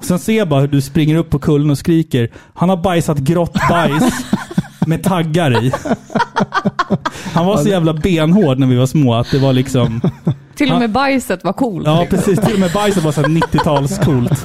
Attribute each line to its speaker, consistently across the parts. Speaker 1: Sen ser jag bara hur du springer upp på kullen och skriker. Han har bajsat grått bajs med taggar i. Han var så jävla benhård när vi var små att det var liksom...
Speaker 2: Till och med bajset var coolt.
Speaker 1: Ja, precis. Till och med bajset var så här 90-talscoolt.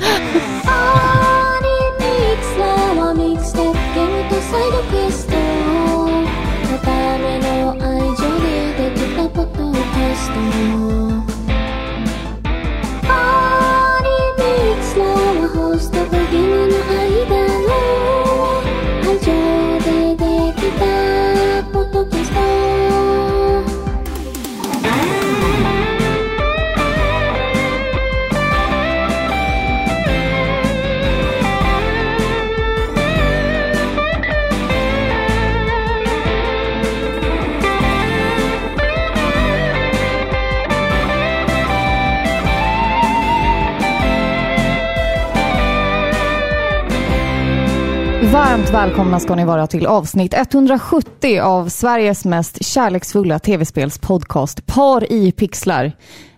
Speaker 2: Varmt välkomna ska ni vara till avsnitt 170 av Sveriges mest kärleksfulla tv-spelspodcast Par i pixlar.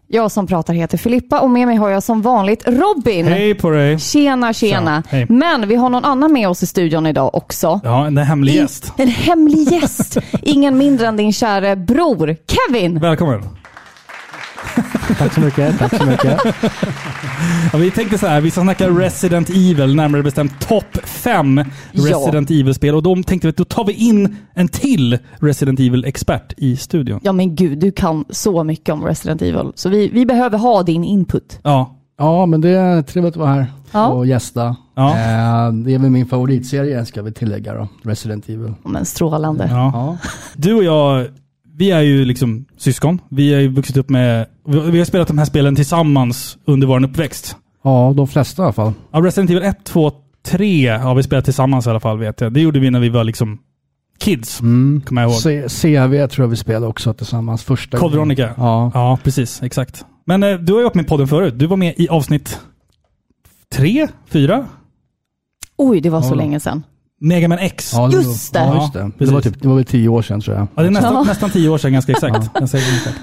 Speaker 2: Jag som pratar heter Filippa och med mig har jag som vanligt Robin.
Speaker 1: Hej på dig!
Speaker 2: Tjena, tjena.
Speaker 1: Tja, hej.
Speaker 2: Men vi har någon annan med oss i studion idag också.
Speaker 1: Ja, en hemlig gäst.
Speaker 2: En hemlig gäst. Ingen mindre än din käre bror Kevin.
Speaker 1: Välkommen!
Speaker 3: Tack så mycket, tack så mycket.
Speaker 1: Ja, vi tänkte så här, vi ska snacka Resident Evil, närmare bestämt topp 5 Resident Evil-spel. Och då tänkte vi att då tar vi in en till Resident Evil-expert i studion.
Speaker 2: Ja men gud, du kan så mycket om Resident Evil. Så vi, vi behöver ha din input.
Speaker 1: Ja,
Speaker 3: Ja, men det är trevligt att vara här
Speaker 2: Ja.
Speaker 3: och gästa.
Speaker 1: Ja.
Speaker 3: Eh, det är väl min favoritserie ska vi tillägga då, Resident Evil.
Speaker 2: Men strålande.
Speaker 1: ja.
Speaker 3: Ja,
Speaker 1: Du och jag, vi är ju liksom syskon. Vi har ju vuxit upp med... Vi har spelat de här spelen tillsammans under vår uppväxt.
Speaker 3: ja de flesta i alla fall.
Speaker 1: Ja, Resident Evil 1, 2, 3 har vi spelat tillsammans i alla fall vet jag. Det gjorde vi när vi var liksom kids,
Speaker 3: Mm.
Speaker 1: kommer jag ihåg.
Speaker 3: C- CV tror jag vi spelade också tillsammans första
Speaker 1: Code
Speaker 3: gången.
Speaker 1: Veronica.
Speaker 3: Ja.
Speaker 1: Ja, precis. Exakt. Men eh, du har ju varit med i podden förut. Du var med i avsnitt tre, fyra?
Speaker 2: Oj, det var så
Speaker 3: Ja.
Speaker 2: länge sedan.
Speaker 1: Mega Man X. Ja,
Speaker 3: Ja, det
Speaker 2: Just det.
Speaker 3: Var, ja, just det. det, var
Speaker 1: precis.
Speaker 3: typ, det var väl tio år sedan tror jag.
Speaker 1: det är nästan,
Speaker 2: Ja.
Speaker 1: nästan tio år sedan, ganska exakt. Jag säger exakt.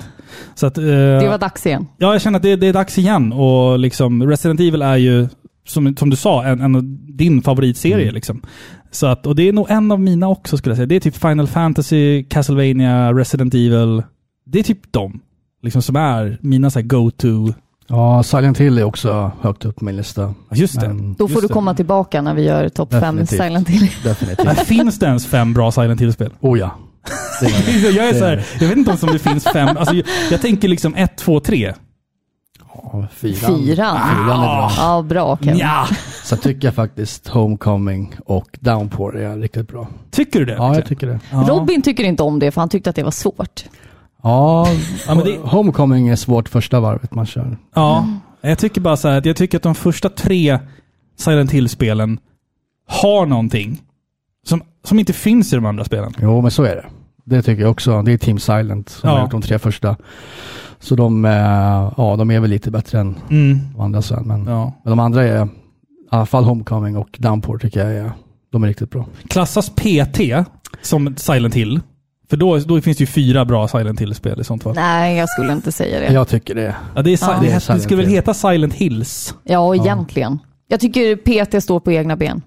Speaker 1: Så att, eh,
Speaker 2: Det var dags igen.
Speaker 1: Ja, jag känner att det, det är dags igen. Och liksom, Resident Evil är ju, som, som du sa, en, en av din favoritserie.
Speaker 3: Mm.
Speaker 1: Liksom. Så att, och det är nog en av mina också skulle jag säga. Det är typ Final Fantasy, Castlevania, Resident Evil. Det är typ de liksom, som är mina så här go-to.
Speaker 3: Ja, Silent Hill är också högt upp på min lista.
Speaker 1: Ja, Just det.
Speaker 3: Men
Speaker 2: Då får
Speaker 1: Just
Speaker 2: du
Speaker 1: det.
Speaker 2: komma tillbaka när vi gör topp 5
Speaker 3: Definitivt.
Speaker 2: Silent Hill.
Speaker 1: Men
Speaker 3: definitivt.
Speaker 1: finns det ens fem bra Silent Hill-spel?
Speaker 3: Oh ja. Det är det.
Speaker 1: Jag är så här, jag vet inte ens om det finns fem. Alltså, jag, jag tänker liksom ett, två, tre.
Speaker 3: Ja, fyran.
Speaker 2: Fyran.
Speaker 3: Fyran Ah, är bra.
Speaker 2: Ja, bra Kevin.
Speaker 1: Ja.
Speaker 3: Så tycker jag faktiskt Homecoming och Downpour är riktigt bra.
Speaker 1: Tycker du det?
Speaker 3: Ja, jag
Speaker 1: verkligen?
Speaker 3: tycker det.
Speaker 2: Robin tycker inte om det för han tyckte att det var svårt.
Speaker 3: Ja,
Speaker 1: Ja, men det-
Speaker 3: Homecoming är svårt första varvet man kör.
Speaker 1: Ja,
Speaker 3: Mm.
Speaker 1: jag tycker bara så här att jag tycker att de första tre Silent Hill-spelen har någonting som, som inte finns i de andra spelen.
Speaker 3: Jo, men så är det. Det tycker jag också. Det är Team Silent som
Speaker 1: Ja.
Speaker 3: har gjort de tre första. Så de, eh, ja, de är väl lite bättre än de andra sen. Men,
Speaker 1: Ja.
Speaker 3: men de andra är, i alla fall Homecoming och Downpour tycker jag är, de är riktigt bra.
Speaker 1: Klassas PT som Silent Hill, för då, då finns det ju fyra bra Silent Hill-spel i sånt fall.
Speaker 2: Nej, jag skulle inte säga det. Ja,
Speaker 3: Jag tycker det.
Speaker 1: Ja, det, är, si-
Speaker 2: Ja.
Speaker 1: det,
Speaker 3: Det är
Speaker 1: hette- det
Speaker 3: Silent
Speaker 1: skulle väl
Speaker 3: Hill.
Speaker 1: heta Silent Hills?
Speaker 2: egentligen. Jag tycker PT står på egna ben.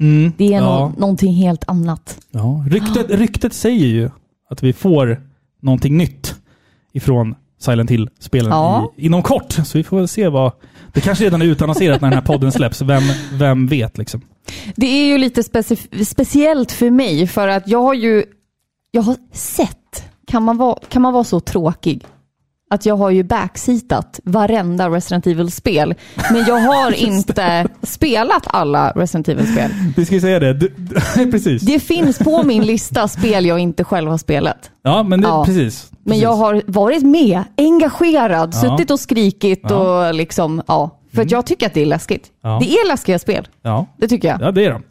Speaker 1: Mm.
Speaker 2: Det är
Speaker 1: ja.
Speaker 2: nå- någonting helt annat.
Speaker 1: ja. Ryktet, ryktet säger ju att vi får någonting nytt ifrån Silent Hill-spelen
Speaker 2: Ja.
Speaker 1: i, inom kort. Så vi får väl se vad... Det kanske redan är utannonserat när den här podden släpps. Vem, vem vet liksom?
Speaker 2: Det är ju lite specif- speciellt för mig för att jag har ju jag har sett, kan man, vara, kan man vara så tråkig? Att jag har ju backseatat varenda Resident Evil-spel. Men jag har inte spelat alla Resident Evil-spel.
Speaker 1: Vi ska ju säga det. Du, du, precis.
Speaker 2: Det finns på min lista spel jag inte själv har spelat.
Speaker 1: Ja, men det,
Speaker 2: Ja.
Speaker 1: precis.
Speaker 2: Men
Speaker 1: precis.
Speaker 2: jag har varit med, engagerad,
Speaker 1: Ja.
Speaker 2: suttit och skrikit
Speaker 1: Ja. Mm.
Speaker 2: och liksom, ja. För att jag tycker att det är läskigt.
Speaker 1: Ja.
Speaker 2: Det är läskiga spel,
Speaker 1: Ja.
Speaker 2: det tycker jag.
Speaker 1: ja, det är de.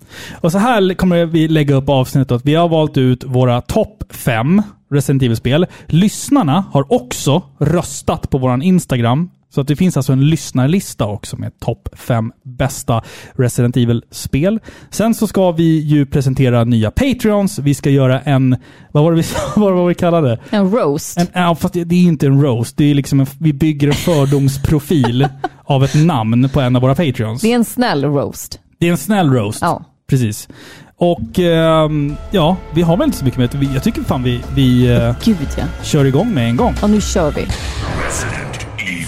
Speaker 1: Och så här kommer vi lägga upp avsnittet. Att vi har valt ut våra topp fem Resident Evil-spel. Lyssnarna har också röstat på vår Instagram Så att det finns alltså en lyssnarlista också med topp fem bästa Resident Evil-spel. Sen så ska vi ju presentera nya Patreons. Vi ska göra en, vad var det vi, vad var det vi kallade det?
Speaker 2: En roast.
Speaker 1: En, ja, fast det det är inte en roast. Det är liksom en, vi bygger en fördomsprofil av ett namn på en av våra Patreons.
Speaker 2: Det är en snäll roast.
Speaker 1: Det är en snäll roast.
Speaker 2: Ja.
Speaker 1: Precis. Och ehm, ja, vi har väl inte så mycket med det. Jag tycker fan vi, vi eh,
Speaker 2: Gud ja.
Speaker 1: kör igång med en gång.
Speaker 2: Och nu kör vi.
Speaker 4: Resident Evil.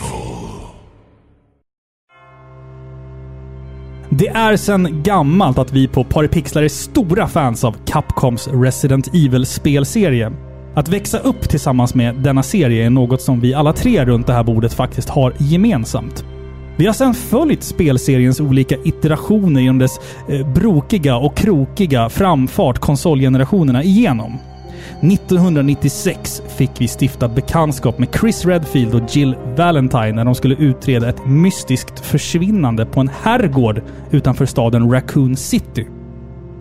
Speaker 1: Det är sedan gammalt att vi på Paripixlar är stora fans av Capcoms Resident Evil-spelserie. Att växa upp tillsammans med denna serie är något som vi alla tre runt det här bordet faktiskt har gemensamt. Vi har sedan följt spelseriens olika iterationer genom dess eh, brokiga och krokiga framfart konsolgenerationerna igenom. 1996 fick vi stifta bekantskap med Chris Redfield och Jill Valentine när de skulle utreda ett mystiskt försvinnande på en herrgård utanför staden Raccoon City.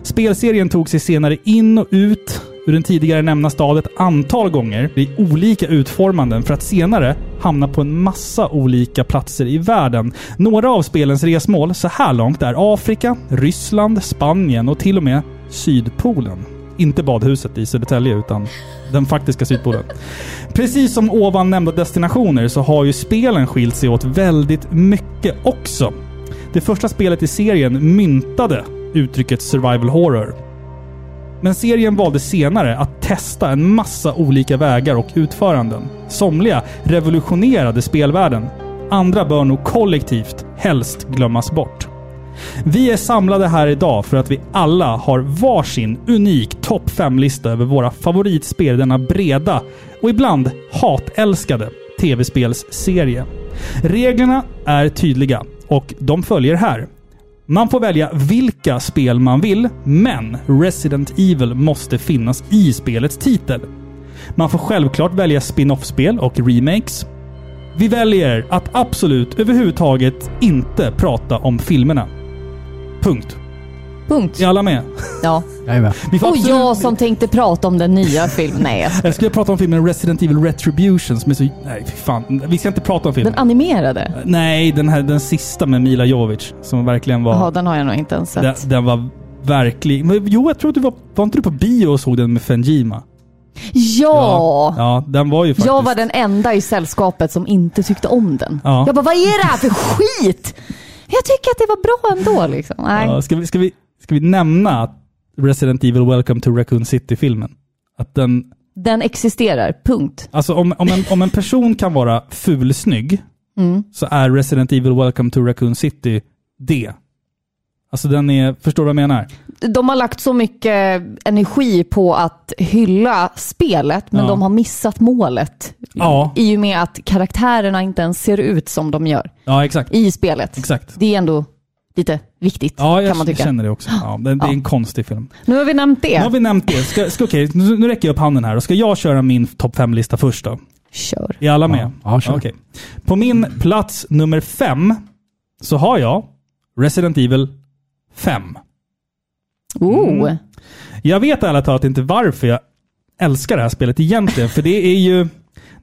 Speaker 1: Spelserien tog sig senare in och ut ur den tidigare nämnda stad ett antal gånger i olika utformanden för att senare hamna på en massa olika platser i världen. Några av spelens resmål så här långt är Afrika, Ryssland, Spanien och till och med Sydpolen. Inte badhuset i Södertälje, utan den faktiska Sydpolen. Precis som ovan nämnda destinationer så har ju spelen skilt sig åt väldigt mycket också. Det första spelet i serien myntade uttrycket survival horror. Men serien valde senare att testa en massa olika vägar och utföranden. Somliga revolutionerade spelvärlden. Andra bör nog kollektivt helst glömmas bort. Vi är samlade här idag för att vi alla har varsin unik topp 5-lista över våra favoritspel i denna breda och ibland hatälskade tv-spelsserie. Reglerna är tydliga och de följer här. Man får välja vilka spel man vill, men Resident Evil måste finnas i spelets titel. Man får självklart välja spin-off-spel och remakes. Vi väljer att absolut överhuvudtaget inte prata om filmerna. Punkt.
Speaker 2: Punkt.
Speaker 1: Är alla med?
Speaker 2: Ja.
Speaker 3: Jag är med.
Speaker 1: Vi får
Speaker 2: Och
Speaker 1: absolut-
Speaker 2: jag som tänkte prata om den nya filmen. Nej, jag-
Speaker 1: Jag skulle prata om filmen Resident Evil Retribution som är så... Nej, fy fan. Vi ska inte prata om filmen.
Speaker 2: den animerade.
Speaker 1: Nej, den här den sista med Mila Jovic som verkligen var...
Speaker 2: Jaha, den har jag nog inte ens sett.
Speaker 1: den, den var verklig. Men, jo, jag tror att du var... Var inte du på bio och såg den med Fenjima?
Speaker 2: Ja!
Speaker 1: Ja, den var ju faktiskt...
Speaker 2: Jag var den enda i sällskapet som inte tyckte om den.
Speaker 1: Ja.
Speaker 2: Jag bara, vad är det här för skit? Jag tycker att det var bra ändå liksom. Nej.
Speaker 1: Ja, ska, vi, ska, vi, ska vi nämna att Resident Evil Welcome to Raccoon City-filmen? Att den...
Speaker 2: Den existerar, punkt.
Speaker 1: Alltså om, om, en, om en person kan vara fulsnygg
Speaker 2: Mm.
Speaker 1: så är Resident Evil Welcome to Raccoon City det. Alltså den är... Förstår du vad jag menar?
Speaker 2: De har lagt så mycket energi på att hylla spelet, men
Speaker 1: Ja.
Speaker 2: de har missat målet.
Speaker 1: Ja.
Speaker 2: I och med att karaktärerna inte ens ser ut som de gör
Speaker 1: Ja, exakt.
Speaker 2: i spelet.
Speaker 1: Exakt.
Speaker 2: Det är ändå lite viktigt,
Speaker 1: Ja, jag
Speaker 2: kan man tycka.
Speaker 1: känner det också. Ja, det, det är en konstig film.
Speaker 2: Nu har vi nämnt det.
Speaker 1: Nu har vi nämnt det. Ska, ska, okej, nu nu räcker jag upp handen här. Och ska jag köra min topp fem-lista först då?
Speaker 2: Kör.
Speaker 1: Är alla med?
Speaker 3: Ja, kör.
Speaker 1: Okej. På min plats nummer fem så har jag Resident Evil 5.
Speaker 2: Oh.
Speaker 1: Mm. Jag vet ärligt talat inte varför jag älskar det här spelet egentligen, för det är ju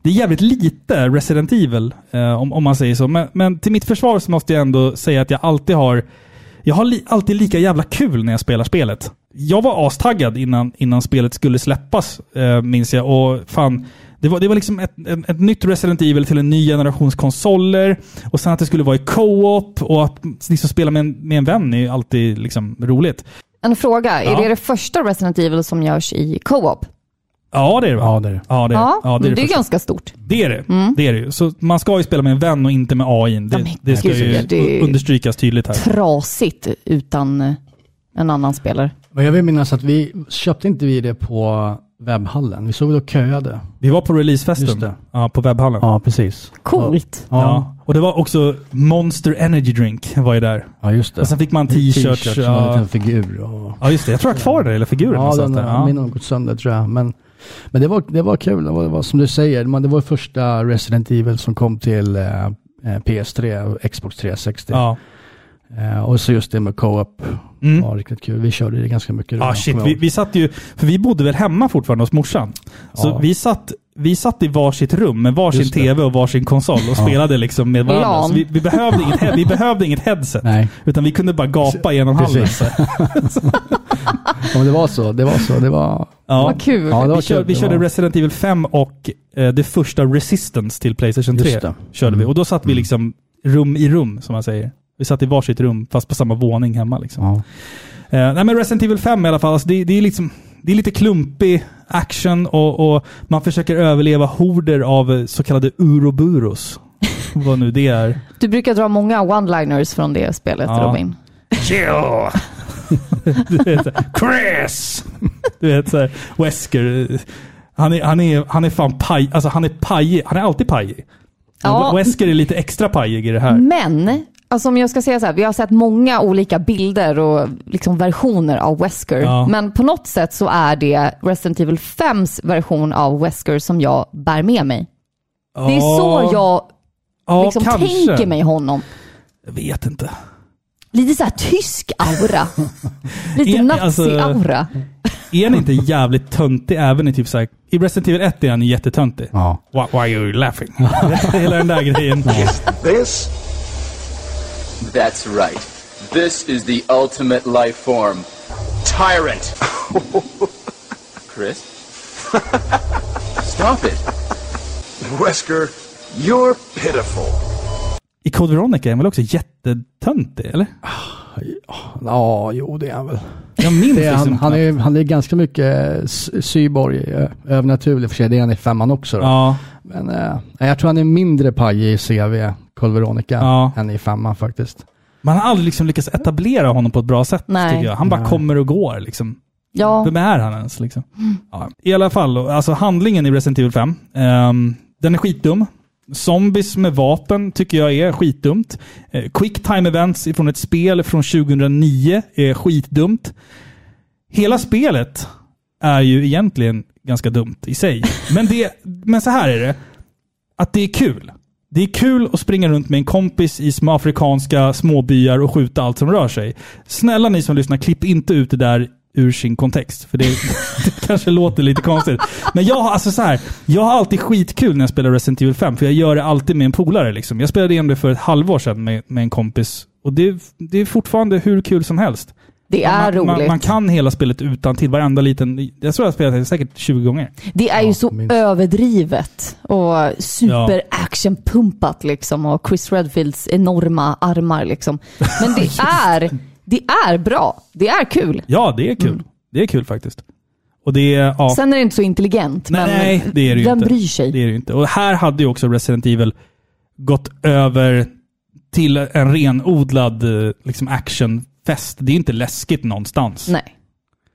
Speaker 1: det är jävligt lite Resident Evil, eh, om, om man säger så. Men, men till mitt försvar så måste jag ändå säga att jag alltid har jag har li, alltid lika jävla kul när jag spelar spelet. Jag var astaggad innan, innan spelet skulle släppas, eh, minns jag. Och fan, det var, det var liksom ett, ett, ett nytt Resident Evil till en ny generations konsoler. Och sen att det skulle vara i co-op och att liksom spela med en, med en vän är ju alltid liksom roligt.
Speaker 2: En fråga,
Speaker 1: Ja.
Speaker 2: är det det första Resident Evil som görs i co-op?
Speaker 1: Ja, det är det va?
Speaker 3: Ja, det är det.
Speaker 1: Ja, det är
Speaker 2: Ja,
Speaker 1: det. Ja, det, är det, första.
Speaker 2: ganska stort.
Speaker 1: det är det. Det är det ju. Så man ska ju spela med en vän och inte med AI. n.
Speaker 2: Mm. Ja,
Speaker 1: Det,
Speaker 2: men
Speaker 1: det ska
Speaker 2: gud,
Speaker 1: ju
Speaker 2: det är-
Speaker 1: understrykas tydligt här.
Speaker 2: Trasigt utan eh, en annan spelare.
Speaker 3: Men jag vill minnas att vi köpte inte vi det på webbhallen. Vi såg det och köade.
Speaker 1: Vi var på releasefesten
Speaker 3: Just det.
Speaker 1: ja, på webbhallen. Ja.
Speaker 3: Ja, precis.
Speaker 2: Coolt.
Speaker 3: Ja,
Speaker 1: Och det var också Monster Energy Drink var ju där.
Speaker 3: ja just det.
Speaker 1: Och sen fick man t-shirts.
Speaker 3: och en
Speaker 1: Ja.
Speaker 3: liten figur. Och...
Speaker 1: ja, just det. Jag tror jag har kvar den eller figuren
Speaker 3: Ja,
Speaker 1: någonstans
Speaker 3: den,
Speaker 1: där.
Speaker 3: ja. min har gått sönder tror jag. Men, men det, var, det var kul. Det var, det var som du säger, man, det var första Resident Evil som kom till eh, eh, PS3 och Xbox 360.
Speaker 1: Ja.
Speaker 3: Eh, och så just det med co-op.
Speaker 1: Mm.
Speaker 3: var riktigt kul. Vi körde det ganska mycket. då,
Speaker 1: Ja, shit.
Speaker 3: kommer jag
Speaker 1: Vi,
Speaker 3: ihåg.
Speaker 1: vi satt ju... För vi bodde väl hemma fortfarande hos morsan? Så
Speaker 3: Ja.
Speaker 1: vi, satt, vi satt i varsitt rum med varsin
Speaker 3: Just det.
Speaker 1: tv och varsin konsol och spelade liksom med varandra.
Speaker 2: LAN.
Speaker 1: Så vi, vi, behövde inget, he- vi behövde inget headset.
Speaker 3: Nej,
Speaker 1: Utan vi kunde bara gapa genom hallen.
Speaker 3: precis. ja, men det var så. Det var så. Det var...
Speaker 1: Ja.
Speaker 2: Vad kul.
Speaker 3: Ja, det var
Speaker 1: Vi, kör,
Speaker 3: kul.
Speaker 1: vi
Speaker 3: Det
Speaker 1: körde
Speaker 3: var-
Speaker 1: Resident Evil 5 och eh, det första Resistance till Playstation 3.
Speaker 3: Just det. Mm.
Speaker 1: Körde vi. Och då satt vi liksom rum i rum, som man säger. Vi satt i varsitt rum, fast på samma våning hemma. Liksom.
Speaker 3: Ja.
Speaker 1: Eh, nej, men Resident Evil 5 i alla fall, alltså, det, det, är liksom, det är lite klumpig action och, och man försöker överleva horder av eh, så kallade uroburos. Vad nu det är.
Speaker 2: Du brukar dra många one-liners från det spelet,
Speaker 1: Ja.
Speaker 2: Robin.
Speaker 4: Jill!
Speaker 1: Du vet, så här,
Speaker 4: Chris!
Speaker 1: du vet så här, Wesker. eh, Han är, han, är, han är fan paj, alltså han är pajig. Han är alltid pajig.
Speaker 2: Ja.
Speaker 1: Wesker är lite extra pajig i det här.
Speaker 2: Men, alltså om jag ska säga så här, vi har sett många olika bilder och liksom versioner av Wesker.
Speaker 1: Ja.
Speaker 2: Men på något sätt så är det Resident Evil 5s version av Wesker som jag bär med mig. Det är så jag
Speaker 1: ja,
Speaker 2: liksom tänker mig honom.
Speaker 1: Jag vet inte.
Speaker 2: Lite så här tysk aura. Lite
Speaker 1: Ja, alltså-
Speaker 2: nazi-aura.
Speaker 1: Är han inte jävligt töntig även i typ såhär... I Resident Evil 1 är han ju jättetöntig.
Speaker 3: Ja.
Speaker 1: Why, why are you laughing? Hela den där grejen.
Speaker 5: This?
Speaker 6: That's right. This is the ultimate life form.
Speaker 5: Tyrant.
Speaker 6: Chris? Stop it.
Speaker 5: Wesker, you're pitiful.
Speaker 1: I Code Veronica är han väl också jättetöntig, eller?
Speaker 3: ja, jo det är han väl.
Speaker 1: Jag minns
Speaker 3: Det är han,
Speaker 1: liksom
Speaker 3: han,
Speaker 1: knappt.
Speaker 3: är, han är ganska mycket eh, s- cyborg, eh, övernaturlig för sig. Det är han i femman också. Då.
Speaker 1: Ja,
Speaker 3: Men eh, jag tror han är mindre pajig i CV, Carl Veronica,
Speaker 1: Ja.
Speaker 3: än i femman faktiskt.
Speaker 1: man har aldrig liksom lyckats etablera honom på ett bra sätt,
Speaker 2: Nej.
Speaker 1: tycker jag. Han bara
Speaker 3: Nej.
Speaker 1: kommer och går liksom.
Speaker 2: Ja. Mm.
Speaker 1: Vem är han ens? Liksom? Ja. I alla fall, alltså handlingen i Resident Evil 5, ehm, den är skitdum. Zombies med vapen tycker jag är skitdumt. Eh, quick time events från ett spel från 2009 är skitdumt. Hela spelet är ju egentligen ganska dumt i sig. Men, det, men så här är det, att det är kul. Det är kul att springa runt med en kompis i små afrikanska småbyar och skjuta allt som rör sig. Snälla ni som lyssnar, klipp inte ut det där ur sin kontext. För det, det kanske låter lite konstigt. Men jag har, alltså så här, jag har alltid skitkul när jag spelar Resident Evil 5, för jag gör det alltid med en polare. Liksom. Jag spelade igen det för ett halvår sedan med, med en kompis. Och det, det är fortfarande hur kul som helst.
Speaker 2: Det är
Speaker 1: man, man,
Speaker 2: roligt.
Speaker 1: man kan hela spelet utan till varenda liten... Jag tror jag har spelat det säkert 20 gånger.
Speaker 2: Det är ju så
Speaker 3: minst.
Speaker 2: överdrivet och superactionpumpat liksom och Chris Redfields enorma armar liksom. Men det är, det är bra. Det är kul.
Speaker 1: Ja, det är kul. Det är kul faktiskt. Och det är... Ja.
Speaker 2: Mm. Sen är det inte så intelligent,
Speaker 1: Nej,
Speaker 2: men
Speaker 1: nej, det är det ju
Speaker 2: vem
Speaker 1: inte.
Speaker 2: bryr sig?
Speaker 1: Det är det ju inte. Och här hade ju också Resident Evil gått över till en renodlad eh, liksom actionfest. Det är ju inte läskigt någonstans.
Speaker 2: Nej.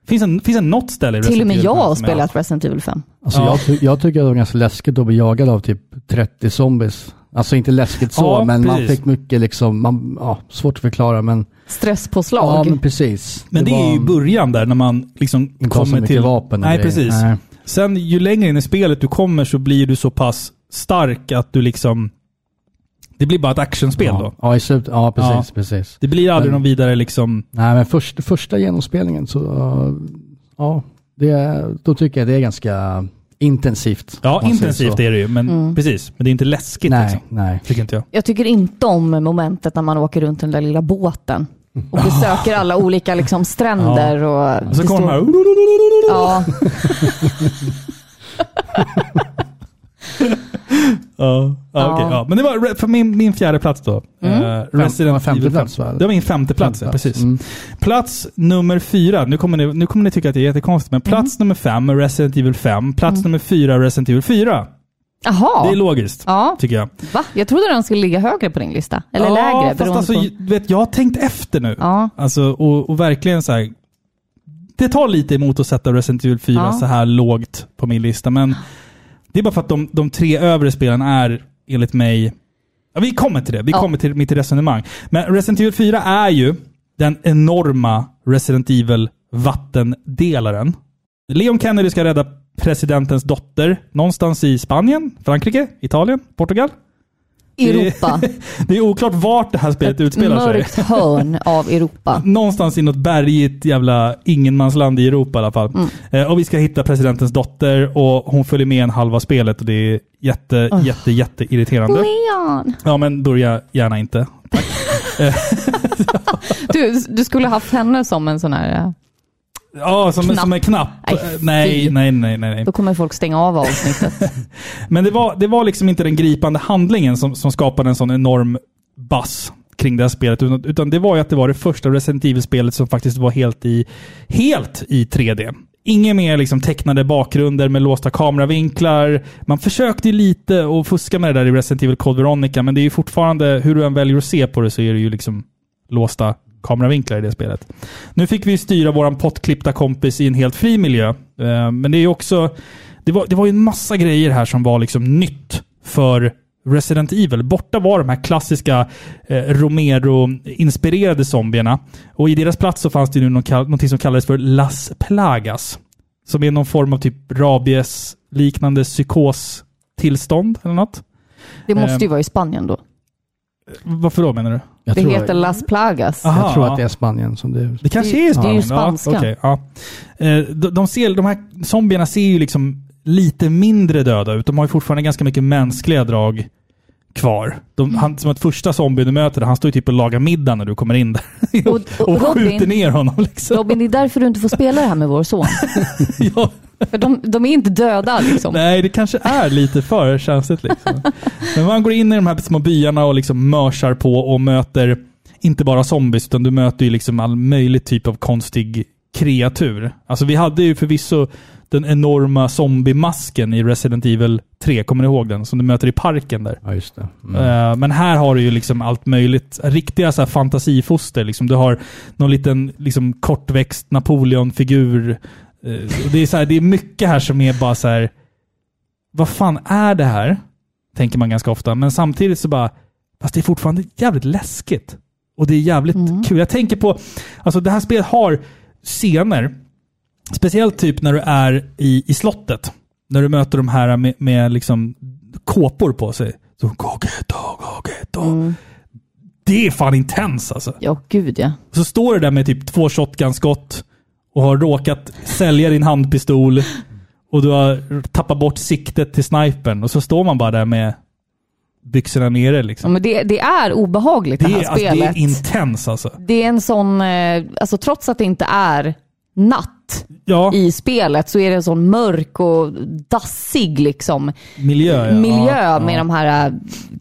Speaker 1: Finns, en, finns det något ställe i
Speaker 2: Till och
Speaker 1: Resident
Speaker 2: med
Speaker 1: Evil
Speaker 2: jag har
Speaker 1: som är-
Speaker 2: spelat Resident Evil 5.
Speaker 3: Alltså,
Speaker 1: Ja.
Speaker 3: jag, ty- jag tycker att det var ganska läskigt att bli jagad av typ 30 zombies. Alltså inte läskigt så,
Speaker 1: Ja,
Speaker 3: men man
Speaker 1: precis.
Speaker 3: fick mycket liksom, man, ja, svårt att förklara men... Ja,
Speaker 2: Stresspåslag.
Speaker 3: men precis.
Speaker 1: Men det, är ju i början där när man liksom
Speaker 3: inte har så
Speaker 1: kommer
Speaker 3: mycket
Speaker 1: till...
Speaker 3: vapen och
Speaker 1: Nej,
Speaker 3: grejer.
Speaker 1: precis.
Speaker 3: Nej.
Speaker 1: Sen ju längre in i spelet du kommer så blir du så pass stark att du liksom... Det blir bara ett actionspel
Speaker 3: ja.
Speaker 1: då.
Speaker 3: Ja, i slut, ja precis,
Speaker 1: Ja.
Speaker 3: precis.
Speaker 1: Det blir aldrig
Speaker 3: Men-
Speaker 1: någon vidare liksom...
Speaker 3: Nej, men först, första genomspelningen så, eh, ja, det, är- då tycker jag det är ganska intensivt.
Speaker 1: Ja,
Speaker 3: om man säger
Speaker 1: intensivt
Speaker 3: så.
Speaker 1: är det ju, men
Speaker 2: Mm.
Speaker 1: precis. Men det är inte läskigt
Speaker 3: Nej,
Speaker 1: liksom.
Speaker 3: nej.
Speaker 1: Tycker inte jag.
Speaker 2: Jag tycker inte om momentet när man åker runt den där lilla båten och besöker alla olika liksom, stränder. Och
Speaker 1: Och så
Speaker 2: det
Speaker 1: kommer de
Speaker 2: står-
Speaker 1: här...
Speaker 2: Ja,
Speaker 1: Ja, ja, okej, ja. Men det var re- för min, min fjärde plats då. Eh, Resident
Speaker 3: var Mm. femte
Speaker 1: Evil
Speaker 3: plats,
Speaker 1: 5.
Speaker 3: va?
Speaker 1: Det var min femte plats,
Speaker 3: Femte
Speaker 1: ja,
Speaker 3: plats.
Speaker 1: precis.
Speaker 3: Mm.
Speaker 1: Plats nummer fyra. Nu kommer, ni, nu kommer ni tycka att det är jättekonstigt, men plats
Speaker 3: Mm.
Speaker 1: nummer fem, Resident Evil 5. Plats nummer fyra, Resident Evil 4. Det
Speaker 2: jaha.
Speaker 1: är logiskt,
Speaker 2: Ja.
Speaker 1: tycker jag.
Speaker 2: Va? Jag trodde den skulle ligga högre på din lista. Eller
Speaker 1: ja,
Speaker 2: lägre,
Speaker 1: fast
Speaker 2: beroende
Speaker 1: alltså,
Speaker 2: på...
Speaker 1: ju- du vet, jag har tänkt efter nu.
Speaker 2: Ja.
Speaker 1: Alltså, och, och verkligen så här. Det tar lite emot att sätta Resident Evil 4
Speaker 2: Ja.
Speaker 1: så här lågt på min lista, men det är bara för att de, de tre övre spelen är, enligt mig... Ja, vi kommer till det. Vi
Speaker 2: Ja.
Speaker 1: kommer till mitt resonemang. Men Resident Evil 4 är ju den enorma Resident Evil-vattendelaren. Leon Kennedy ska rädda presidentens dotter någonstans i Spanien, Frankrike, Italien, Portugal.
Speaker 2: Europa.
Speaker 1: Det är oklart vart det här spelet utspelar sig.
Speaker 2: Mörkt hörn av Europa.
Speaker 1: Någonstans i något bergigt jävla ingenmansland i Europa i alla fall. Eh, och vi ska hitta presidentens dotter och hon följer med en halva spelet och det är jätte, jätte, jätte irriterande.
Speaker 2: Leon!
Speaker 1: Ja, men börja gärna inte.
Speaker 2: Du, du skulle haft henne som en sån här... eh,
Speaker 1: Ja, som,
Speaker 2: Knapp.
Speaker 1: som en knapp.
Speaker 2: Aj,
Speaker 1: Eh, Nej,
Speaker 2: fy.
Speaker 1: nej, nej, nej. nej.
Speaker 2: Då kommer folk stänga av avsnittet.
Speaker 1: Men det var, det var liksom inte den gripande handlingen som, som skapade en sån enorm buzz kring det här spelet, utan, utan det var ju att det var det första Resident Evil-spelet som faktiskt var helt i, helt i 3D. Inget mer liksom tecknade bakgrunder med låsta kameravinklar. Man försökte ju lite och fuska med det där i Resident Evil Code Veronica, men det är ju fortfarande, hur du än väljer att se på det så är det ju liksom låsta kameravinklar i det spelet. Nu fick vi styra våran pottklippta kompis i en helt fri miljö, eh, men det är ju också det var, det var ju en massa grejer här som var liksom nytt för Resident Evil. Borta var de här klassiska eh, Romero-inspirerade zombierna. Och i deras plats så fanns det nu någon, kall- någonting som kallades för Las Plagas. Som är någon form av typ rabies-liknande psykostillstånd eller något.
Speaker 2: Det måste
Speaker 1: Ehm,
Speaker 2: ju vara i Spanien då.
Speaker 1: Varför då menar du?
Speaker 3: Jag
Speaker 2: Det
Speaker 3: tror,
Speaker 2: heter Las Plagas.
Speaker 1: Aha,
Speaker 3: jag tror
Speaker 1: ja.
Speaker 3: att det är Spanien som det
Speaker 1: Det kanske
Speaker 2: Det-
Speaker 1: är
Speaker 2: det är
Speaker 1: Spanien?
Speaker 2: ju spanska.
Speaker 1: Ja, okej, ja. Eh, de, de, ser, de här zombierna ser ju liksom lite mindre döda ut. De har ju fortfarande ganska mycket mänskliga drag kvar. De, han, som ett första zombie du möter, han står ju typ och lagar middag när du kommer in där.
Speaker 2: Och,
Speaker 1: Och,
Speaker 2: och
Speaker 1: skjuter
Speaker 2: Robin,
Speaker 1: ner honom liksom.
Speaker 2: Robin, det är därför du inte får spela det här med vår son.
Speaker 1: Ja.
Speaker 2: För de, de är inte döda liksom.
Speaker 1: Nej, det kanske är lite för känsligt. Liksom. Men man går in i de här små byarna och liksom mörsar på och möter inte bara zombies, utan du möter ju liksom all möjlig typ av konstig kreatur. Alltså vi hade ju förvisso den enorma zombiemasken i Resident Evil 3, kommer ni ihåg den? Som du möter i parken där.
Speaker 3: Ja, just det. Mm.
Speaker 1: Eh, Men här har du ju liksom allt möjligt. Riktiga så här fantasifoster. Liksom. Du har någon liten liksom, kortväxt Napoleon-figur. Eh, och Det, är så här, det är mycket här som är bara så här... Vad fan är det här? Tänker man ganska ofta. Men samtidigt så bara... Fast det är fortfarande jävligt läskigt. Och det är jävligt kul. Jag tänker på... Alltså det här spelet har scener. Speciellt typ när du är i, i slottet. När du möter de här med, med liksom kåpor på sig. Så, Gogeto, Gogeto.
Speaker 2: Mm.
Speaker 1: Det är fan intens alltså.
Speaker 2: Ja, gud ja.
Speaker 1: Så står du där med typ två shotgunskott och har råkat sälja din handpistol och du har tappat bort siktet till snipern och så står man bara där med byxorna nere
Speaker 2: ja
Speaker 1: liksom.
Speaker 2: men det, det är obehagligt Mm. det,
Speaker 1: Det är,
Speaker 2: här
Speaker 1: alltså, det
Speaker 2: spelet.
Speaker 1: är intens alltså.
Speaker 2: det är en sån, eh, alltså trots att det inte är natt
Speaker 1: Ja,
Speaker 2: i spelet så är det en sån mörk och dassig liksom
Speaker 1: miljö. Ja.
Speaker 2: miljö
Speaker 1: ja,
Speaker 2: med de här eh,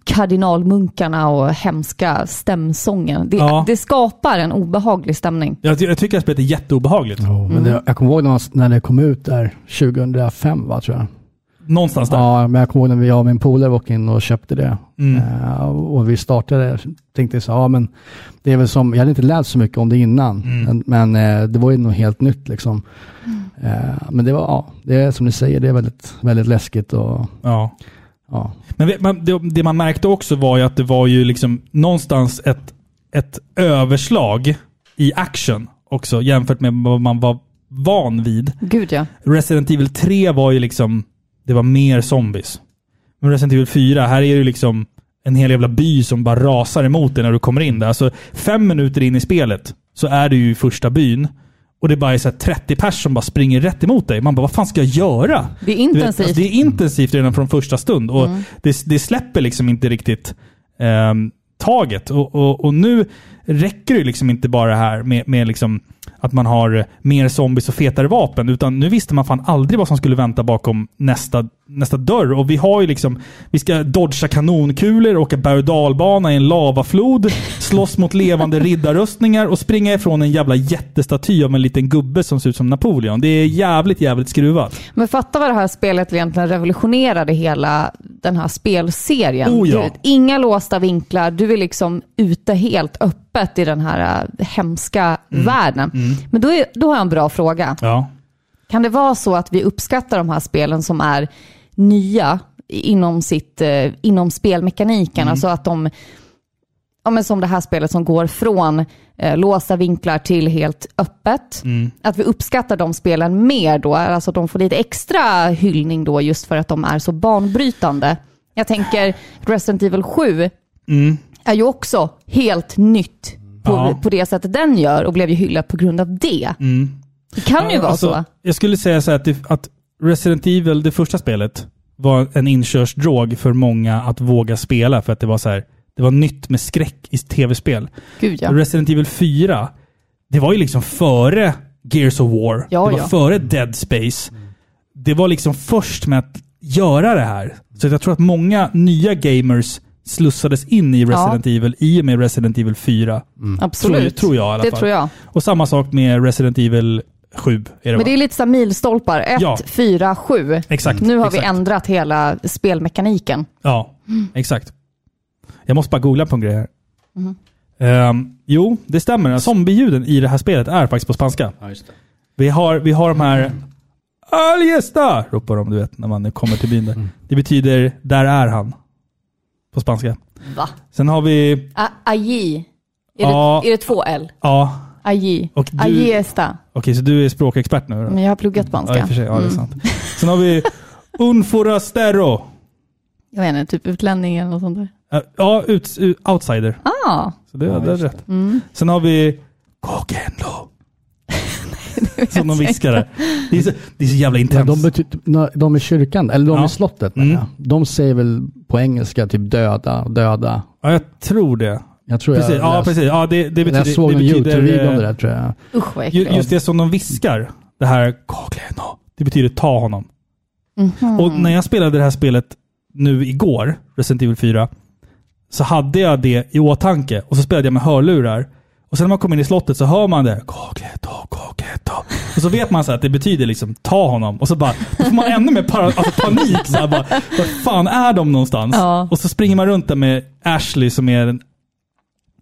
Speaker 2: kardinalmunkarna och hemska stämsången. Det,
Speaker 1: Ja.
Speaker 2: det skapar en obehaglig stämning.
Speaker 1: Jag, ty- jag tycker att spelet är jätteobehagligt.
Speaker 3: Jo, men det, jag kommer ihåg när, man, när det kom ut där 2005 va, tror jag.
Speaker 1: Någonstans där.
Speaker 3: Ja, men jag kommer ihåg när jag och min polare var in och köpte det.
Speaker 1: Mm.
Speaker 3: Eh, och vi startade, tänkte så, ja men det är väl som, jag hade inte läst så mycket om det innan,
Speaker 1: Mm.
Speaker 3: men, men eh, det var ju något helt nytt liksom. Eh, men det var, ja, det är som ni säger, det är väldigt, väldigt läskigt och
Speaker 1: Ja.
Speaker 3: ja.
Speaker 1: Men vet man, det, det man märkte också var ju att det var ju liksom någonstans ett, ett överslag i action också jämfört med vad man var van vid.
Speaker 2: Gud ja.
Speaker 1: Resident Evil 3 var ju liksom, det var mer zombies. Men Resident Evil 4, här är det ju liksom en hel jävla by som bara rasar emot dig när du kommer in där. Alltså fem minuter in i spelet så är du ju i första byn. Och det bara är så här 30 pers som bara springer rätt emot dig. Man bara, vad fan ska jag göra?
Speaker 2: Det
Speaker 1: Du
Speaker 2: är
Speaker 1: vet,
Speaker 2: intensivt.
Speaker 1: alltså, det är intensivt redan från första stund och det, det släpper liksom inte riktigt ehm, taget. Och, och, och nu räcker det liksom inte bara det här med, med liksom att man har mer zombies och fetare vapen, utan nu visste man fan aldrig vad som skulle vänta bakom nästa, nästa dörr. Och vi har ju liksom, vi ska dodga kanonkulor, åka berg och dalbana i en lavaflod, slåss mot levande riddarrustningar och springa ifrån en jävla jättestaty av en liten gubbe som ser ut som Napoleon. Det är jävligt, jävligt skruvat.
Speaker 2: Men fatta vad det här spelet egentligen revolutionerade hela den här spelserien.
Speaker 1: Oh ja.
Speaker 2: Du vet, inga låsta vinklar, du är liksom ute helt öppet i den här äh, hemska
Speaker 1: Mm.
Speaker 2: världen. Men då, är, då har jag en bra fråga.
Speaker 1: Ja.
Speaker 2: Kan det vara så att vi uppskattar de här spelen som är nya inom, sitt, eh, inom spelmekaniken? Alltså att de, ja men som det här spelet som går från eh, låsta vinklar till helt öppet. Att vi uppskattar de spelen mer då, alltså att de får lite extra hyllning då just för att de är så banbrytande. Jag tänker Resident Evil 7 är ju också helt nytt på,
Speaker 1: Ja.
Speaker 2: på det sättet den gör och blev ju hyllad på grund av det. Det kan ju vara så.
Speaker 1: alltså, Jag skulle säga så här att, det, att Resident Evil, det första spelet, var en inkörsdrog för många att våga spela för att det var så här, det var nytt med skräck i tv-spel.
Speaker 2: Gud ja.
Speaker 1: Resident Evil 4, det var ju liksom före Gears of War.
Speaker 2: Ja,
Speaker 1: det var
Speaker 2: ja.
Speaker 1: före Dead Space. Det var liksom först med att göra det här. Så jag tror att många nya gamers slussades in i Resident Evil i och med Resident Evil 4.
Speaker 2: Mm. Absolut.
Speaker 1: Tror, tror jag i alla
Speaker 2: det
Speaker 1: fall.
Speaker 2: tror jag.
Speaker 1: Och samma sak med Resident Evil 7. Är det
Speaker 2: Men
Speaker 1: va?
Speaker 2: det är lite så här milstolpar. 1,
Speaker 1: Ja.
Speaker 2: 4, 7.
Speaker 1: Exakt.
Speaker 2: Nu har
Speaker 1: exakt.
Speaker 2: vi ändrat hela spelmekaniken.
Speaker 1: Ja, exakt. Jag måste bara googla på en grej här. Ehm, jo, det stämmer. Zombieljuden i det här spelet är faktiskt på spanska.
Speaker 3: Ja, just det.
Speaker 1: Vi har, vi har de här... Aliesta! ropar de, du vet, när man nu kommer till byn där. Det betyder där är han. På spanska.
Speaker 2: Va?
Speaker 1: Sen har vi...
Speaker 2: A- Aji. Är,
Speaker 1: Ja.
Speaker 2: det, är det två L?
Speaker 1: Ja,
Speaker 2: Aji.
Speaker 1: Och du-
Speaker 2: Ajiesta.
Speaker 1: okej, så du är språkexpert nu då?
Speaker 2: Men jag har pluggat
Speaker 1: ja, i och
Speaker 2: spanska.
Speaker 1: för sig. Ja, det är sant. Sen har vi Un forastero.
Speaker 2: Jag vet inte, typ utlänning eller något sånt där.
Speaker 1: Eh, Ja, ut, ut, outsider.
Speaker 2: Ah,
Speaker 1: Så det, det är rätt.
Speaker 3: Mm.
Speaker 1: Sen har vi Kokendo. Som de viskar där. Det är så, det är så jävla
Speaker 3: Ja, de,
Speaker 1: intensivt.
Speaker 3: bety- na- de i kyrkan, eller de
Speaker 1: Ja.
Speaker 3: i slottet, menar
Speaker 1: Mm.
Speaker 3: jag. de säger väl på engelska typ döda, döda.
Speaker 1: Ja, jag tror det.
Speaker 3: Jag tror
Speaker 1: Precis.
Speaker 3: jag,
Speaker 1: Ja,
Speaker 3: läste-
Speaker 1: precis. Ja, det, det betyder...
Speaker 3: jag såg
Speaker 1: det
Speaker 3: en
Speaker 1: betyder,
Speaker 3: YouTube-video om
Speaker 1: eh,
Speaker 3: det där tror jag.
Speaker 2: usch vad
Speaker 1: ju-
Speaker 2: äckligt.
Speaker 1: Just det som de viskar. Det här Kokendo. Det betyder ta honom.
Speaker 2: Mhm.
Speaker 1: Och
Speaker 2: Mm.
Speaker 1: när jag spelade det här spelet nu igår, Resident Evil 4, så hade jag det i åtanke och så spelade jag med hörlurar. Och sen när man kommer in i slottet så hör man det. Kokleto, kokleto. Och så vet man så här att det betyder liksom ta honom. Och så bara, då får man ännu mer para, alltså panik. Så här, bara, vad fan är de någonstans?
Speaker 2: Ja.
Speaker 1: Och så springer man runt där med Ashley som är den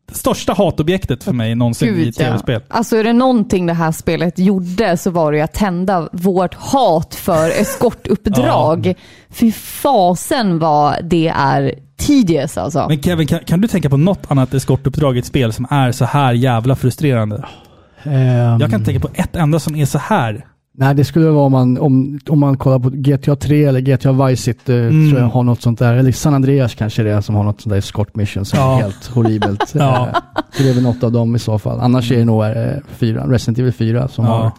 Speaker 1: det största hatobjektet för mig någonsin i
Speaker 2: Gud, ja.
Speaker 1: tv-spel.
Speaker 2: Alltså är det någonting det här spelet gjorde så var det ju att tända vårt hat för eskortuppdrag. Fy fasen vad det är tedious alltså.
Speaker 1: Men Kevin, kan, kan du tänka på något annat eskortuppdrag i ett spel som är så här jävla frustrerande?
Speaker 3: Ehm,
Speaker 1: Jag kan tänka på ett enda som är så här.
Speaker 3: Nej, det skulle vara om man, om, om man kollar på GTA 3 eller GTA Vice City, eh,
Speaker 1: Mm.
Speaker 3: tror jag har något sånt där. Eller San Andreas kanske det är som har något sånt där escort mission som
Speaker 1: Ja.
Speaker 3: är helt horribelt.
Speaker 1: Ja.
Speaker 3: Eh, Så det är väl något av dem i så fall. Annars är det nog eh, fyra, Resident Evil 4 som
Speaker 1: Ja.
Speaker 3: har...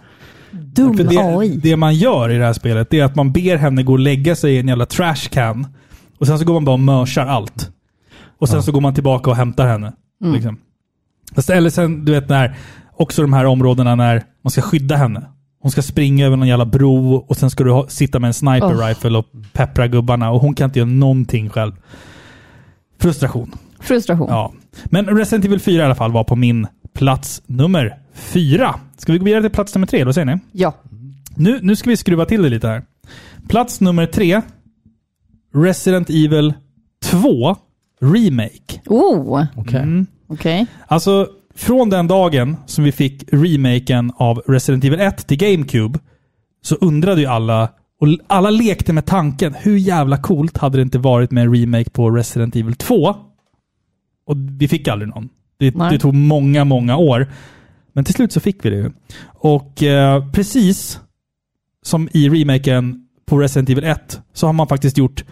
Speaker 2: Dum
Speaker 1: För det,
Speaker 2: AI.
Speaker 1: det man gör i det här spelet det är att man ber henne gå och lägga sig i en jävla trash can. Och sen så går man bara och mörsar allt. Och sen så går man tillbaka och hämtar henne.
Speaker 2: Mm.
Speaker 1: Liksom. Fast Eller sen, du vet när, också de här områdena när man ska skydda henne. Hon ska springa över någon jävla bro och sen ska du ha, sitta med en sniper
Speaker 2: Oh.
Speaker 1: rifle och peppra gubbarna och hon kan inte göra någonting själv. Frustration.
Speaker 2: Frustration.
Speaker 1: Ja. Men Resident Evil 4 i alla fall var på min plats nummer fyra. Ska vi gå vidare till plats nummer tre? Vad säger ni?
Speaker 2: Ja.
Speaker 1: Nu, nu ska vi skruva till det lite här. Plats nummer tre. Resident Evil 2 Remake.
Speaker 2: Oh,
Speaker 3: Okej.
Speaker 1: Mm.
Speaker 2: okej.
Speaker 1: Alltså, från den dagen som vi fick remaken av Resident Evil 1 till GameCube så undrade ju alla, och alla lekte med tanken, hur jävla coolt hade det inte varit med en remake på Resident Evil 2? Och vi fick aldrig någon. Det,
Speaker 2: Nej.
Speaker 1: det tog många, många år. Men till slut så fick vi det ju. Och eh, precis som i remaken på Resident Evil 1 så har man faktiskt gjort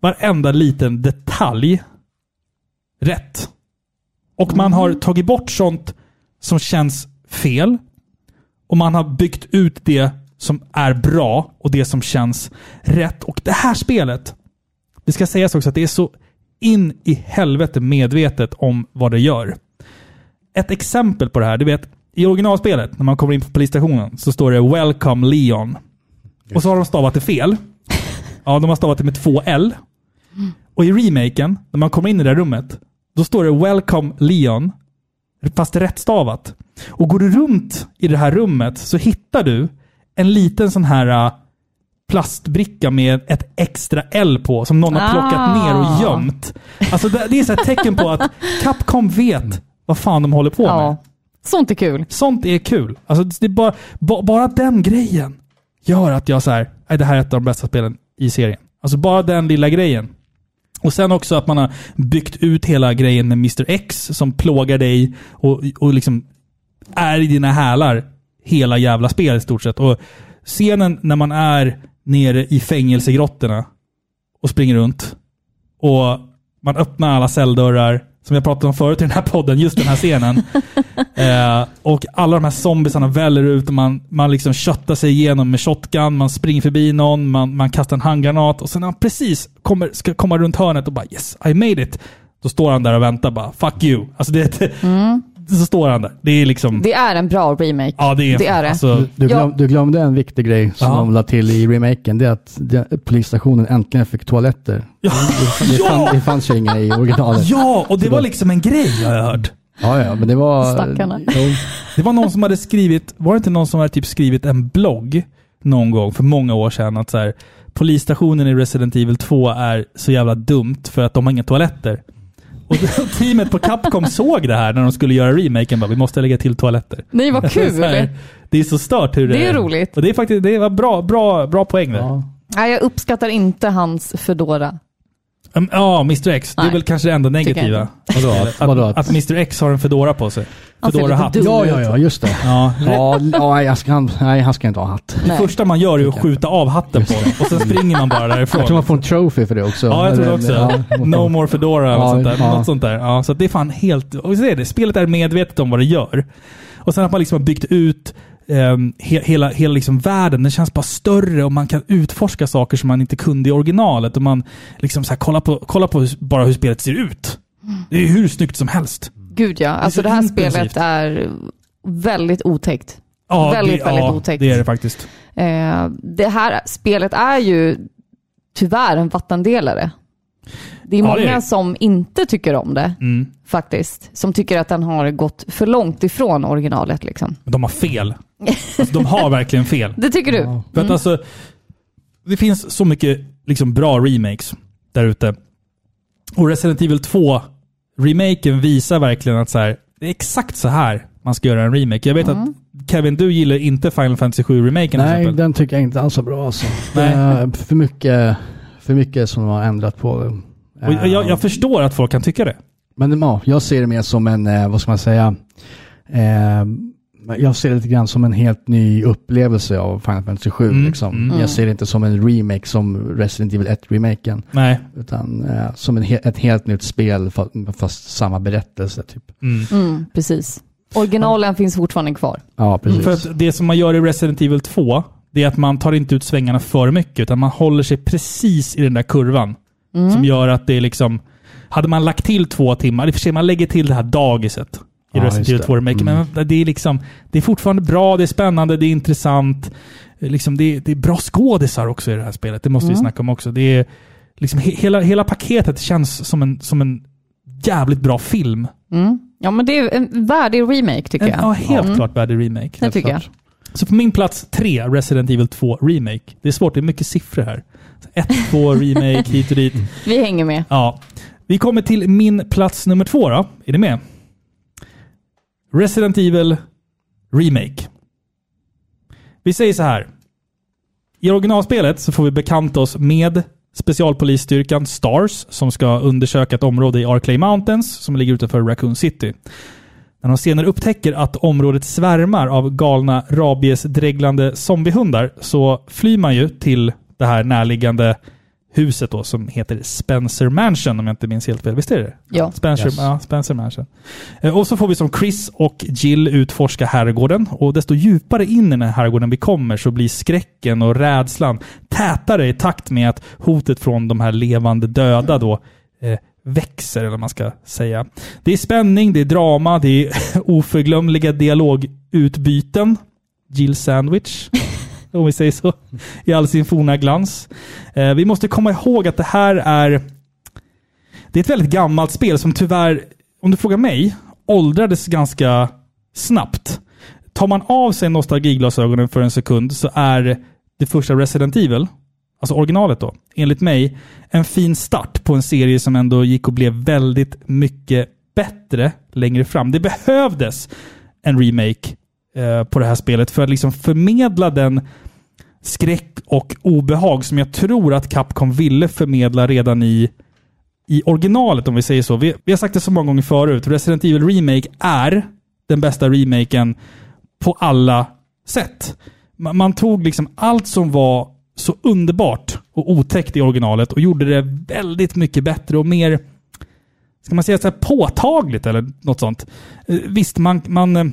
Speaker 1: varenda liten detalj rätt. Och man har tagit bort sånt som känns fel. Och man har byggt ut det som är bra och det som känns rätt. Och det här spelet, det ska sägas också att det är så in i helvete medvetet om vad det gör. Ett exempel på det här, du vet, i originalspelet när man kommer in på polisstationen så står det “Welcome Leon”. Och så har de stavat det fel. Ja, de har stavat det med två L. Och i remaken, när man kommer in i det här rummet, då står det “Welcome Leon” fast rättstavat. Och går du runt i det här rummet så hittar du en liten sån här äh, plastbricka med ett extra L på som någon har plockat
Speaker 2: Ah.
Speaker 1: ner och gömt. Alltså det, det är så här tecken på att Capcom vet vad fan de håller på med.
Speaker 2: Ja. Sånt är kul.
Speaker 1: Sånt är kul. Alltså det är bara, ba, bara den grejen gör att jag så här, "Nej, det här är ett av de bästa spelen i serien. Alltså bara den lilla grejen. Och sen också att man har byggt ut hela grejen med Mr X som plågar dig och, och liksom är i dina hälar hela jävla spelet i stort sett. Och scenen när man är nere i fängelsegrottorna och springer runt Och man öppnar alla celldörrar, som jag pratade om förut i den här podden, just den här scenen. eh, och alla de här zombiesarna väller ut och man, man liksom köttar sig igenom med shotgun, man springer förbi någon, man, man kastar en handgranat och sen när han precis kommer, ska komma runt hörnet och bara yes, I made it. Då står han där och väntar bara fuck you. Alltså det, Så står han där. Det är liksom...
Speaker 2: Det är en bra remake.
Speaker 1: ja, det är
Speaker 2: det. Är det.
Speaker 1: Alltså,
Speaker 3: Du, glöm,
Speaker 2: Ja.
Speaker 3: du glömde en viktig grej som
Speaker 1: Ja.
Speaker 3: de la till i remaken. Det är att de- polisstationen äntligen fick toaletter.
Speaker 1: ja,
Speaker 3: Det, fann, det fanns ju inga i originalet.
Speaker 1: ja, och det var liksom en grej har jag hört.
Speaker 3: Ja, ja, men det var...
Speaker 2: Stackarna.
Speaker 3: Jo,
Speaker 1: Det var någon som hade skrivit, var det inte någon som hade typ skrivit en blogg någon gång för många år sedan att så här, polisstationen i Resident Evil 2 är så jävla dumt för att de har inga toaletter. Och teamet på Capcom såg det här när de skulle göra remaken. Bara, vi måste lägga till toaletter.
Speaker 2: Nej, vad kul!
Speaker 1: Så här, det är så stört hur det
Speaker 2: Det är roligt.
Speaker 1: Och det är faktiskt det var bra, bra, bra poäng där.
Speaker 3: ja.
Speaker 2: Nej, jag uppskattar inte hans Fedora.
Speaker 1: Mm, Ja, Mr X. Det är
Speaker 2: Nej.
Speaker 1: väl kanske det enda negativa. Vadå? Att,
Speaker 3: Vadå
Speaker 1: att,
Speaker 3: att-
Speaker 1: Mr X har en Fedora på sig.
Speaker 2: Han ser lite
Speaker 1: Fedora-hatt.
Speaker 2: dum
Speaker 3: ja, ja, ja, just det.
Speaker 1: Ja,
Speaker 3: Ja, ja nej, jag ska, han, nej, han ska inte ha hatt.
Speaker 1: Det första man gör är att skjuta av hatten på den och sen springer man bara därifrån.
Speaker 3: Jag tror man får en trophy för det också.
Speaker 1: Ja, jag tror det
Speaker 3: Eller-
Speaker 1: också.
Speaker 3: ja,
Speaker 1: No more Fedora eller
Speaker 3: Ja,
Speaker 1: sånt där.
Speaker 3: ja.
Speaker 1: Något sånt där. Ja, så att det är fan helt... Och så är det. Spelet är medvetet om vad det gör. Och sen att man liksom har byggt ut ehm, he, hela, hela liksom världen. Den känns bara större och man kan utforska saker som man inte kunde i originalet. Och man liksom så här, kolla på, kolla på hur, bara hur spelet ser ut.
Speaker 3: Mm.
Speaker 1: Det är hur snyggt som helst.
Speaker 2: Gud ja, alltså
Speaker 1: så
Speaker 2: det här
Speaker 1: intensivt.
Speaker 2: spelet är väldigt otäckt.
Speaker 1: Ja,
Speaker 2: Väldigt,
Speaker 1: det,
Speaker 2: väldigt
Speaker 1: ja,
Speaker 2: otäckt.
Speaker 1: det är det faktiskt.
Speaker 2: Eh, det här spelet är ju tyvärr en vattendelare. Det är
Speaker 1: Ja,
Speaker 2: många
Speaker 1: det är det.
Speaker 2: som inte tycker om det,
Speaker 1: Mm.
Speaker 2: faktiskt. Som tycker att den har gått för långt ifrån originalet. Liksom.
Speaker 1: Men de har fel. Alltså, de har verkligen fel.
Speaker 2: Det tycker du?
Speaker 3: Ja.
Speaker 1: För att alltså, det finns så mycket liksom bra remakes där ute. Och Resident Evil 2-remaken visar verkligen att så här, det är exakt så här man ska göra en remake. Jag vet
Speaker 2: Mm.
Speaker 1: att Kevin, du gillar inte Final Fantasy 7-remaken till
Speaker 3: Nej,
Speaker 1: exempel.
Speaker 3: den tycker jag inte alls är bra alltså.
Speaker 1: Nej.
Speaker 3: Eh, För mycket, för mycket som de har ändrat på. Eh,
Speaker 1: Och jag- jag, jag förstår att folk kan tycka det.
Speaker 3: Men ja, jag ser det mer som en, eh, vad ska man säga, eh, jag ser det lite grann som en helt ny upplevelse av Final Fantasy 7.
Speaker 1: Mm,
Speaker 3: Liksom.
Speaker 1: mm.
Speaker 3: Jag ser det inte som en remake som Resident Evil 1-remaken,
Speaker 1: Nej.
Speaker 3: utan eh, som en, he- ett helt nytt spel fast, fast samma berättelse. Typ.
Speaker 1: Mm.
Speaker 2: Mm, precis. Originalen finns fortfarande kvar.
Speaker 3: Ja, precis.
Speaker 1: Mm, För att det som man gör i Resident Evil 2, det är att man tar inte ut svängarna för mycket, utan man håller sig precis i den där kurvan. Som gör att det är liksom... Hade man lagt till två timmar, i och för sig man lägger till det här dagiset i
Speaker 3: Ja,
Speaker 1: Resident
Speaker 3: just
Speaker 1: Evil
Speaker 3: det. Mm.
Speaker 1: 2 Remake, men det är liksom... Det är fortfarande bra, det är spännande, det är intressant. Liksom det, är- det är bra skådisar också i det här spelet, det måste vi snacka om också. Det är liksom he, hela, hela paketet känns som en, som en jävligt bra film.
Speaker 2: Mm. Ja, men det är en värdig remake tycker
Speaker 1: En,
Speaker 2: jag.
Speaker 1: ja, helt klart värdig remake.
Speaker 2: det tycker jag.
Speaker 1: Så på min plats tre, Resident Evil 2 Remake. Det är svårt, det är mycket siffror här. 1, 2, Remake, hit och dit.
Speaker 2: Vi hänger med.
Speaker 1: Ja. Vi kommer till min plats nummer två då. Är ni med? Resident Evil Remake. Vi säger så här. I originalspelet så får vi bekanta oss med specialpolisstyrkan STARS som ska undersöka ett område i Arclay Mountains som ligger utanför Raccoon City. När de senare upptäcker att området svärmar av galna rabiesdreglande zombiehundar så flyr man ju till det här närliggande huset då som heter Spencer Mansion om jag inte minns helt fel. Visst är det?
Speaker 2: Ja.
Speaker 1: Spencer,
Speaker 3: Yes.
Speaker 1: ja, Spencer Mansion. Eh, Och så får vi som Chris och Jill utforska herrgården och desto djupare in i den här herrgården vi kommer så blir skräcken och rädslan tätare i takt med att hotet från de här levande döda då eh, växer, eller vad man ska säga. Det är spänning, det är drama, det är oförglömliga dialogutbyten. Jill Sandwich, om vi säger så, i all sin forna glans. Eh, vi måste komma ihåg att det här är det är ett väldigt gammalt spel som tyvärr, om du frågar mig, åldrades ganska snabbt. Tar man av sig nostalgiglasögonen för en sekund så är det första Resident Evil, alltså originalet då, enligt mig, en fin start på en serie som ändå gick och blev väldigt mycket bättre längre fram. Det behövdes en remake eh, på det här spelet för att liksom förmedla den skräck och obehag som jag tror att Capcom ville förmedla redan i i originalet, om vi säger så. Vi, vi har sagt det så många gånger förut. Resident Evil Remake är den bästa remaken på alla sätt. Man, man tog liksom allt som var så underbart och otäckt i originalet och gjorde det väldigt mycket bättre och mer, ska man säga så här påtagligt eller något sånt. Eh, Visst, man, man eh,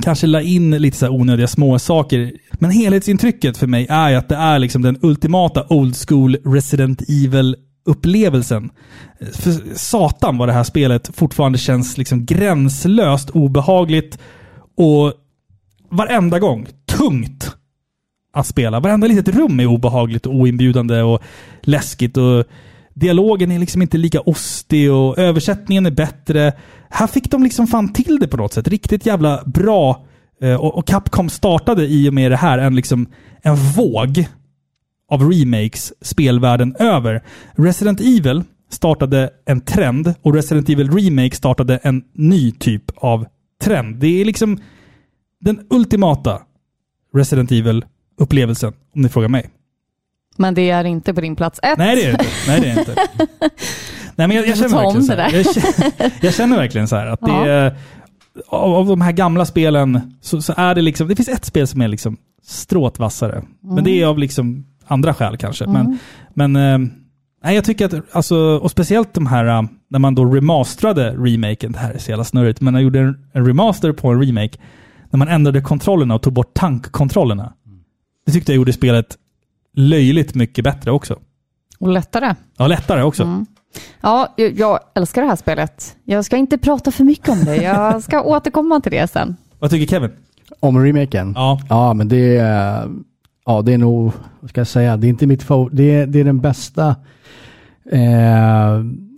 Speaker 1: kanske la in lite så här onödiga småsaker, men helhetsintrycket för mig är ju att det är liksom den ultimata old school Resident Evil upplevelsen. För satan vad det här spelet fortfarande känns liksom gränslöst obehagligt och varenda gång tungt att spela. Varenda litet rum är obehagligt och oinbjudande och läskigt. Och dialogen är liksom inte lika ostig och översättningen är bättre. Här fick de liksom fan till det på något sätt. Riktigt jävla bra. Eh, Och och Capcom startade i och med det här en, liksom, en våg av remakes spelvärlden över. Resident Evil startade en trend och Resident Evil Remake startade en ny typ av trend. Det är liksom den ultimata Resident Evil-upplevelsen, om ni frågar mig.
Speaker 2: Men det är inte på din plats ett.
Speaker 1: Nej, det är det inte. Nej, det är det inte. Nej, men jag, jag
Speaker 2: Du får
Speaker 1: känner
Speaker 2: ta
Speaker 1: verkligen
Speaker 2: om
Speaker 1: så
Speaker 2: det
Speaker 1: här. Jag känner, jag känner verkligen så här att det
Speaker 2: Ja.
Speaker 1: är, av, av de här gamla spelen så, så är det liksom, det finns ett spel som är liksom stråtvassare. Men det är
Speaker 2: Mm.
Speaker 1: av liksom andra skäl kanske. Men, men eh, nej, jag tycker att, alltså, och speciellt de här, eh, när man då remasterade remaken, det här är så jävla snurrigt, men när jag gjorde en, en remaster på en remake, när man ändrade kontrollerna och tog bort tankkontrollerna. Det tyckte jag gjorde spelet löjligt mycket bättre också.
Speaker 2: Och lättare.
Speaker 1: Ja, lättare också.
Speaker 2: Mm. Ja, jag, jag älskar det här spelet. Jag ska inte prata för mycket om det. Jag ska återkomma till det sen.
Speaker 1: Vad tycker Kevin?
Speaker 3: Om remaken?
Speaker 1: Ja.
Speaker 3: Ja, men det är, ja, det är nog, vad ska jag säga, det är inte mitt favorit, det är, det är den bästa, eh,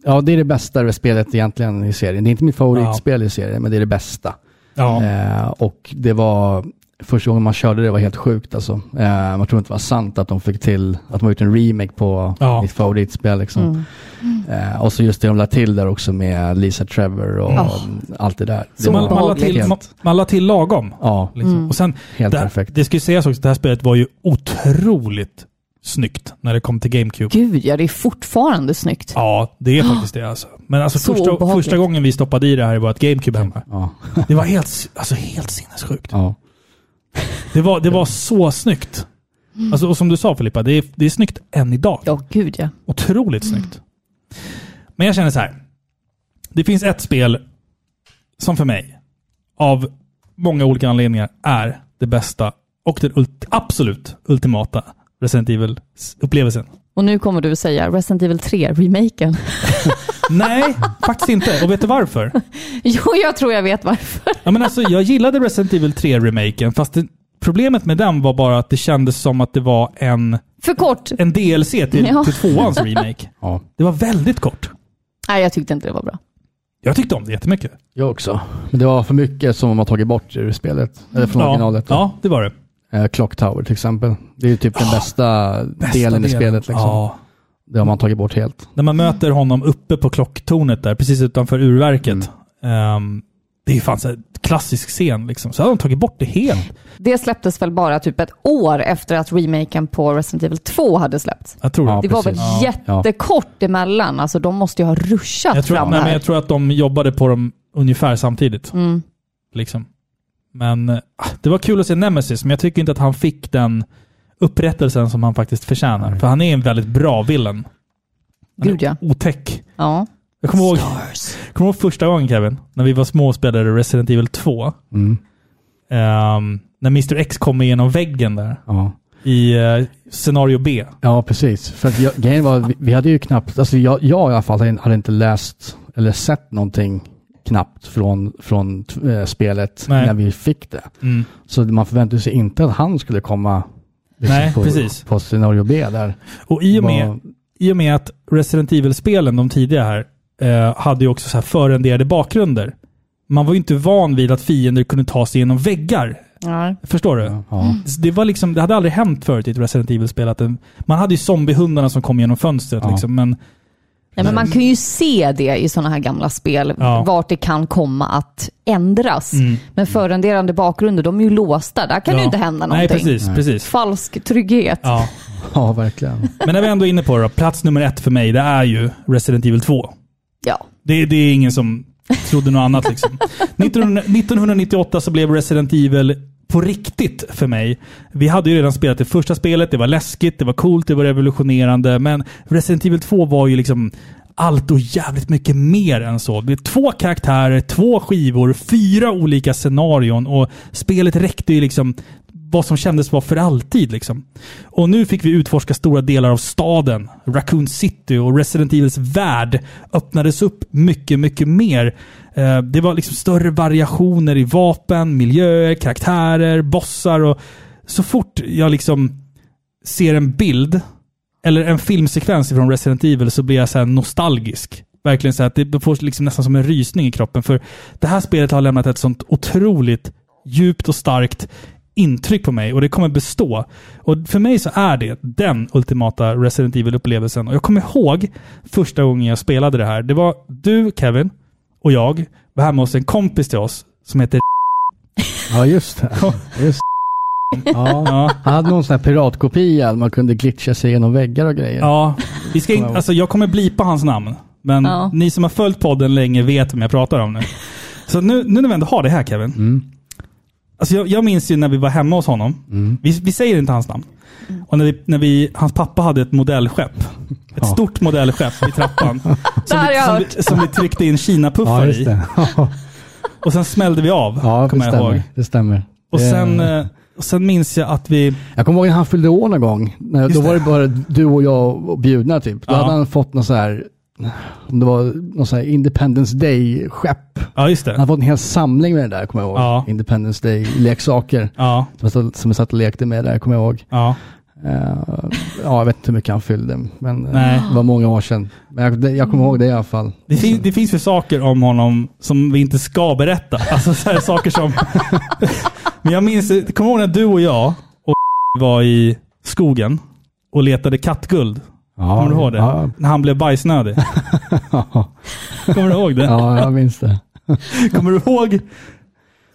Speaker 3: ja det är det bästa spelet egentligen i serien. Det är inte mitt favoritspel i serien, men det är det bästa.
Speaker 1: Ja.
Speaker 3: Eh, och det var, första gången man körde det var helt sjukt alltså. Eh, man tror inte det var sant att de fick till, att de har gjort en remake på
Speaker 1: Ja.
Speaker 3: mitt favoritspel liksom. Eh, och så just det de la till där också med Lisa Trevor och
Speaker 2: Ah.
Speaker 3: allt det där. Det
Speaker 1: Så man, man, la
Speaker 2: obehagligt.
Speaker 1: till, man, man la till lagom.
Speaker 3: ja,
Speaker 1: Liksom.
Speaker 2: Mm.
Speaker 1: Och sen,
Speaker 3: helt
Speaker 1: det,
Speaker 3: perfekt.
Speaker 1: det ska ju sägas också att det här spelet var ju otroligt snyggt när det kom till GameCube.
Speaker 2: Gud, ja, det är fortfarande snyggt.
Speaker 1: Ja, det är faktiskt det alltså. Men alltså
Speaker 2: Ah! Så
Speaker 1: första,
Speaker 2: obehagligt.
Speaker 1: första gången vi stoppade i det här i vårt GameCube hemma.
Speaker 3: Ja.
Speaker 1: Det var helt, s- alltså, helt sinnessjukt.
Speaker 3: ja.
Speaker 1: Det var, det var så snyggt.
Speaker 2: Mm.
Speaker 1: Alltså, och som du sa Filippa, det är, det är snyggt än idag.
Speaker 2: Ja, gud ja.
Speaker 1: Otroligt snyggt. Men jag känner så här. Det finns ett spel som för mig, av många olika anledningar, är det bästa och den ult- absolut ultimata Resident Evil-upplevelsen.
Speaker 2: Och nu kommer du säga Resident Evil 3-remaken.
Speaker 1: Nej, faktiskt inte. Och vet du varför?
Speaker 2: Jo, jag tror jag vet varför.
Speaker 1: Ja, men alltså, jag gillade Resident Evil 3-remaken, fast det, problemet med den var bara att det kändes som att det var en,
Speaker 2: För kort.
Speaker 1: en DLC till,
Speaker 2: Ja.
Speaker 1: till tvåans remake.
Speaker 3: ja.
Speaker 1: Det var väldigt kort.
Speaker 2: Nej, jag tyckte inte det var bra.
Speaker 1: Jag tyckte om det jättemycket.
Speaker 3: Jag också. Men det var för mycket som man har tagit bort ur spelet. Eller från
Speaker 1: Ja,
Speaker 3: originalet. då.
Speaker 1: ja, det var det.
Speaker 3: Eh, Clock Tower till exempel. Det är ju typ den bästa,
Speaker 1: Bästa
Speaker 3: delen i spelet. Liksom.
Speaker 1: Ja.
Speaker 3: Det har man tagit bort helt.
Speaker 1: När man möter honom uppe på klocktornet där, precis utanför urverket.
Speaker 3: Mm.
Speaker 1: ehm, det är ju fan så här klassisk scen liksom. Så hade de tagit bort det helt.
Speaker 2: Det släpptes väl bara typ ett år efter att remaken på Resident Evil 2 hade släppts.
Speaker 1: Jag tror
Speaker 3: Ja,
Speaker 1: det.
Speaker 2: Det var väl
Speaker 3: precis.
Speaker 2: jättekort emellan. Alltså de måste ju ha ruschat
Speaker 1: Jag tror,
Speaker 2: fram
Speaker 1: nej,
Speaker 2: här. Mm.
Speaker 1: men jag tror att de jobbade på dem ungefär samtidigt. Liksom. Men eh, det var kul att se Nemesis, men jag tycker inte att han fick den upprättelsen som han faktiskt förtjänar. För han är en väldigt bra villain.
Speaker 2: Gud ja.
Speaker 1: Otäck.
Speaker 2: ja.
Speaker 1: Jag kommer ihåg, kommer ihåg första gången Kevin, när vi var små och spelade Resident Evil 2.
Speaker 3: Mm.
Speaker 1: Ehm, när Mr X kommer genom väggen där
Speaker 3: Ja.
Speaker 1: i eh, scenario B.
Speaker 3: ja, precis. För att jag, grejen var, vi, vi hade ju knappt, alltså jag, jag i alla fall hade- hade inte läst eller sett någonting knappt från, från eh, spelet
Speaker 1: Nej.
Speaker 3: när vi fick det.
Speaker 1: Mm.
Speaker 3: Så man förväntade sig inte att han skulle komma liksom,
Speaker 1: Nej,
Speaker 3: på,
Speaker 1: precis.
Speaker 3: på scenario B där.
Speaker 1: Och i och, med,
Speaker 3: Var-
Speaker 1: i och med att Resident Evil-spelen, de tidiga här, eh, hade ju också så här förrenderade bakgrunder. Man var ju inte van vid att fiender kunde ta sig genom väggar.
Speaker 2: ja.
Speaker 1: Förstår du?
Speaker 2: Mm.
Speaker 3: Ja.
Speaker 1: Det, var liksom, det hade aldrig hänt förut i ett Resident Evil-spel. att en- Man hade ju zombiehundarna som kom genom fönstret.
Speaker 3: Ja.
Speaker 1: Liksom, men
Speaker 2: Nej, men man kan ju se det i sådana här gamla spel,
Speaker 1: Ja.
Speaker 2: vart det kan komma att ändras.
Speaker 1: Mm.
Speaker 2: Men förrenderande bakgrunder, de är ju låsta. Där kan
Speaker 1: ja.
Speaker 2: ju inte hända
Speaker 1: Nej,
Speaker 2: någonting.
Speaker 1: precis. precis.
Speaker 2: Falsk trygghet.
Speaker 1: Ja.
Speaker 3: ja, verkligen.
Speaker 1: Men när vi ändå är inne på det då, plats nummer ett för mig, det är ju Resident Evil 2.
Speaker 2: Ja.
Speaker 1: Det, det är ingen som trodde något annat. Liksom. 1900, 1998 så blev Resident Evil på riktigt för mig. Vi hade ju redan spelat det första spelet, det var läskigt, det var coolt, det var revolutionerande, men Resident Evil 2 var ju liksom allt och jävligt mycket mer än så. Det är två karaktärer, två skivor, fyra olika scenarion och spelet räckte ju liksom vad som kändes vara för alltid. Liksom. Och nu fick vi utforska stora delar av staden, Raccoon City och Resident Evils värld öppnades upp mycket, mycket mer. Eh, Det var liksom större variationer i vapen, miljöer, karaktärer, bossar och så fort jag liksom ser en bild eller en filmsekvens från Resident Evil så blir jag så här nostalgisk. Verkligen så här att det det får liksom nästan som en rysning i kroppen. För det här spelet har lämnat ett sånt otroligt djupt och starkt intryck på mig och det kommer bestå. Och för mig så är det den ultimata Resident Evil-upplevelsen. Och jag kommer ihåg första gången jag spelade det här. Det var du, Kevin, och jag var hemma hos en kompis till oss som heter
Speaker 3: Ja, just det. Just. det. Ja.
Speaker 1: Ja.
Speaker 3: Han hade någon sån här piratkopia, man kunde glitcha sig genom väggar och grejer.
Speaker 1: Ja, vi ska in, alltså jag kommer blipa hans namn. Men
Speaker 2: Ja.
Speaker 1: ni som har följt podden länge vet vem jag pratar om nu. Så nu, nu när vi ändå har det här Kevin.
Speaker 3: Mm.
Speaker 1: Alltså jag, jag minns ju när vi var hemma hos honom.
Speaker 3: Mm.
Speaker 1: Vi, vi säger inte hans namn. Och när, vi, när vi, hans pappa hade ett modellskepp. Ett
Speaker 3: Ja.
Speaker 1: stort modellskepp i trappan.
Speaker 2: Det
Speaker 1: som,
Speaker 2: har
Speaker 1: vi,
Speaker 2: jag
Speaker 1: som,
Speaker 2: hört.
Speaker 1: vi, som vi tryckte in
Speaker 3: Ja,
Speaker 1: Kina-puffar
Speaker 3: just
Speaker 1: i.
Speaker 3: det. Ja,
Speaker 1: Och sen smällde vi av,
Speaker 3: det
Speaker 1: kommer jag ihåg.
Speaker 3: stämmer. Det stämmer.
Speaker 1: Och
Speaker 3: Det-
Speaker 1: sen, eh, och sen minns jag att vi...
Speaker 3: Jag kommer ihåg när han fyllde år någon gång. När,
Speaker 1: Just
Speaker 3: då var
Speaker 1: det.
Speaker 3: det bara du och jag och bjudna typ. Då
Speaker 1: Ja.
Speaker 3: hade han fått någon så här, om det var någon så här Independence Day-skepp.
Speaker 1: Ja, just
Speaker 3: Han hade
Speaker 1: det.
Speaker 3: fått en hel samling med det där, kommer jag ihåg.
Speaker 1: Ja.
Speaker 3: Independence Day-leksaker.
Speaker 1: Ja,
Speaker 3: Som jag satt- Som jag satt och lekte med där, kommer jag ihåg.
Speaker 1: ja.
Speaker 3: Eh, ja, jag vet inte hur mycket han fyllde, men eh,
Speaker 1: Nej.
Speaker 3: det var många år sedan. Men jag, det, jag kommer ihåg det i alla fall.
Speaker 1: Det, fin- det finns ju saker om honom som vi inte ska berätta. Alltså så här saker som... Men jag minns, kommer du ihåg när du och jag och var i skogen och letade kattguld?
Speaker 3: Ja,
Speaker 1: Kommer du ihåg det?
Speaker 3: Ja,
Speaker 1: När han blev bajsnödig. Kommer du ihåg det?
Speaker 3: ja, jag minns det.
Speaker 1: Kommer du ihåg?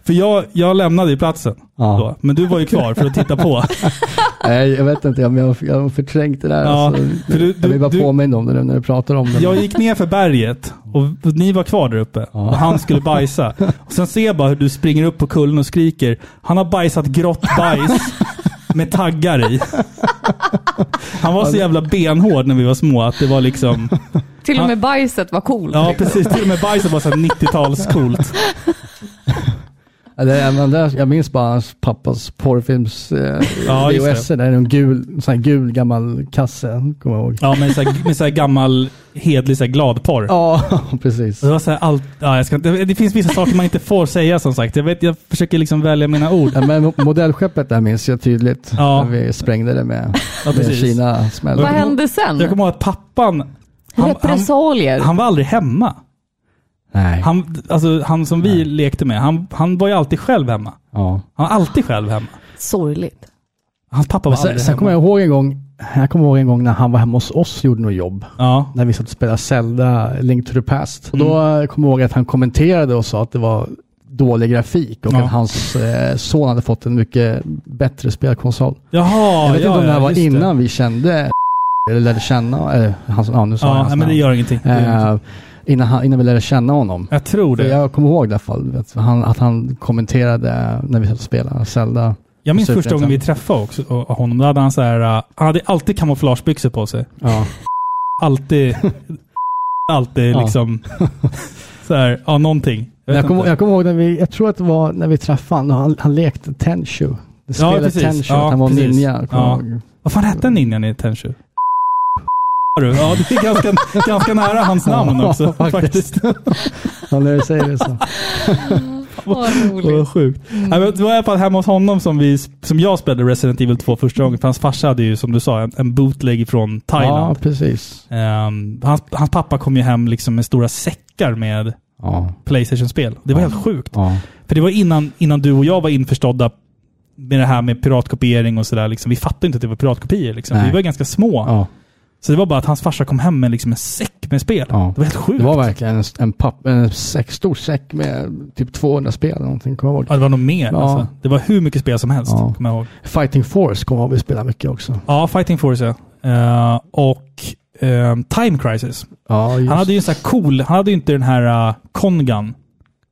Speaker 1: För jag, jag lämnade ju platsen
Speaker 3: Ja.
Speaker 1: då, men du var ju kvar för att titta på.
Speaker 3: Nej, jag vet inte, jag, men jag, jag har förträngt det där.
Speaker 1: Ja,
Speaker 3: så,
Speaker 1: för du-
Speaker 3: jag
Speaker 1: du-
Speaker 3: vill bara
Speaker 1: du-
Speaker 3: påminna om det nu när du pratar om det.
Speaker 1: Jag gick ner för berget och ni var kvar där uppe och han skulle bajsa. Och sen ser jag bara hur du springer upp på kullen och skriker. Han har bajsat grått bajs med taggar i. Han var så jävla benhård när vi var små att det var liksom...
Speaker 2: Till och med bajset var coolt.
Speaker 1: Ja precis, till och med bajset var så här 90-talscoolt.
Speaker 3: Ja, det, är- men där, jag minns bara hans pappas porrfilms eh,
Speaker 1: Ja, just det.
Speaker 3: VHS, där är en gul, sån här gul gammal kasse, kommer jag ihåg.
Speaker 1: Ja, med så här, med så här gammal hedlig så här gladporr.
Speaker 3: Ja, precis.
Speaker 1: Det var så här allt... Ja, jag ska inte, det finns vissa saker man inte får säga som sagt. Jag, vet, jag försöker liksom välja mina ord.
Speaker 3: Ja, men modellskeppet där minns jag tydligt,
Speaker 1: Ja.
Speaker 3: när vi sprängde det med,
Speaker 1: Ja,
Speaker 3: med
Speaker 1: precis.
Speaker 3: kina
Speaker 2: Vad
Speaker 1: Jag
Speaker 3: smällen.
Speaker 2: hände
Speaker 1: Jag
Speaker 2: sen?
Speaker 1: kommer ihåg att pappan... han- han,
Speaker 2: Repressalier.
Speaker 1: han var aldrig hemma.
Speaker 3: Nej.
Speaker 1: Han, alltså, han som vi lekte med, han, han var ju alltid själv hemma.
Speaker 3: Ja.
Speaker 1: Han var alltid själv hemma.
Speaker 2: Sorgligt.
Speaker 1: Hans pappa var
Speaker 3: Men sen,
Speaker 1: aldrig
Speaker 3: sen
Speaker 1: hemma.
Speaker 3: kommer jag ihåg en gång, jag kommer ihåg en gång när han var hemma hos oss och gjorde något jobb.
Speaker 1: Ja,
Speaker 3: När vi satt och spelade Zelda, Link to the Past. Och då
Speaker 1: Mm.
Speaker 3: eh, kommer jag ihåg att han kommenterade och sa att det var dålig grafik och
Speaker 1: Ja.
Speaker 3: att hans eh, son hade fått en mycket bättre spelkonsol.
Speaker 1: Jaha,
Speaker 3: jag vet
Speaker 1: ja,
Speaker 3: inte om det här
Speaker 1: ja,
Speaker 3: var
Speaker 1: just
Speaker 3: innan vi kände, eller lärde känna, eh, hans, ja nu sa jag
Speaker 1: Ja,
Speaker 3: hans
Speaker 1: nej, men det
Speaker 3: namn.
Speaker 1: gör ingenting. Det gör ingenting.
Speaker 3: Eh, innan, han, innan vi lärde känna honom.
Speaker 1: jag tror
Speaker 3: För
Speaker 1: det. Jag,
Speaker 3: jag kommer ihåg i alla fall att han, att han kommenterade när vi satt och spelade Zelda.
Speaker 1: minns
Speaker 3: Super
Speaker 1: första gången vi
Speaker 3: Nintendo. träffade
Speaker 1: träffade också, och- och honom. Då hade han så här, uh, han hade alltid kamouflagebyxor på sig.
Speaker 3: Ja.
Speaker 1: Alltid, alltid
Speaker 3: Ja.
Speaker 1: liksom, så här, ja någonting. Jag
Speaker 3: Men
Speaker 1: vet
Speaker 3: Jag kommer,
Speaker 1: inte.
Speaker 3: jag kommer ihåg när vi, jag tror att det var när vi träffade honom, han, han lekte Tenchu. Det
Speaker 1: Ja,
Speaker 3: spelade
Speaker 1: precis.
Speaker 3: Tenchu,
Speaker 1: Ja,
Speaker 3: att han var
Speaker 1: precis.
Speaker 3: ninja. kommer
Speaker 1: Ja.
Speaker 3: jag ihåg.
Speaker 1: Vad fan hette ninjan i Tenchu? Har du? Ja, det är ganska, ganska nära hans namn
Speaker 3: Ja,
Speaker 1: också faktiskt.
Speaker 3: Ja, när du säger det så.
Speaker 2: Vad
Speaker 1: Vad
Speaker 2: roligt.
Speaker 1: sjukt.
Speaker 3: Mm.
Speaker 1: Nej, men det var i alla fall hemma hos honom som, vi, som jag spelade Resident Evil 2 första gången. För hans farsa hade ju, som du sa, en, en bootleg från
Speaker 3: Ja,
Speaker 1: Thailand.
Speaker 3: precis.
Speaker 1: Ehm, hans, hans pappa kom ju hem liksom med stora säckar med
Speaker 3: Ja,
Speaker 1: Playstation-spel. Det var helt sjukt.
Speaker 3: ja.
Speaker 1: För det var innan, innan du och jag var införstådda med det här med piratkopiering och sådär. Liksom. Vi fattade inte att det var piratkopior. Liksom.
Speaker 3: Nej.
Speaker 1: Vi var ganska små.
Speaker 3: ja.
Speaker 1: Så det var bara att hans farsa kom hem med liksom en säck med spel.
Speaker 3: Ja.
Speaker 1: Det var helt sjukt.
Speaker 3: Det var verkligen en, en, papp, en säck, stor säck med typ 200 spel eller någonting, kommer jag ihåg.
Speaker 1: ja, det var nog mer.
Speaker 3: Ja.
Speaker 1: Alltså. Det var hur mycket spel som helst,
Speaker 3: Ja.
Speaker 1: kommer jag ihåg.
Speaker 3: Fighting Force kommer jag ihåg vi spelade mycket också.
Speaker 1: Ja, Fighting Force ja. Eh, och ehm, Time Crisis.
Speaker 3: Ja, just.
Speaker 1: Han hade ju en sån här cool, han hade ju inte den här uh, Kongan eh,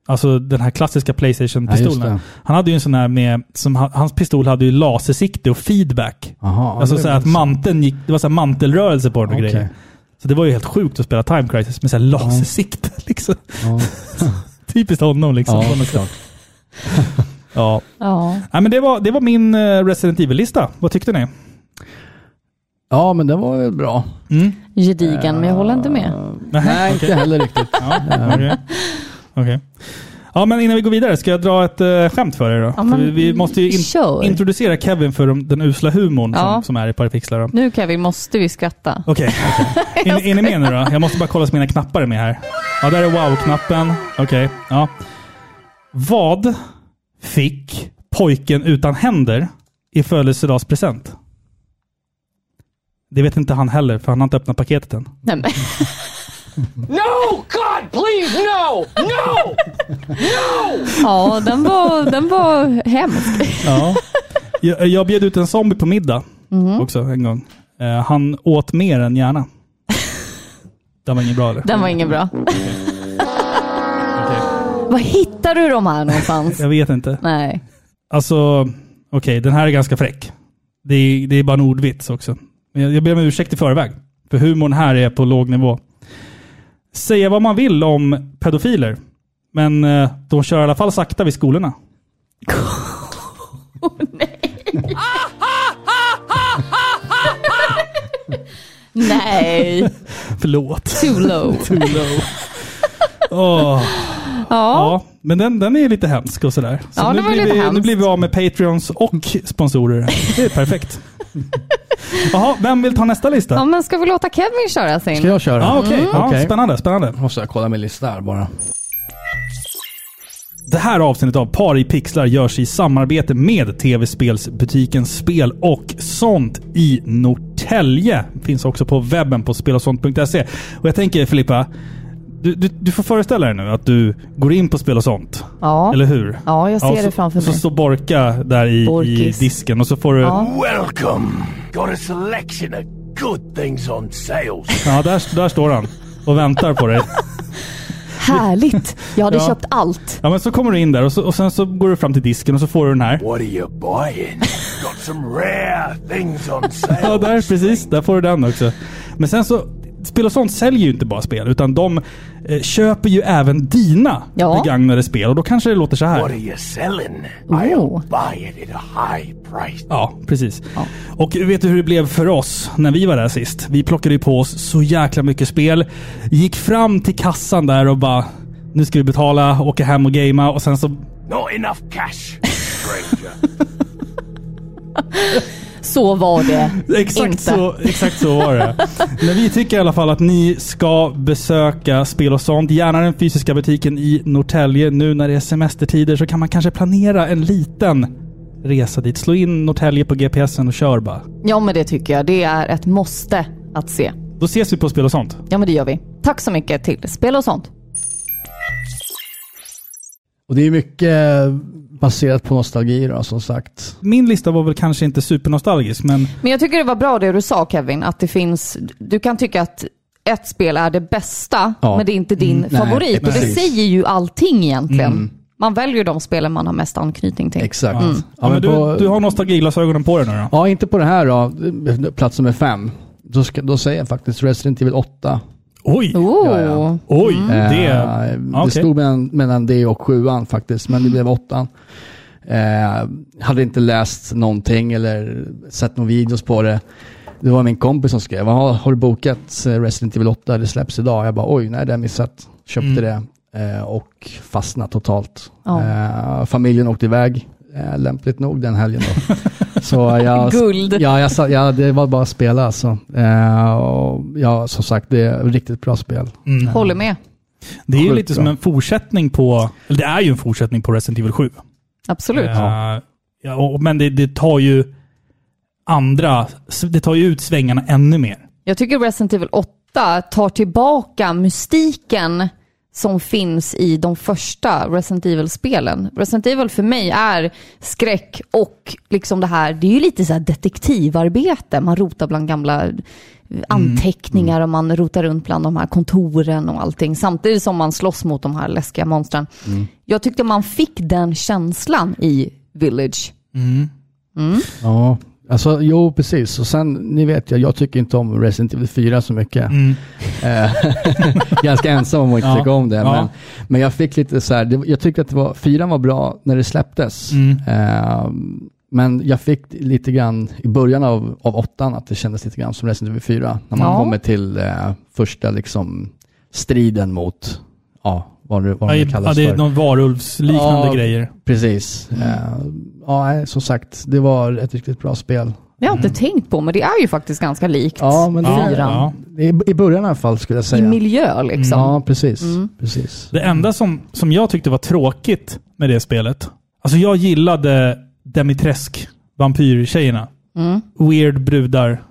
Speaker 1: Alltså den här klassiska
Speaker 3: Ja,
Speaker 1: Playstation-pistolen.
Speaker 3: just det.
Speaker 1: han hade ju en sån här med, som, ha- hans pistol hade ju lasersikte och feedback.
Speaker 3: Aha,
Speaker 1: alltså
Speaker 3: det
Speaker 1: så
Speaker 3: var
Speaker 1: här att
Speaker 3: så.
Speaker 1: manteln gick, det var så här mantelrörelse på den och
Speaker 3: Okej.
Speaker 1: grejer. Så det var ju helt sjukt att spela Time Crisis med så här lasersikte. Liksom.
Speaker 3: Ja,
Speaker 1: Typiskt honom liksom.
Speaker 3: ja,
Speaker 1: På något sätt.
Speaker 3: klart.
Speaker 1: ja.
Speaker 2: Ja.
Speaker 1: Nej, men det, var, det var min eh, Resident Evil-lista. Vad tyckte ni?
Speaker 3: ja, men det var väl bra.
Speaker 1: Mm.
Speaker 2: Gedigen, men jag håller inte med.
Speaker 1: Nej,
Speaker 3: Nej,
Speaker 1: okej.
Speaker 3: inte heller riktigt.
Speaker 1: Ja, okej. Okej. Ja, men innan vi går vidare, ska jag dra ett uh, skämt för er då?
Speaker 2: Ja,
Speaker 1: För
Speaker 2: men
Speaker 1: vi, vi måste ju in-
Speaker 2: kör.
Speaker 1: introducera Kevin för de, den usla humorn
Speaker 2: Ja.
Speaker 1: som, som är i Parapixlar. då.
Speaker 2: Nu Kevin, måste vi skratta?
Speaker 1: Okej. Är ni- Är ni med nu då? Jag måste bara kolla så mina knappar är med här. Ja, där är wow-knappen. Okej. Ja. Vad fick pojken utan händer i födelsedagspresent? Det vet inte han heller, för han har inte öppnat paketet än.
Speaker 2: Nej, men.
Speaker 4: No! God, please, no! No!
Speaker 2: Ja, den var, den var hemsk.
Speaker 1: Ja. Jag, jag bjöd ut en zombie på middag också en gång. Eh, han åt mer än gärna. Det var inget bra eller?
Speaker 2: Den var ingen bra.
Speaker 1: Okej.
Speaker 2: Var hittar du de här någonstans?
Speaker 1: Jag vet inte.
Speaker 2: Nej.
Speaker 1: Alltså, okej, den här är ganska fräck. Det är, det är bara en ordvits också. Men jag, jag ber om ursäkt i förväg. För humorn här är på låg nivå. Säga vad man vill om pedofiler, men eh, de kör i alla fall sakta vid skolorna.
Speaker 2: Nej.
Speaker 1: Förlåt.
Speaker 2: Too low.
Speaker 1: Too low. Åh.
Speaker 2: Ja.
Speaker 1: Ja, men den, den är lite hemsk och sådär. Så
Speaker 2: Ja,
Speaker 1: nu,
Speaker 2: det var
Speaker 1: blir
Speaker 2: lite
Speaker 1: vi,
Speaker 2: hemskt.
Speaker 1: nu blir vi av med Patreons och sponsorer. Det är perfekt. Jaha, vem vill ta nästa lista?
Speaker 2: ja, Mm. men ska vi låta Kevin köra sin?
Speaker 3: Ska jag köra? Mm.
Speaker 1: Ja, okej. Ja,
Speaker 3: Okej.
Speaker 1: Spännande, spännande.
Speaker 3: Måste jag kolla min lista här bara.
Speaker 1: Det här avsnittet av Par i pixlar görs i samarbete med tv-spelsbutiken Spel och sånt i Norrtälje. Finns också på webben på spelochsånt.se. Och jag tänker Filippa, du, du, du får föreställa dig nu att du går in på Spel och sånt.
Speaker 2: Ja.
Speaker 1: Eller hur?
Speaker 2: Ja, jag ser
Speaker 1: och så,
Speaker 2: det framför
Speaker 1: och Så
Speaker 2: mig.
Speaker 1: står Borka där i, i
Speaker 2: Borkis.
Speaker 1: disken och så får du... Ja,
Speaker 4: Welcome. Got a selection of good things on sale.
Speaker 1: där, där står han och väntar på dig.
Speaker 2: Härligt. Jag hade
Speaker 1: Ja.
Speaker 2: köpt allt.
Speaker 1: Ja, men så kommer du in där och, så, och sen så går du fram till disken och så får du den här.
Speaker 4: What are you buying? Got some rare things on
Speaker 1: Ja,
Speaker 4: sale.
Speaker 1: där, precis. Där får du den också. Men sen så, Spel och sånt säljer ju inte bara spel, utan de eh, köper ju även dina
Speaker 2: Ja.
Speaker 1: begagnade spel. Och då kanske det låter så
Speaker 4: What are
Speaker 1: här.
Speaker 4: you selling?
Speaker 2: Oh.
Speaker 4: Buy it at a high price.
Speaker 1: Ja, precis. Och vet du hur det blev för oss när vi var där sist? Vi plockade ju på oss så jäkla mycket spel. Gick fram till kassan där och bara, nu ska vi betala, åka hem och gamea. Och sen så,
Speaker 4: Not enough cash, stranger.
Speaker 2: Så var det
Speaker 1: exakt
Speaker 2: inte.
Speaker 1: så, exakt så var det. Men vi tycker i alla fall att ni ska besöka Spel och sånt. Gärna den fysiska butiken i Norrtälje. Nu när det är semestertider så kan man kanske planera en liten resa dit. Slå in Norrtälje på GPSen och kör bara.
Speaker 2: Ja, men det tycker jag. Det är ett måste att se.
Speaker 1: Då ses vi på Spel och sånt.
Speaker 2: Ja, men det gör vi. Tack så mycket till Spel och sånt.
Speaker 3: Och det är mycket baserat på nostalgi då, som sagt.
Speaker 1: Min lista var väl kanske inte supernostalgisk,
Speaker 3: Mm.
Speaker 1: men
Speaker 2: Men jag tycker det var bra det du sa Kevin, att det finns, du kan tycka att ett spel är det bästa,
Speaker 3: Ja. Mm,
Speaker 2: men det är inte din
Speaker 3: nej,
Speaker 2: favorit. Och det
Speaker 3: precis. Mm.
Speaker 2: säger ju allting egentligen. Man väljer de spelen man har mest anknytning till.
Speaker 3: Exakt. Ja,
Speaker 1: Mm. ja, men
Speaker 3: på-
Speaker 1: du, du har nostalgiglasögonen på dig nu då?
Speaker 3: Ja, inte på det här då, plats nummer fem. Då, ska, då säger jag faktiskt Resident Evil 8.
Speaker 1: Oj!
Speaker 2: Oh.
Speaker 3: Ja, ja.
Speaker 1: Oj!
Speaker 2: Mm.
Speaker 1: Det...
Speaker 3: Eh, det
Speaker 1: Ja, okej.
Speaker 3: stod mellan, mellan det och sjuan faktiskt, men det blev åttan. Eh, hade inte läst någonting eller sett några videos på det. Det var min kompis som skrev, "Jaha, har du bokat eh, Resident Evil 8? Det släpps idag. Jag bara, oj, nej det har jag missat. Köpte det eh, och fastnat totalt.
Speaker 2: Ja.
Speaker 3: Eh, familjen åkte iväg, eh, lämpligt nog den helgen då. Så jag,
Speaker 2: Guld.
Speaker 3: Ja, jag, sa- ja, det var bara att spela alltså. Eh, och ja, som sagt, det är ett riktigt bra spel.
Speaker 2: Håller med.
Speaker 1: Det är ju
Speaker 3: Sjukt
Speaker 1: lite
Speaker 3: bra.
Speaker 1: som en fortsättning på... Eller det är ju en fortsättning på Resident Evil 7.
Speaker 2: Absolut.
Speaker 1: Eh, ja, och, men det, det tar ju andra... Det tar ju ut svängarna ännu mer.
Speaker 2: Jag tycker Resident Evil 8 tar tillbaka mystiken som finns i de första Resident Evil-spelen. Resident Evil för mig är skräck och liksom det här, det är ju lite så här detektivarbete. Man rotar bland gamla anteckningar och man rotar runt bland de här kontoren och allting. Samtidigt som man slåss mot de här läskiga monstren. Jag tyckte man fick den känslan i Village.
Speaker 3: Ja, alltså jo precis. Och sen, ni vet jag, jag tycker inte om Resident Evil 4 så mycket. Eh, Ganska ensam om att inte
Speaker 1: Mm. Ja.
Speaker 3: tycka om det.
Speaker 1: Ja.
Speaker 3: Men, men jag fick lite så här, det, jag tyckte att det var, 4 var bra när det släpptes.
Speaker 1: Mm.
Speaker 3: Eh, men jag fick lite grann i början av, av åttan att det kändes lite grann som Resident Evil 4. När man
Speaker 2: Ja.
Speaker 3: kommer till eh, första liksom, striden mot, ja, vad, det- vad det
Speaker 1: Ja,
Speaker 3: kallas
Speaker 1: det
Speaker 3: för.
Speaker 1: är någon varulvsliknande
Speaker 3: Ja.
Speaker 1: grejer. Mm.
Speaker 3: Precis. Eh, ja, nej, som sagt, det var ett riktigt bra spel.
Speaker 2: Det har jag inte tänkt på, men det är ju faktiskt ganska likt.
Speaker 3: Mm. Ja, men det,
Speaker 1: Ja,
Speaker 2: Fyran.
Speaker 1: ja.
Speaker 3: I, I början i alla fall skulle jag
Speaker 2: I
Speaker 3: säga.
Speaker 2: miljö liksom.
Speaker 3: ja, precis. precis.
Speaker 1: Det enda som, som jag tyckte var tråkigt med det spelet. Alltså jag gillade Demitresk, vampyrtjejerna.
Speaker 2: Mm.
Speaker 1: Weird brudar.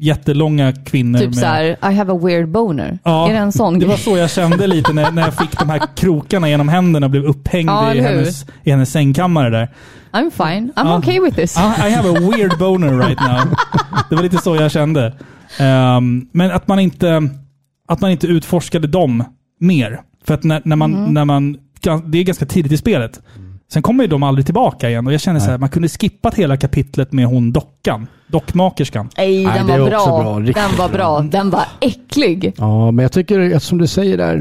Speaker 1: Jättelånga kvinnor.
Speaker 2: Typ
Speaker 1: med-
Speaker 2: så här, I have a weird boner.
Speaker 1: Ja,
Speaker 2: är det en sån
Speaker 1: Det var
Speaker 2: grej?
Speaker 1: så jag kände lite när, när jag fick de här krokarna genom händerna och blev upphängd
Speaker 2: Ja,
Speaker 1: i,
Speaker 2: eller hur?
Speaker 1: hennes, i hennes sängkammare där.
Speaker 2: I'm fine, I'm
Speaker 1: Ja.
Speaker 2: okay with this.
Speaker 1: Ah, I have a weird boner right now. Det var lite så jag kände. Ehm, men att man, inte, att man inte utforskade dem mer. För att när, när man,
Speaker 3: Mm.
Speaker 1: när man, det är ganska tidigt i spelet. Sen kommer ju de aldrig tillbaka igen och jag känner så här, man kunde skippat hela kapitlet med hon dockan. Dockmakerskan.
Speaker 2: Nej,
Speaker 3: Nej,
Speaker 2: den
Speaker 3: det är
Speaker 2: var
Speaker 3: också
Speaker 2: bra.
Speaker 3: bra, riktigt
Speaker 2: Den var bra. Den var äcklig.
Speaker 3: Ja, men jag tycker, som du säger där,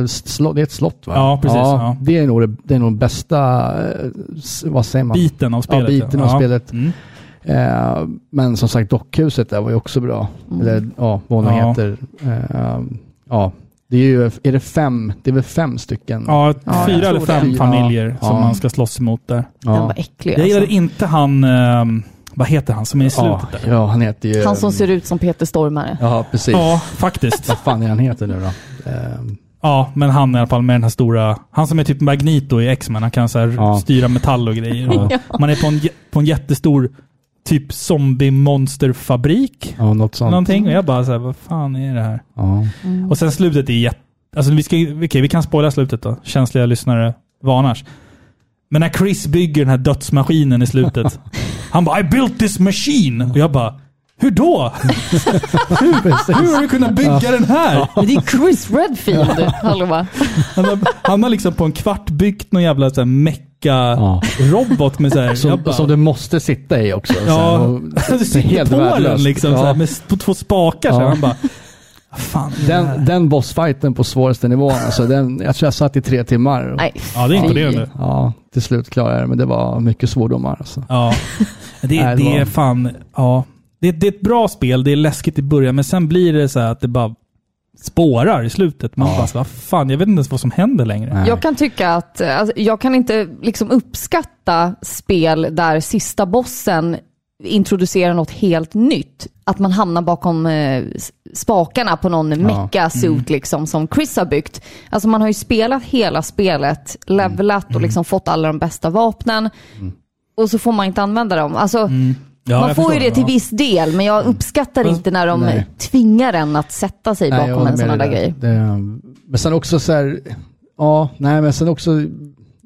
Speaker 3: eh, slå, det är ett slott va?
Speaker 1: Ja, precis, ja.
Speaker 3: Det, är nog, det- det är nog bästa, eh, s- vad säger man?
Speaker 1: Biten av spelet.
Speaker 3: Ja, biten av
Speaker 1: Ja.
Speaker 3: spelet.
Speaker 1: Mm.
Speaker 3: Eh, men som sagt, dockhuset där var ju också bra.
Speaker 2: Mm.
Speaker 3: Eller ja, vad hon
Speaker 1: Ja.
Speaker 3: heter. Eh, ja, det är ju, är det fem, det är väl fem stycken?
Speaker 1: Ja,
Speaker 2: jag
Speaker 1: fyra eller
Speaker 2: tror
Speaker 1: fem
Speaker 3: det.
Speaker 1: familjer
Speaker 3: Ja.
Speaker 1: som
Speaker 3: Ja.
Speaker 1: man ska slåss emot där.
Speaker 2: Den
Speaker 3: ja.
Speaker 2: var äcklig
Speaker 1: Jag gillade
Speaker 2: alltså.
Speaker 1: inte han, ehm, vad heter han som är i
Speaker 3: ja,
Speaker 1: slutet där?
Speaker 3: ja, han heter ju...
Speaker 2: Han som ser ut som Peter Stormare.
Speaker 3: Ja, precis.
Speaker 1: Ja, faktiskt.
Speaker 3: Vad fan är han heter nu då? Eh,
Speaker 1: Ja, men han i alla fall med den här stora... Han som är typ Magneto i X-Men. Han kan så här
Speaker 3: Ja.
Speaker 1: styra metall och grejer. Man är på en, jä- på en jättestor typ zombie-monsterfabrik.
Speaker 3: ja, något sånt.
Speaker 1: Någonting. Och jag bara så här, vad fan är det här?
Speaker 3: Ja.
Speaker 1: Och sen slutet är jätte... Alltså vi, ska, okej, vi kan spoila slutet då. Känsliga lyssnare varnars. Men när Chris bygger den här dödsmaskinen i slutet. han bara I built this machine! Och jag bara hur då? Hur har du kunnat bygga den här?
Speaker 2: Men det är Chris Redfield. Hallå va?
Speaker 1: Han har, han har liksom på en kvart byggt någon jävla så här mecka-robot med så här... jag
Speaker 3: Som,
Speaker 1: bara-
Speaker 3: som du måste sitta i också. så här,
Speaker 1: ja,
Speaker 3: och-
Speaker 1: du sitter
Speaker 3: helt
Speaker 1: på den
Speaker 3: värdelöst.
Speaker 1: liksom
Speaker 3: Ja.
Speaker 1: så här, med s- på två spakar. Så här,
Speaker 3: Ja.
Speaker 1: han bara... "Vad Fan. är det här?"
Speaker 3: Den, den bossfighten på svåraste nivån, alltså den, jag tror jag satt i tre timmar.
Speaker 2: Nej,
Speaker 1: Ja, det är
Speaker 2: fy.
Speaker 1: imponerande.
Speaker 3: Ja, till slut klarade jag det, men det var mycket svordomar. Alltså.
Speaker 1: Ja. Det,
Speaker 3: Nej, det
Speaker 1: det är
Speaker 3: var-
Speaker 1: fan... Ja. Det, det är ett bra spel. Det är läskigt i början, men sen blir det så här att det bara spårar i slutet. Man bara, så, vad fan, jag vet inte ens vad som händer längre.
Speaker 3: Nej.
Speaker 2: Jag kan tycka att, eh, alltså, jag kan inte liksom uppskatta spel där sista bossen introducerar något helt nytt. Att man hamnar bakom eh, s- spakarna på någon mecka-suit
Speaker 3: Mm.
Speaker 2: liksom, som Chris har byggt. Alltså man har ju spelat hela spelet, levlat
Speaker 3: Mm.
Speaker 2: och liksom fått alla de bästa vapnen. Och så får man inte använda dem. Alltså,
Speaker 3: Mm.
Speaker 1: Ja,
Speaker 2: man
Speaker 1: jag
Speaker 2: får ju
Speaker 1: förstår.
Speaker 2: det till
Speaker 1: Ja.
Speaker 2: viss del, men jag uppskattar inte när de
Speaker 3: Nej.
Speaker 2: tvingar en att sätta sig
Speaker 3: Nej, jag
Speaker 2: bakom
Speaker 3: håller
Speaker 2: en sån
Speaker 3: med
Speaker 2: här
Speaker 3: dig
Speaker 2: grej.
Speaker 3: där. Det, men sen också så här, ja, nej men sen också,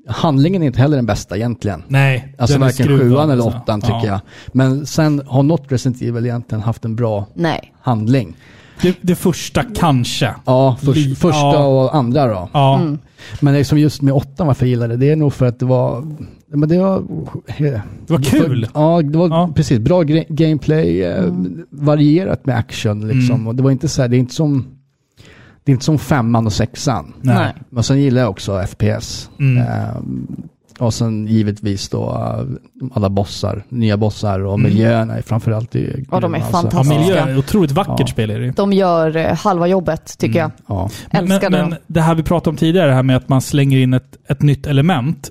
Speaker 3: handlingen är inte heller den bästa egentligen.
Speaker 1: Nej,
Speaker 3: Alltså
Speaker 1: den är
Speaker 3: varken
Speaker 1: skruvad,
Speaker 3: sjuan eller
Speaker 1: alltså.
Speaker 3: åttan tycker
Speaker 1: Ja.
Speaker 3: jag. Men sen har något Resident Evil egentligen haft en bra
Speaker 2: Nej.
Speaker 3: handling.
Speaker 1: Det, det första kanske.
Speaker 3: Ja, förs-
Speaker 1: Li-
Speaker 3: första
Speaker 1: ja.
Speaker 3: och andra då.
Speaker 1: Ja.
Speaker 3: Men liksom just med åttan varför jag gillade det, det är nog för att det var... Men det var...
Speaker 1: Det var kul.
Speaker 3: Ja, det var
Speaker 1: Ja.
Speaker 3: precis. Bra gre- gameplay, eh, varierat med action liksom.
Speaker 1: Mm.
Speaker 3: Och det var inte så här, det är inte som... Det är inte som femman och sexan.
Speaker 1: Nej.
Speaker 2: Nej.
Speaker 3: Men sen gillar jag också FPS.
Speaker 1: Mm.
Speaker 3: Ehm, och sen givetvis då eh, alla bossar, nya bossar och
Speaker 1: Mm.
Speaker 3: miljöerna är framförallt. alltså.
Speaker 2: Ja, de är
Speaker 1: Ja,
Speaker 2: fantastiska.
Speaker 1: miljö är otroligt vackert spel är det ju.
Speaker 2: De gör eh, halva jobbet tycker jag.
Speaker 3: Ja.
Speaker 2: Älskade
Speaker 1: men, men
Speaker 2: dem.
Speaker 1: det här vi pratade om tidigare, det här med att man slänger in ett, ett nytt element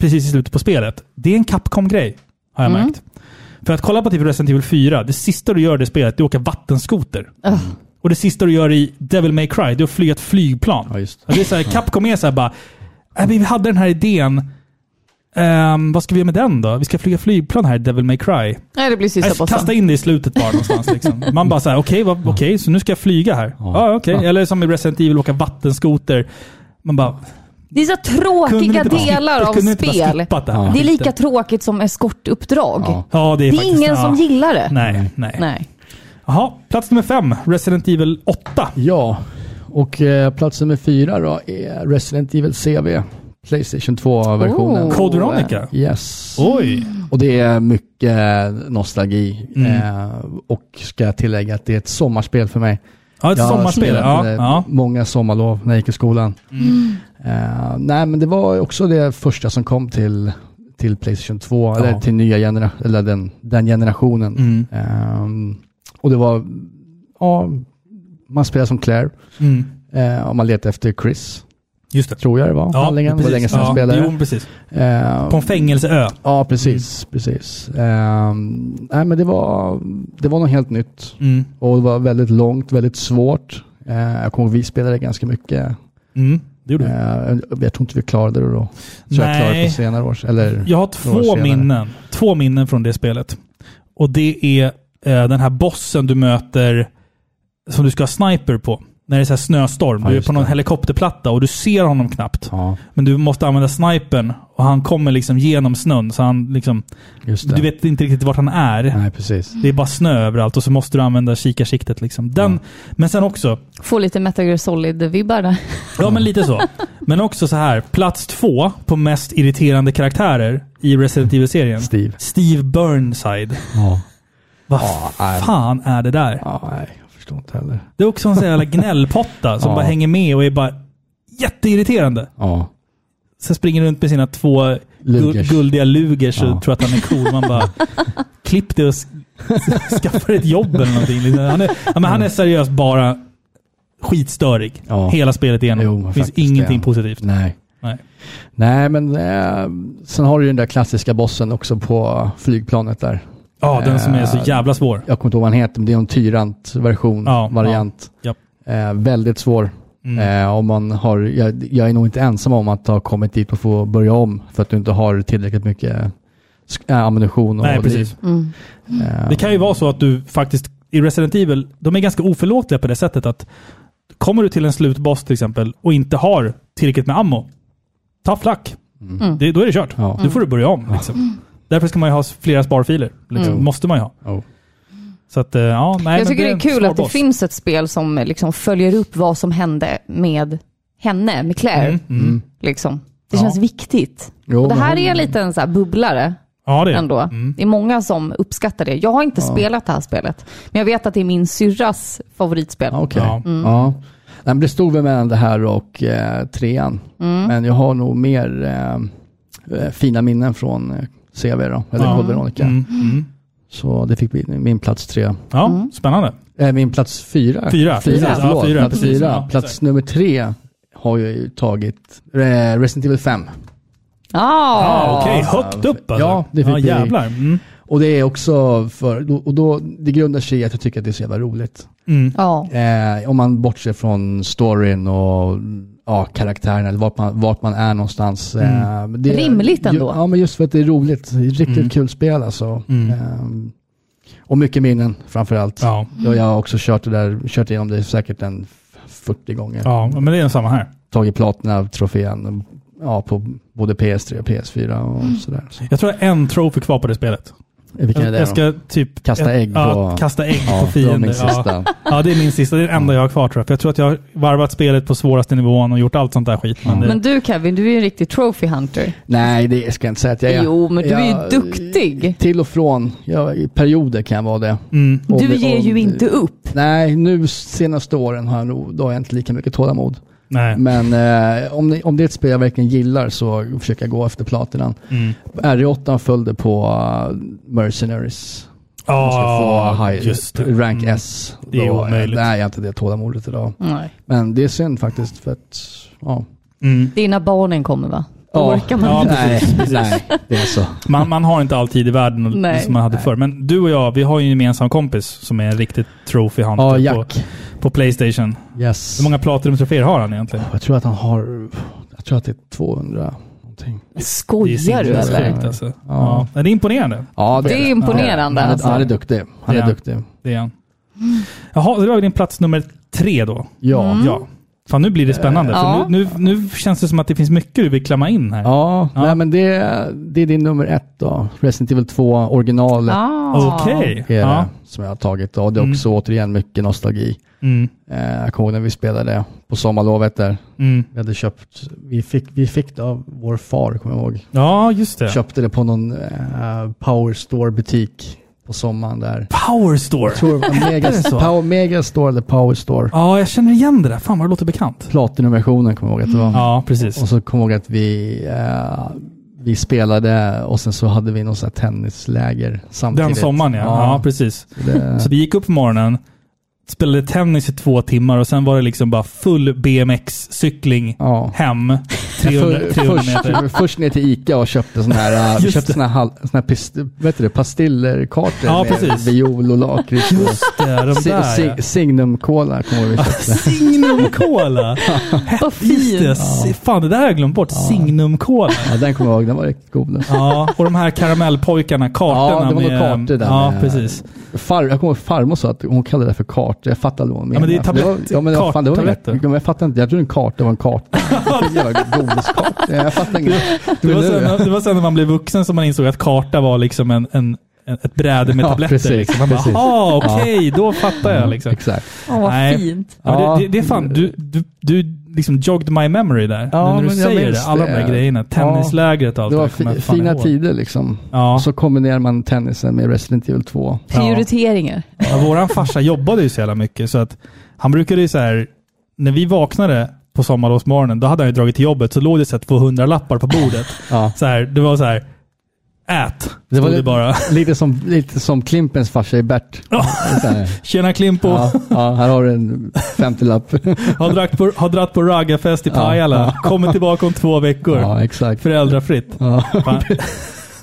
Speaker 1: precis i slutet på spelet. Det är en Capcom-grej, har jag märkt. För att kolla på typ Resident Evil 4, det sista du gör i det spelet, det är att åka vattenskoter. Och det sista du gör i Devil May Cry, det är att flyga ett flygplan.
Speaker 3: Ja, just det.
Speaker 1: Och det är så här, Capcom är så här bara, "Äh, vi hade den här idén, Ehm, vad ska vi göra med den då? Vi ska flyga flygplan här i Devil May Cry.
Speaker 2: Nej, det blir sista
Speaker 1: Jag
Speaker 2: bossen.
Speaker 1: Alltså, kasta Äh, in det i slutet bara någonstans. Liksom. Man bara såhär, okej, okay, så nu ska jag flyga här. Ja. Ah, okej. Eller som i Resident Evil, åka vattenskoter. Man bara,
Speaker 2: Det är så
Speaker 1: kunde ni
Speaker 2: tråkiga
Speaker 1: inte bara
Speaker 2: delar
Speaker 1: skippa-
Speaker 2: av
Speaker 1: kunde ni inte bara
Speaker 2: spel.
Speaker 1: skippat Det, här
Speaker 2: Det är
Speaker 1: skiten?
Speaker 2: lika tråkigt som eskortuppdrag.
Speaker 3: Ja.
Speaker 1: Ja, det är,
Speaker 2: Det är
Speaker 1: faktiskt,
Speaker 2: ingen
Speaker 1: ja.
Speaker 2: som gillar det.
Speaker 1: Nej, nej.
Speaker 2: Nej.
Speaker 1: Jaha, plats nummer fem. Resident Evil 8.
Speaker 3: Ja, och eh, plats nummer fyra då är Resident Evil CV. Playstation 2-versionen.
Speaker 2: Oh.
Speaker 1: Code Veronica.
Speaker 3: Yes.
Speaker 1: Oj!
Speaker 3: Och det är mycket nostalgi.
Speaker 1: Mm.
Speaker 3: Eh, och ska jag tillägga att det är ett sommarspel för mig.
Speaker 1: Ja, ett
Speaker 3: Jag
Speaker 1: sommarspel. Ja,
Speaker 3: spelade det
Speaker 1: ja.
Speaker 3: Många sommarlov när jag gick i skolan. Eh, nej, men det var också det första som kom till, till Playstation 2, eller till nya genera eller den, den generationen.
Speaker 1: Mm.
Speaker 3: Eh, och det var, ja, man spelar som Claire
Speaker 1: Mm.
Speaker 3: eh, och man letar efter Chris,
Speaker 1: Just det.
Speaker 3: tror jag det var.
Speaker 1: Ja,
Speaker 3: handlingen, det var
Speaker 1: precis.
Speaker 3: länge sedan jag
Speaker 1: ja,
Speaker 3: spelade.
Speaker 1: Jo, precis.
Speaker 3: Eh,
Speaker 1: På en fängelseö.
Speaker 3: Ja, precis. precis. Ehm, nej, men det, var, det var något helt nytt.
Speaker 1: Mm.
Speaker 3: Och det var väldigt långt, väldigt svårt. Eh, jag kommer ihåg vi spelade ganska mycket.
Speaker 1: Mm. Det gjorde vi.
Speaker 3: Eh, jag tror inte vi klarade det då. Så jag
Speaker 1: Nej.
Speaker 3: klarade på senare år. Eller,
Speaker 1: Jag har två
Speaker 3: Några senare.
Speaker 1: minnen. Två minnen från det spelet. Och det är eh, den här bossen du möter som du ska ha sniper på. När det är så här snöstorm.
Speaker 3: Ja,
Speaker 1: du är
Speaker 3: just
Speaker 1: på någon
Speaker 3: det.
Speaker 1: helikopterplatta och du ser honom knappt.
Speaker 3: ja,
Speaker 1: Men du måste använda snipern och han kommer liksom genom snön. Så han liksom,
Speaker 3: just det.
Speaker 1: du vet inte riktigt vart han är.
Speaker 3: Nej, precis.
Speaker 1: Det är bara snö överallt och så måste du använda kikarsiktet. Liksom. Den, Men sen också,
Speaker 2: Få lite Metal Gear Solid-vibbar där.
Speaker 1: ja men lite så. Men också så här, plats två på mest irriterande karaktärer i Resident Evil-serien.
Speaker 3: Steve.
Speaker 1: Steve Burnside.
Speaker 3: Ja.
Speaker 1: Vad
Speaker 3: Ja, nej.
Speaker 1: fan är det där?
Speaker 3: ja, nej, jag förstår inte heller.
Speaker 1: Det är också en sån jävla gnällpotta som
Speaker 3: Ja.
Speaker 1: bara hänger med och är bara jätteirriterande.
Speaker 3: Ja,
Speaker 1: Sen springer han runt med sina två gul-
Speaker 3: Lugers.
Speaker 1: guldiga lugers och
Speaker 3: Ja.
Speaker 1: tror att han är cool. Man bara, klipp det och s- skaffa dig ett jobb eller någonting. Liksom. Han, är, ja, men han är seriöst bara skitstörig.
Speaker 3: Ja.
Speaker 1: Hela spelet igenom.
Speaker 3: Jo, men
Speaker 1: det finns
Speaker 3: faktiskt
Speaker 1: ingenting
Speaker 3: det.
Speaker 1: positivt.
Speaker 3: nej.
Speaker 1: Nej.
Speaker 3: Nej, men eh, sen har du ju den där klassiska bossen också på flygplanet där.
Speaker 1: Ja, den som är så
Speaker 3: Eh,
Speaker 1: jävla svår.
Speaker 3: jag kommer inte ihåg vad han heter, men det är en Tyrant-version,
Speaker 1: Ja,
Speaker 3: variant.
Speaker 1: ja,
Speaker 3: Eh, väldigt svår.
Speaker 1: Mm.
Speaker 3: Eh, om man har, jag, jag är nog inte ensam om att ha kommit dit och få börja om för att du inte har tillräckligt mycket sk- eh, ammunition och
Speaker 1: Nej,
Speaker 3: liv.
Speaker 1: precis.
Speaker 3: Eh,
Speaker 1: Det kan ju vara så att du faktiskt, i Resident Evil, de är ganska oförlåtliga på det sättet att kommer du till en slutboss till exempel och inte har tillräckligt med ammo, ta flack.
Speaker 2: Mm.
Speaker 1: Det, då är det kört.
Speaker 3: Mm. Ja.
Speaker 1: Då får du börja om. Liksom. Därför ska man ju ha s- flera sparfiler. Liksom.
Speaker 3: Mm.
Speaker 1: måste man ju ha.
Speaker 3: oh.
Speaker 1: Så att, eh, ja, nej, men
Speaker 2: jag tycker det
Speaker 1: en
Speaker 2: är kul
Speaker 1: svår
Speaker 2: att det
Speaker 1: boss.
Speaker 2: finns ett spel som liksom följer upp vad som hände med henne, med Claire.
Speaker 1: Mm, mm.
Speaker 2: Liksom. Det
Speaker 1: Ja.
Speaker 2: känns viktigt.
Speaker 3: Jo,
Speaker 2: och det
Speaker 3: men
Speaker 2: här
Speaker 3: hon-
Speaker 2: är en liten så här bubblare
Speaker 1: Ja, det är
Speaker 2: ändå.
Speaker 1: det. Mm.
Speaker 2: Det är många som uppskattar det. Jag har inte spelat det här spelet, men jag vet att det är min syrras favoritspel.
Speaker 3: Okej.
Speaker 1: Ja.
Speaker 3: Ja. Nej, men det stod väl mellan det här och eh, trean. Men jag har nog mer eh, eh, fina minnen från eh, CV då, eller
Speaker 1: Ja.
Speaker 3: Code Veronica.
Speaker 1: Mm, mm.
Speaker 3: Så det fick bli min plats tre.
Speaker 1: Ja,
Speaker 2: Mm.
Speaker 1: spännande.
Speaker 3: Eh, min plats fyra.
Speaker 1: Fyra, precis. Ja,
Speaker 3: förlåt.
Speaker 1: fyra,
Speaker 3: plats,
Speaker 1: precis.
Speaker 3: fyra.
Speaker 1: Ja,
Speaker 3: plats
Speaker 1: exakt.
Speaker 3: nummer tre har jag ju tagit eh, Resident Evil 5.
Speaker 2: Ah,
Speaker 1: Ah, Okej, högt upp alltså.
Speaker 3: Ja, det fick
Speaker 1: ja,
Speaker 3: bli-
Speaker 1: jävlar. Mm.
Speaker 3: Och det är också för, och då, det grundar sig i att jag tycker att det är så jävla roligt.
Speaker 1: Mm.
Speaker 2: Ja.
Speaker 3: Eh, om man bortser från storyn och ja, karaktärerna, eller vart man, vart man är någonstans.
Speaker 1: Mm.
Speaker 3: Eh, men det,
Speaker 2: Rimligt ändå.
Speaker 3: Ja, men just för att det är roligt. Det är Riktigt
Speaker 1: Mm.
Speaker 3: kul spel alltså. Eh, och mycket minnen framförallt.
Speaker 1: Ja.
Speaker 3: Jag har också kört, det där, kört igenom det säkert en 40 gånger.
Speaker 1: ja, men det är samma här.
Speaker 3: tagit Platina-trofén ja, på både PS3 och PS4 och
Speaker 2: Mm.
Speaker 3: sådär. Så,
Speaker 1: Jag tror jag har en trophy kvar på det spelet.
Speaker 3: vilken är
Speaker 1: Jag,
Speaker 3: det
Speaker 1: jag
Speaker 3: då?
Speaker 1: ska typ...
Speaker 3: Kasta ägg
Speaker 1: ja,
Speaker 3: på-
Speaker 1: kasta ägg
Speaker 3: Ja,
Speaker 1: på
Speaker 3: det var
Speaker 1: fiender.
Speaker 3: min
Speaker 1: Ja.
Speaker 3: sista.
Speaker 1: ja, det är min sista. Det är den enda jag har kvar tror jag. För jag tror att jag har varvat spelet på svåraste nivån och gjort allt sånt där skit. Men det,
Speaker 2: Men du Kevin, du är ju en riktig trophy hunter.
Speaker 3: Nej, det ska jag inte säga att jag är.
Speaker 2: Jo, men du är ju
Speaker 3: Jag-
Speaker 2: duktig.
Speaker 3: Till och från. Jag, I perioder kan jag vara det.
Speaker 1: Mm,
Speaker 3: Och-
Speaker 2: Du ger ju
Speaker 3: och-
Speaker 2: inte upp.
Speaker 3: Nej, nu senaste åren har jag nog, då har jag inte lika mycket tålamod.
Speaker 1: nej.
Speaker 3: Men eh, om, det- om det är ett spel jag verkligen gillar så försöker jag gå efter platinan.
Speaker 1: Mm.
Speaker 3: RE8 följde på eh, Mercenaries. Man ska få
Speaker 1: Ja,
Speaker 3: high,
Speaker 1: just det.
Speaker 3: rank
Speaker 1: Mm.
Speaker 3: S.
Speaker 1: Det är
Speaker 3: Då-
Speaker 1: omöjligt.
Speaker 3: Nej, jag har inte det tålamodet idag.
Speaker 2: Nej.
Speaker 3: Men det är synd faktiskt för att, ja.
Speaker 1: Mm.
Speaker 2: Det är när barnen kommer va? Då
Speaker 3: Ja.
Speaker 2: orkar man
Speaker 1: Ja,
Speaker 2: inte.
Speaker 1: precis. precis.
Speaker 3: Nej, det är så.
Speaker 1: Man, man har inte all tid i världen och-
Speaker 2: Nej.
Speaker 1: som man hade förr. Men du och jag, vi har ju en gemensam kompis som är en riktigt trophy hunter
Speaker 3: Ja,
Speaker 1: på,
Speaker 3: Jack.
Speaker 1: på Playstation.
Speaker 3: Yes.
Speaker 1: Hur många platinum-troféer har han egentligen?
Speaker 3: Jag tror att han har, jag tror att det är 200 någonting.
Speaker 2: Skojar du
Speaker 1: sinnessjukt,
Speaker 2: eller?
Speaker 3: eller?
Speaker 1: Alltså. Ja. Men det är imponerande.
Speaker 3: Ja,
Speaker 2: Det är imponerande
Speaker 3: Han är,
Speaker 2: alltså.
Speaker 3: han är duktig. Han
Speaker 1: Det är
Speaker 3: är
Speaker 1: han.
Speaker 3: duktig.
Speaker 1: Det är han. Jaha, så det var din plats nummer tre då.
Speaker 3: Ja.
Speaker 1: Ja. Fan, nu blir det spännande.
Speaker 2: Ja.
Speaker 1: För nu, nu, nu känns det som att det finns mycket du vill klämma in här.
Speaker 3: Ja,
Speaker 1: Ja.
Speaker 3: Nej, men det, det är din nummer ett då. Resident Evil 2, originalet.
Speaker 2: Ah.
Speaker 1: Okej.
Speaker 3: Är
Speaker 1: Ja.
Speaker 3: det, som jag har tagit. Och det är också återigen mycket nostalgi.
Speaker 1: Mm.
Speaker 3: Eh, jag kommer ihåg när vi spelade på sommarlovet där.
Speaker 1: Mm.
Speaker 3: Vi hade köpt, vi fick, vi fick det av vår far kommer jag ihåg.
Speaker 1: ja, just det.
Speaker 3: Köpte det på någon eh, Power Store butik på sommaren där.
Speaker 1: Power Store.
Speaker 3: Tror det var Mega,
Speaker 1: så?
Speaker 3: Power, Mega Store eller Power Store.
Speaker 1: Ja, jag känner igen det där. Fan vad det låter bekant.
Speaker 3: Platinumversionen kommer jag ihåg att det var.
Speaker 1: Ja, precis.
Speaker 3: Och så kommer jag ihåg att vi, eh, vi spelade och sen så hade vi någon sån här tennisläger samtidigt.
Speaker 1: Den sommaren ja. ja. precis.
Speaker 3: det-
Speaker 1: Så vi gick upp på morgonen, spelade tennis i två timmar och sen var det liksom bara full BMX-cykling
Speaker 3: Ja.
Speaker 1: hem. 300,
Speaker 3: För,
Speaker 1: 300 meter.
Speaker 3: först, först ner till Ica och köpte sådana här, eh, vi
Speaker 1: Just det.
Speaker 3: köpte såna här, hal- såna här pist, vet du det, pastillerkartor
Speaker 1: Ja,
Speaker 3: med
Speaker 1: precis.
Speaker 3: viol och lakrits. och-
Speaker 1: Det är de
Speaker 3: Si- si-
Speaker 1: där ja.
Speaker 3: Signum-cola kommer vi köpte.
Speaker 1: Signum Cola!
Speaker 2: Vad
Speaker 1: Just det.
Speaker 2: fin.
Speaker 1: Si- Fan, det där har jag glömt bort. Signum Cola.
Speaker 3: Ja, den kommer jag ihåg, den var riktigt god. den.
Speaker 1: Ja, och de här karamellpojkarna, kartorna.
Speaker 3: Ja, det var
Speaker 1: med,
Speaker 3: nog kartor där
Speaker 1: Ja,
Speaker 3: med-
Speaker 1: precis.
Speaker 3: Far, jag kommer ihåg farmor sa att hon kallade det för kartor. Jag fattade vad hon
Speaker 1: Ja, men
Speaker 3: menade.
Speaker 1: det är
Speaker 3: För var-
Speaker 1: tablett-
Speaker 3: ja, men vad fan, det var inga-
Speaker 1: karttabletter.
Speaker 3: men jag fattade inte. Jag trodde en karta var en karta. En jävla Godiskarta. Jag fattar inget.
Speaker 1: Det var,
Speaker 3: Men nu-
Speaker 1: sen, det var sen när man blev vuxen som man insåg att karta var liksom en, en, en, ett bräde med
Speaker 3: Ja,
Speaker 1: tabletter.
Speaker 3: precis,
Speaker 1: liksom. Man bara,
Speaker 3: precis. Mm,
Speaker 1: "Jaha, okej, då fattar jag. Liksom.
Speaker 3: Exakt.
Speaker 2: Åh, vad
Speaker 1: Nej.
Speaker 2: fint.
Speaker 1: Ja, men
Speaker 3: Ja.
Speaker 1: det, det, det är fan, du, du, du liksom jogged my memory där.
Speaker 3: Ja,
Speaker 1: nu när du
Speaker 3: men jag
Speaker 1: säger
Speaker 3: minns
Speaker 1: det, alla de
Speaker 3: det.
Speaker 1: där grejerna. Tennislägret och allt
Speaker 3: Det var
Speaker 1: där kommer
Speaker 3: fi,
Speaker 1: jag fan
Speaker 3: fina
Speaker 1: ihåg.
Speaker 3: tider liksom.
Speaker 1: Ja.
Speaker 3: Och så kombinerar man tennisen med Resident Evil 2.
Speaker 2: Prioriteringar.
Speaker 1: Ja, våran farsa jobbade ju så jävla mycket så att han brukade ju så här, när vi vaknade på sommarlovsmorgonen, då hade han ju dragit till jobbet så låg det så här 200 lappar på bordet.
Speaker 3: Ja.
Speaker 1: så här, det var så här, ät, stod det,
Speaker 3: var
Speaker 1: det
Speaker 3: lite-
Speaker 1: bara.
Speaker 3: Lite som, lite som Klimpens farsa i Bert. Så här,
Speaker 1: Tjena Klimpo,
Speaker 3: Ja, ja, här har du en 50-lapp.
Speaker 1: har, dratt på, har dratt på raggarfest i Pajala, kommer tillbaka om två veckor.
Speaker 3: Ja, exakt.
Speaker 1: Föräldrafritt.
Speaker 3: Ja.
Speaker 1: Fan.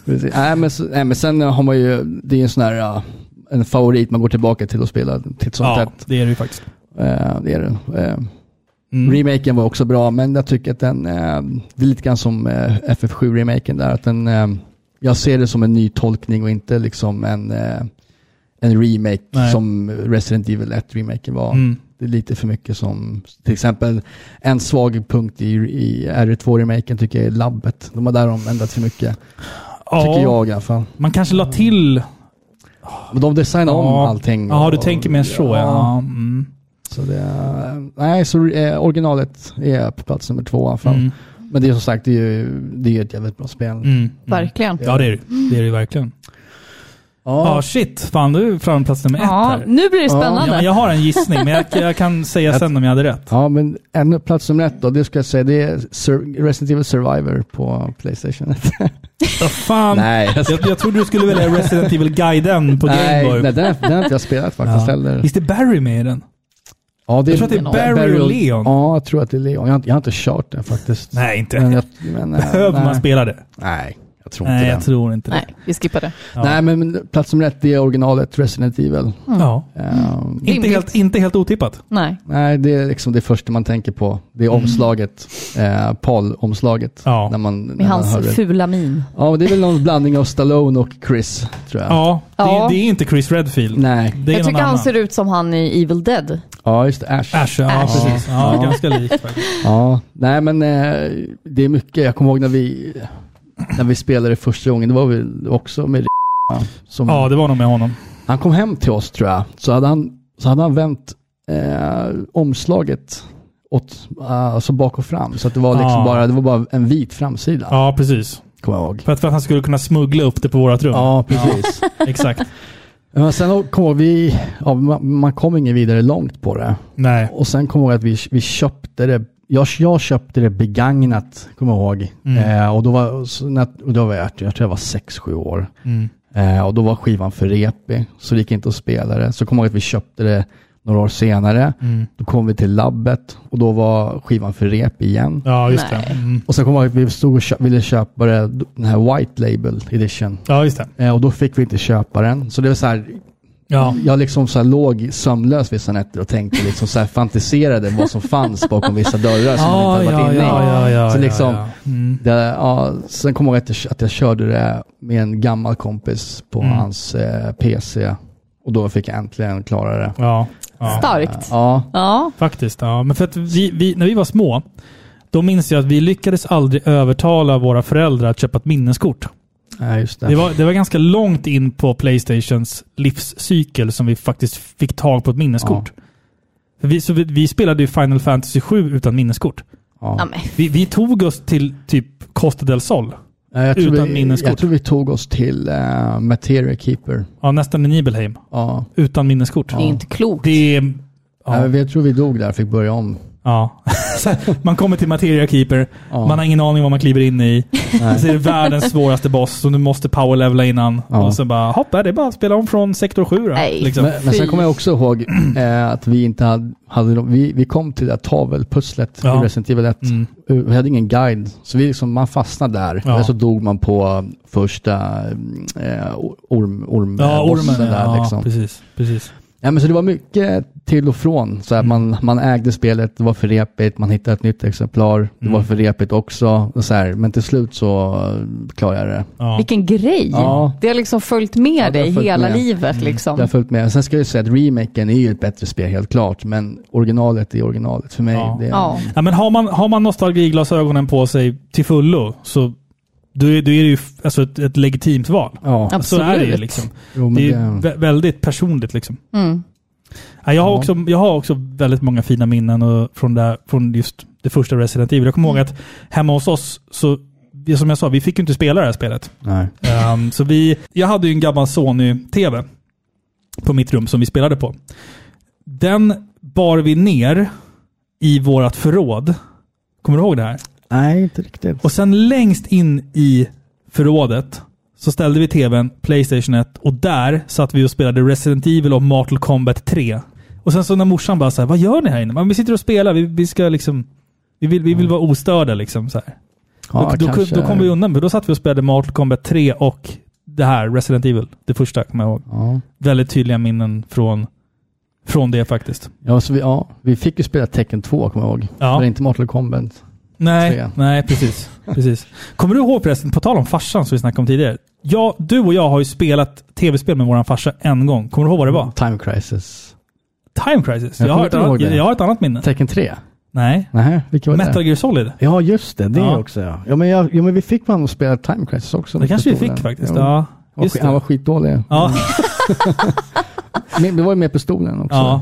Speaker 3: Precis. Nej, men, så- nej, men sen har man ju, det är ju en sån här, ja, en favorit man går tillbaka till och spelar titt som
Speaker 1: Ja,
Speaker 3: tätt.
Speaker 1: det är det ju faktiskt.
Speaker 3: Eh, det är det. Eh,
Speaker 1: Mm.
Speaker 3: Remaken var också bra, men jag tycker att den, eh, det är lite grann som eh, FF7-remaken där, att den, eh, jag ser det som en ny tolkning och inte liksom en, eh, en remake
Speaker 1: Nej.
Speaker 3: som Resident Evil 1-remaken var.
Speaker 1: Mm.
Speaker 3: Det är lite för mycket som, till exempel en svag punkt i, i R2-remaken tycker jag är labbet. De har därom ändrat för mycket, tycker jag i alla fall.
Speaker 1: Man kanske la till...
Speaker 3: Men de designar om
Speaker 1: Ja.
Speaker 3: allting.
Speaker 1: Ja, du
Speaker 3: och-
Speaker 1: tänker mer så ja. ja. Mm.
Speaker 3: Så det, är- nej, så eh, originalet är på plats nummer två i alla fall.
Speaker 1: Mm.
Speaker 3: Men det är som sagt, det är ju det är ett jävligt bra spel.
Speaker 1: Mm. Mm.
Speaker 2: Verkligen.
Speaker 1: Ja, det är det. Det är det verkligen. Ja,
Speaker 3: Ja,
Speaker 1: shit. Fan, du är framme plats nummer
Speaker 2: Ja,
Speaker 1: ett här.
Speaker 2: nu blir det
Speaker 1: Ja,
Speaker 2: spännande.
Speaker 1: men jag har en gissning, men jag, jag kan säga sen om jag hade rätt.
Speaker 3: ja, men ännu plats nummer ett då, det ska jag säga, det är Sur- Resident Evil Survivor på Playstation 1.
Speaker 1: Ja, fan.
Speaker 3: nej, jag
Speaker 1: Jag, jag trodde du skulle välja Resident Evil Guiden på
Speaker 3: nej,
Speaker 1: Gameboy.
Speaker 3: nej, den, har- den har inte jag spelat faktiskt heller.
Speaker 1: Visst är Barry med i den?
Speaker 3: Ja, det
Speaker 1: Jag tror att det är Barry och Leon.
Speaker 3: Ja, jag tror att det är Leon. Jag, har- jag har inte kört den faktiskt.
Speaker 1: Nej, inte.
Speaker 3: Men jag, men, eh,
Speaker 1: Behöver
Speaker 3: nej.
Speaker 1: man spela det?
Speaker 3: Nej, jag tror
Speaker 1: Nej,
Speaker 3: inte
Speaker 1: jag
Speaker 3: det.
Speaker 1: tror inte det.
Speaker 2: Nej, vi skippar det.
Speaker 1: Ja.
Speaker 3: Nej, men- men plats nummer ett, det är originalet Resident Evil.
Speaker 1: Ja.
Speaker 3: Ehm,
Speaker 1: Inte,
Speaker 2: Rimligt.
Speaker 1: helt, inte helt otippat.
Speaker 2: Nej.
Speaker 3: Nej, det är liksom det första man tänker på. Det är omslaget, eh, Paul-omslaget.
Speaker 1: Ja.
Speaker 3: När man, när
Speaker 2: Med
Speaker 3: man hör
Speaker 2: hans
Speaker 3: det.
Speaker 2: fula min.
Speaker 3: Ja, men det är väl någon blandning av Stallone och Chris, tror jag.
Speaker 1: Ja, det,
Speaker 2: Ja.
Speaker 1: det är inte Chris Redfield.
Speaker 3: Nej.
Speaker 1: Det är
Speaker 2: Jag
Speaker 1: någon
Speaker 2: tycker
Speaker 1: annan.
Speaker 2: han ser ut som han i Evil Dead.
Speaker 3: Ja, just det, Ash.
Speaker 1: Ash, ja,
Speaker 2: Ash.
Speaker 1: precis. Ja,
Speaker 3: Ja.
Speaker 1: ganska likt faktiskt.
Speaker 3: Ja. Nej, men eh, det är mycket. Jag kommer ihåg när vi, när vi spelade första gången, det var väl också med ja, som,
Speaker 1: Ja, det var nog med honom.
Speaker 3: Han kom hem till oss, tror jag, så hade han, så hade han vänt eh, omslaget åt, eh, alltså bak och fram. Så att det var liksom
Speaker 1: Ja.
Speaker 3: bara, det var bara en vit framsida,
Speaker 1: Ja, precis.
Speaker 3: kommer jag ihåg.
Speaker 1: För att, för att han skulle kunna smuggla upp det på vårat rum.
Speaker 3: Ja, precis.
Speaker 1: Exakt.
Speaker 3: Men sen kom ihåg vi, ja, man, man kom ingen vidare långt på det.
Speaker 1: Nej.
Speaker 3: Och sen kom jag ihåg att vi, vi köpte det, jag, jag köpte det begagnat, kommer jag ihåg. Eh, och då var, så när, och då var jag, jag tror jag var 6-7 år.
Speaker 1: Mm,
Speaker 3: Eh, och då var skivan för repig, så det gick inte att spela det. Så kom jag ihåg att vi köpte det några år senare.
Speaker 1: mm.
Speaker 3: Då kom vi till labbet och då var skivan för repig igen.
Speaker 1: Ja, just
Speaker 2: Nej.
Speaker 1: det. Mm.
Speaker 3: Och sen kom jag ihåg att vi stod och köp, ville köpa det, den här White Label Edition.
Speaker 1: Ja, just det.
Speaker 3: Eh, och då fick vi inte köpa den. Så det var så här,
Speaker 1: Ja.
Speaker 3: jag liksom så här låg sömnlös vissa nätter och tänkte liksom så här fantiserade vad som fanns bakom vissa dörrar som man inte hade varit inne i. så liksom,
Speaker 1: ja. Mm.
Speaker 3: Det, ja, sen kommer jag ihåg att jag, att jag körde det med en gammal kompis på hans eh, PC. Och då fick jag äntligen klara det.
Speaker 1: Ja.
Speaker 2: Starkt.
Speaker 3: Ja,
Speaker 2: Ja.
Speaker 1: Faktiskt, ja. Men för att vi, vi, när vi var små, då minns jag att vi lyckades aldrig övertala våra föräldrar att köpa ett minneskort.
Speaker 3: ja just det.
Speaker 1: Det var, det var ganska långt in på Playstations livscykel som vi faktiskt fick tag på ett minneskort. För Vi, så vi, vi spelade ju Final Fantasy 7 utan minneskort.
Speaker 2: Ja, men.
Speaker 1: Vi, vi tog oss till typ Costa del Sol.
Speaker 3: Ja, jag, tror
Speaker 1: utan
Speaker 3: vi,
Speaker 1: minneskort.
Speaker 3: jag tror vi tog oss till uh, Materia Keeper.
Speaker 1: Ja, nästan i Nibelheim.
Speaker 3: Ja.
Speaker 1: Utan minneskort.
Speaker 2: Det är inte klokt.
Speaker 1: Det är...
Speaker 3: Ja.
Speaker 1: Ja.
Speaker 3: jag tror vi dog där och fick börja om.
Speaker 1: ja. Så här, man kommer till Materia Keeper.
Speaker 3: Ja.
Speaker 1: Man har ingen aning vad man kliver in i. Så är det världens svåraste boss som du måste powerlevela innan.
Speaker 3: Ja.
Speaker 1: Och så bara, hopp, ja, det är bara att spela om från sektor 7 då.
Speaker 2: Nej.
Speaker 1: Liksom.
Speaker 3: Men, men sen kommer jag också ihåg eh, att vi inte hade, hade no- vi, vi kom till det där tavelpusslet
Speaker 1: Ja.
Speaker 3: i Resident Evil 1.
Speaker 1: Mm.
Speaker 3: Vi hade ingen guide, så vi liksom, man fastnade där.
Speaker 1: Ja.
Speaker 3: Eller så dog man på första eh, orm, orm, eh,
Speaker 1: Ja,
Speaker 3: bossen
Speaker 1: ormen.
Speaker 3: där
Speaker 1: Ja,
Speaker 3: liksom.
Speaker 1: precis. precis.
Speaker 3: Ja, men så det var mycket till och från. Så här,
Speaker 1: Mm.
Speaker 3: man, man ägde spelet, det var för repigt, man hittade ett nytt exemplar, det
Speaker 1: Mm.
Speaker 3: var för repigt också. Och så här, men till slut så eh, klarade jag det.
Speaker 1: Ja.
Speaker 2: Vilken grej.
Speaker 3: Ja.
Speaker 2: Det har liksom följt med
Speaker 3: har
Speaker 2: dig
Speaker 3: följt
Speaker 2: hela
Speaker 3: med.
Speaker 1: Mm.
Speaker 2: livet. Liksom.
Speaker 3: Jag har följt med. Sen ska jag ju säga att remaken är ju ett bättre spel helt klart, men originalet är originalet för mig.
Speaker 1: Ja.
Speaker 3: Det är,
Speaker 2: Ja.
Speaker 1: Ja, men har man, har man nostalgiglasögonen på sig till fullo så då är, då är det ju f- alltså ett, ett legitimt val.
Speaker 3: ja.
Speaker 2: Absolut.
Speaker 1: Så är det ju liksom.
Speaker 3: Jo, men
Speaker 1: Det är ju
Speaker 3: det-
Speaker 1: vä- väldigt personligt liksom.
Speaker 2: Mm.
Speaker 1: Ja, jag, har
Speaker 3: Ja.
Speaker 1: också, jag har också väldigt många fina minnen och från, där, från just det första Resident Evil. Jag kommer ihåg att hemma hos oss, så, det som jag sa, vi fick ju inte spela det här spelet.
Speaker 3: Nej.
Speaker 1: Ehm, så vi, jag hade ju en gammal Sony-TV på mitt rum som vi spelade på. Den bar vi ner i vårt förråd. Kommer du ihåg det här?
Speaker 3: Nej, inte riktigt.
Speaker 1: Och sen längst in i förrådet så ställde vi tvn, Playstation 1 och där satt vi och spelade Resident Evil och Mortal Kombat 3. Och sen så när morsan bara så här, vad gör ni här inne? Men vi sitter och spelar, vi, vi ska liksom... Vi vill, vi vill vara ostörda liksom. Så här.
Speaker 3: Mm. ja,
Speaker 1: då, då,
Speaker 3: kanske.
Speaker 1: då kom vi undan, för då satt vi och spelade Mortal Kombat 3 och det här, Resident Evil. Det första kommer jag ihåg.
Speaker 3: Ja.
Speaker 1: Väldigt tydliga minnen från, från det faktiskt.
Speaker 3: Ja, så vi, ja, vi fick ju spela Tekken 2, kommer jag ihåg.
Speaker 1: Ja.
Speaker 3: Men inte Mortal Kombat.
Speaker 1: Nej,
Speaker 3: Tre.
Speaker 1: nej precis, precis. Kommer du ihåg förresten, på tal om farsan som vi snackade om tidigare. Jag, du och jag har ju spelat tv-spel med våran farsa en gång. Kommer du ihåg vad det var?
Speaker 3: Time Crisis.
Speaker 1: Time Crisis.
Speaker 3: Mm. Jag
Speaker 1: Jag, har,
Speaker 3: kommer
Speaker 1: ett
Speaker 3: inte ihåg
Speaker 1: annat,
Speaker 3: det.
Speaker 1: jag har ett annat minne.
Speaker 3: Tekken 3?
Speaker 1: Nej.
Speaker 3: Nej, vilka var det?
Speaker 1: Metal Gear Solid.
Speaker 3: Ja, just det. Det
Speaker 1: Ja.
Speaker 3: också ja. Ja men, jag, ja, men vi fick man att spela Time Crisis också.
Speaker 1: Det kanske vi
Speaker 3: Pistolen.
Speaker 1: fick faktiskt.
Speaker 3: Jo.
Speaker 1: Ja,
Speaker 3: Han var
Speaker 1: just
Speaker 3: sk- Han var
Speaker 1: det.
Speaker 3: skitdålig.
Speaker 1: Ja,
Speaker 3: Men det var ju med pistolen också.
Speaker 1: ja.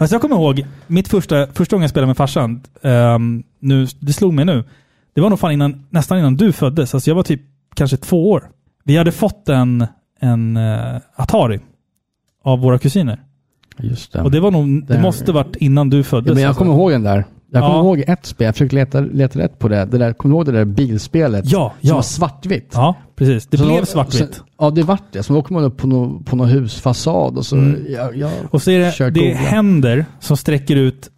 Speaker 1: Alltså jag kommer ihåg, mitt första, första gången jag spelade med farsan, ehm, nu, det slog mig nu. Det var nog fan innan, nästan innan du föddes. Alltså jag var typ kanske två år. Vi hade fått en, en eh, Atari av våra kusiner.
Speaker 3: Just det.
Speaker 1: Och det var nog, det
Speaker 3: Där.
Speaker 1: måste varit innan du föddes.
Speaker 3: ja, men jag
Speaker 1: alltså.
Speaker 3: kommer ihåg den där. Jag kommer
Speaker 1: Ja.
Speaker 3: ihåg ett spel. Jag försökte leta, leta rätt på det. det där, kommer du ihåg det där bilspelet?
Speaker 1: Ja,
Speaker 3: Som
Speaker 1: ja.
Speaker 3: var svartvitt.
Speaker 1: Ja, precis. Det
Speaker 3: Så
Speaker 1: blev
Speaker 3: då-
Speaker 1: svartvitt.
Speaker 3: så- ja, det vart det. Så då kom man upp på någon på nå husfasad och så... Jag, jag,
Speaker 1: Mm. och så är det,
Speaker 3: kör
Speaker 1: det är
Speaker 3: googla.
Speaker 1: händer som sträcker ut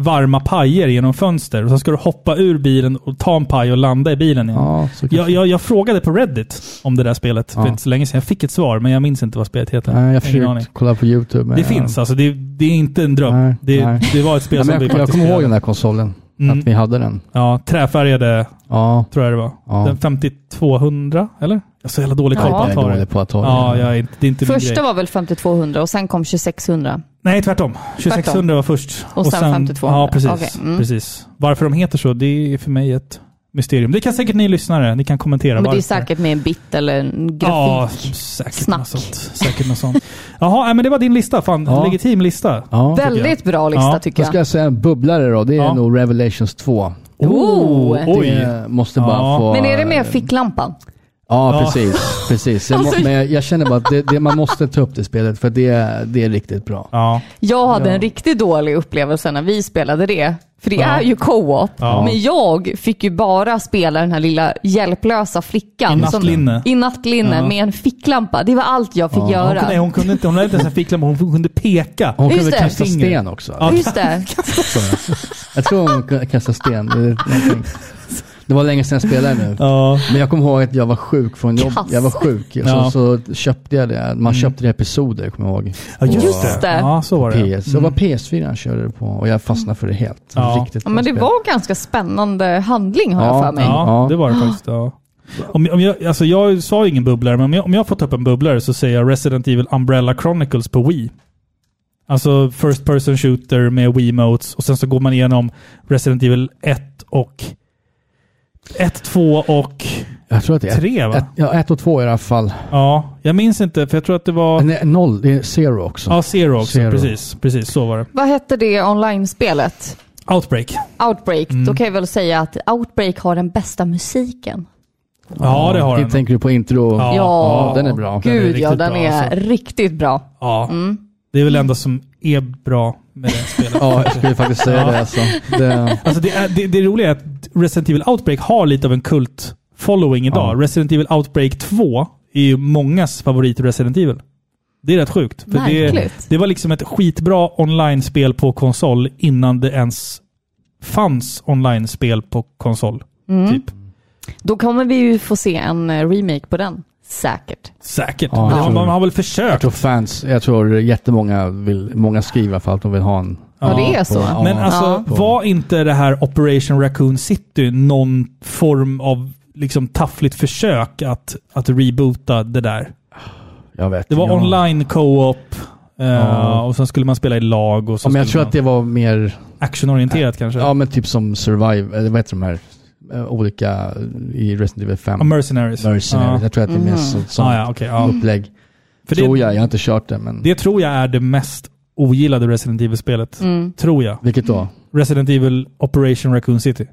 Speaker 1: varma pajer genom fönster. Och sen ska du hoppa ur bilen och ta en paj och landa i bilen igen.
Speaker 3: ja, så
Speaker 1: Jag,
Speaker 3: kanske-
Speaker 1: jag, jag frågade på Reddit om det där spelet för
Speaker 3: Ja.
Speaker 1: inte så länge sedan. Jag fick ett svar, men jag minns inte vad spelet heter.
Speaker 3: Nej, jag
Speaker 1: Ingen aning.
Speaker 3: försökte kolla på YouTube. Men
Speaker 1: Det
Speaker 3: jag,
Speaker 1: finns alltså. Det, det är inte en dröm.
Speaker 3: Nej,
Speaker 1: det,
Speaker 3: nej.
Speaker 1: det var ett spel
Speaker 3: Ja,
Speaker 1: som
Speaker 3: men
Speaker 1: vi
Speaker 3: jag, jag
Speaker 1: faktiskt
Speaker 3: kommer ihåg den
Speaker 1: spelade.
Speaker 3: där konsolen.
Speaker 1: Mm.
Speaker 3: Att vi hade den.
Speaker 1: Ja, träfärgade,
Speaker 3: Ja,
Speaker 1: tror jag det var.
Speaker 3: Ja.
Speaker 1: Den 5200, eller? Jag har så jävla dålig koll
Speaker 2: Ja.
Speaker 1: på
Speaker 3: jag är
Speaker 1: Atari.
Speaker 3: dålig på att ta
Speaker 1: Ja, jag är inte, det är inte min
Speaker 2: Första
Speaker 1: grej.
Speaker 2: var väl 5200 och sen kom 2600.
Speaker 1: Nej, tvärtom. 2600 var först.
Speaker 2: Och sen 5200.
Speaker 1: Ja, precis,
Speaker 2: Okej, mm.
Speaker 1: precis. Varför de heter så, det är för mig ett mysterium. Det kan säkert ni lyssnare, ni kan kommentera
Speaker 2: Men det är
Speaker 1: varför.
Speaker 2: säkert med en bit eller en
Speaker 1: Ja,
Speaker 2: grafik.
Speaker 1: säkert
Speaker 2: Snack.
Speaker 1: något sånt. Säkert något sånt. Jaha, nej, men det var din lista. Fan,
Speaker 3: Ja.
Speaker 1: legitim lista.
Speaker 3: Ja.
Speaker 2: Väldigt bra lista
Speaker 1: Ja,
Speaker 2: tycker
Speaker 3: Då ska
Speaker 2: jag.
Speaker 3: jag säga en bubblare då. Det är
Speaker 1: Ja.
Speaker 3: nog Revelations 2.
Speaker 2: Oh.
Speaker 1: oj!
Speaker 3: Det måste bara
Speaker 1: Ja.
Speaker 3: få...
Speaker 2: Men är det med ficklampan?
Speaker 1: Ja.
Speaker 3: Ja, precis. precis. Jag må,
Speaker 2: Alltså-
Speaker 3: men jag, jag känner bara att det, det, man måste ta upp det spelet för det, det är riktigt bra.
Speaker 1: Ja,
Speaker 2: Jag hade en riktigt dålig upplevelse när vi spelade det. För det
Speaker 1: Ja.
Speaker 2: är ju co-op.
Speaker 1: Ja.
Speaker 2: Men jag fick ju bara spela den här lilla hjälplösa flickan.
Speaker 1: I nattlinne.
Speaker 2: Som, I nattlinne
Speaker 1: Ja.
Speaker 2: med en ficklampa. Det var allt jag fick
Speaker 1: Hon
Speaker 2: göra.
Speaker 1: kunde, nej, hon kunde inte, hon hade inte ens en ficklampa, hon kunde peka.
Speaker 3: Hon
Speaker 2: Just
Speaker 3: kunde
Speaker 2: det.
Speaker 3: kasta
Speaker 1: Finger.
Speaker 3: sten också.
Speaker 1: Ja.
Speaker 2: Just det.
Speaker 3: Så. Jag tror hon kunde kasta sten. Det, är någonting. det var länge sedan jag spelade nu.
Speaker 1: Ja,
Speaker 3: Men jag kommer ihåg att jag var sjuk från jobb.
Speaker 2: Kast.
Speaker 3: Jag var sjuk. Så,
Speaker 1: Ja. Mm.
Speaker 3: så köpte jag det. Man köpte det i episoder, kommer jag ihåg.
Speaker 1: ja just,
Speaker 2: Just
Speaker 1: det.
Speaker 2: det.
Speaker 1: Ja, så var det.
Speaker 3: PS. Så det var PS4 han körde det på och jag fastnade för det helt.
Speaker 1: Ja.
Speaker 3: Riktigt
Speaker 2: Ja,
Speaker 3: bra
Speaker 2: men det
Speaker 3: spel.
Speaker 2: var ganska spännande handling har jag
Speaker 3: Ja,
Speaker 2: för mig.
Speaker 1: Ja,
Speaker 3: Ja.
Speaker 1: det var det faktiskt. Ja. Om, om jag, alltså jag sa ju ingen bubblare, men om jag, om jag får ta upp en bubblare så säger jag Resident Evil Umbrella Chronicles på Wii. Alltså First Person Shooter med Wiimotes och sen så går man igenom Resident Evil 1 och 1, 2 och
Speaker 3: Jag tror att det är ett-
Speaker 1: Tre, va?
Speaker 3: Ett, ja, ett och två i alla fall.
Speaker 1: ja, jag minns inte för jag tror att det var
Speaker 3: Nej, noll, det är zero också.
Speaker 1: ja, Zero också.
Speaker 3: Zero.
Speaker 1: Precis, precis så var det.
Speaker 2: Vad hette det online-spelet?
Speaker 1: Outbreak.
Speaker 2: Outbreak.
Speaker 1: Mm.
Speaker 2: Då kan jag väl säga att Outbreak har den bästa musiken.
Speaker 1: Ja, det har
Speaker 3: det
Speaker 1: den.
Speaker 3: Tänker du på intro?
Speaker 1: Ja.
Speaker 3: Ja, den är bra.
Speaker 1: Den är
Speaker 2: Gud ja,
Speaker 1: riktigt
Speaker 2: den
Speaker 1: bra,
Speaker 2: är
Speaker 1: alltså.
Speaker 2: riktigt bra.
Speaker 1: Ja. Det är väl det enda som är bra med det spelet.
Speaker 3: Ja, jag skulle faktiskt säga
Speaker 1: Ja.
Speaker 3: det. Alltså. det
Speaker 1: Alltså det, är, det, det roliga är att Resident Evil Outbreak har lite av en kult following idag.
Speaker 3: Ja.
Speaker 1: Resident Evil Outbreak 2 är ju mångas favorit Resident Evil. Det är rätt sjukt. För det,
Speaker 2: Verkligt.
Speaker 1: det var liksom ett skitbra online-spel på konsol innan det ens fanns online-spel på konsol.
Speaker 2: Mm.
Speaker 1: Typ.
Speaker 2: Då kommer vi ju få se en eh, remake på den. Säkert.
Speaker 1: Säkert.
Speaker 3: Ja, jag
Speaker 1: man,
Speaker 3: tror-
Speaker 1: man har väl
Speaker 3: jag
Speaker 1: försökt.
Speaker 3: tror fans, jag tror jättemånga vill, många skriver för att de vill ha en.
Speaker 2: Ja, det är så.
Speaker 3: Ja.
Speaker 1: Men alltså,
Speaker 3: Ja.
Speaker 1: var inte det här Operation Raccoon City någon form av liksom taffligt försök att, att reboota det där?
Speaker 3: Jag vet.
Speaker 1: Det var
Speaker 3: ja.
Speaker 1: online co-op eh,
Speaker 3: Ja.
Speaker 1: och sen skulle man spela i lag och så
Speaker 3: Ja, men jag tror
Speaker 1: skulle
Speaker 3: att det var mer,
Speaker 1: man actionorienterat kanske.
Speaker 3: ja men typ som Survive, eller vad heter de här eh, olika i Resident Evil 5?
Speaker 1: Ja, Mercenaries.
Speaker 3: Mercenaries.
Speaker 1: Ja.
Speaker 3: Jag tror att det är
Speaker 2: Mhm.
Speaker 3: mer så, sånt
Speaker 1: Ah, ja, okej, ja.
Speaker 3: upplägg.
Speaker 1: För
Speaker 3: tror
Speaker 1: det,
Speaker 3: jag, jag har inte kört det men.
Speaker 1: det tror jag är det mest ogillade Resident Evil-spelet.
Speaker 2: Mm.
Speaker 1: Tror jag.
Speaker 3: Vilket då?
Speaker 1: Resident Evil Operation Raccoon City.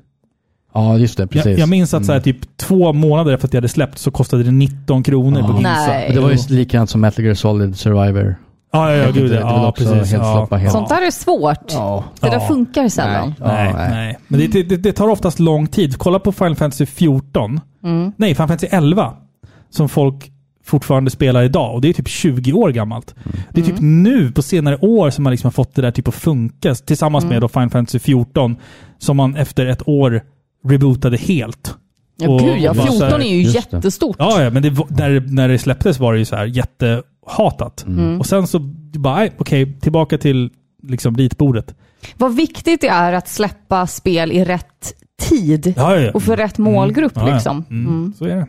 Speaker 3: Ja just det,
Speaker 1: Jag,
Speaker 3: precis. Mm.
Speaker 1: jag minns att så här, typ två månader efter att jag hade släppt så kostade det 19 kronor på
Speaker 3: Ja.
Speaker 1: Ginsa.
Speaker 2: Nej.
Speaker 3: Men det var ju
Speaker 1: Mm.
Speaker 3: likadant som Metal Gear Solid Survivor.
Speaker 1: Ja, ja, ja, gud
Speaker 3: Det-
Speaker 1: ja.
Speaker 3: det var
Speaker 1: ja
Speaker 3: också
Speaker 1: precis.
Speaker 3: helt
Speaker 1: ja.
Speaker 3: slappa helt.
Speaker 2: Sånt där är svårt.
Speaker 3: Ja.
Speaker 2: Det där
Speaker 1: Ja.
Speaker 2: funkar sällan.
Speaker 3: Nej.
Speaker 1: Nej,
Speaker 3: Ja,
Speaker 1: nej.
Speaker 3: nej.
Speaker 1: Men det, det, det tar oftast lång tid. Kolla på Final Fantasy 14. Nej, Final Fantasy 11. Som folk fortfarande spelar idag. Och det är typ 20 år gammalt. Det är typ nu på senare år som man liksom har fått det där typ att funka. Tillsammans med då Final Fantasy 14. Som man efter ett år rebootade helt.
Speaker 2: Ja,
Speaker 1: Och-
Speaker 2: gud ja,
Speaker 1: och bara så
Speaker 2: 14
Speaker 1: här-
Speaker 2: är ju
Speaker 3: Just det.
Speaker 2: jättestort.
Speaker 1: Ja, ja men det, var- när, det- när det släpptes var det ju så här jättehatat. Och sen så bara, nej, okej, tillbaka till liksom ritbordet.
Speaker 2: Vad viktigt det är att släppa spel i rätt tid
Speaker 1: Ja, ja, ja.
Speaker 2: och för rätt målgrupp
Speaker 1: Mm. Ja, ja.
Speaker 2: liksom.
Speaker 1: Mm. Så är det.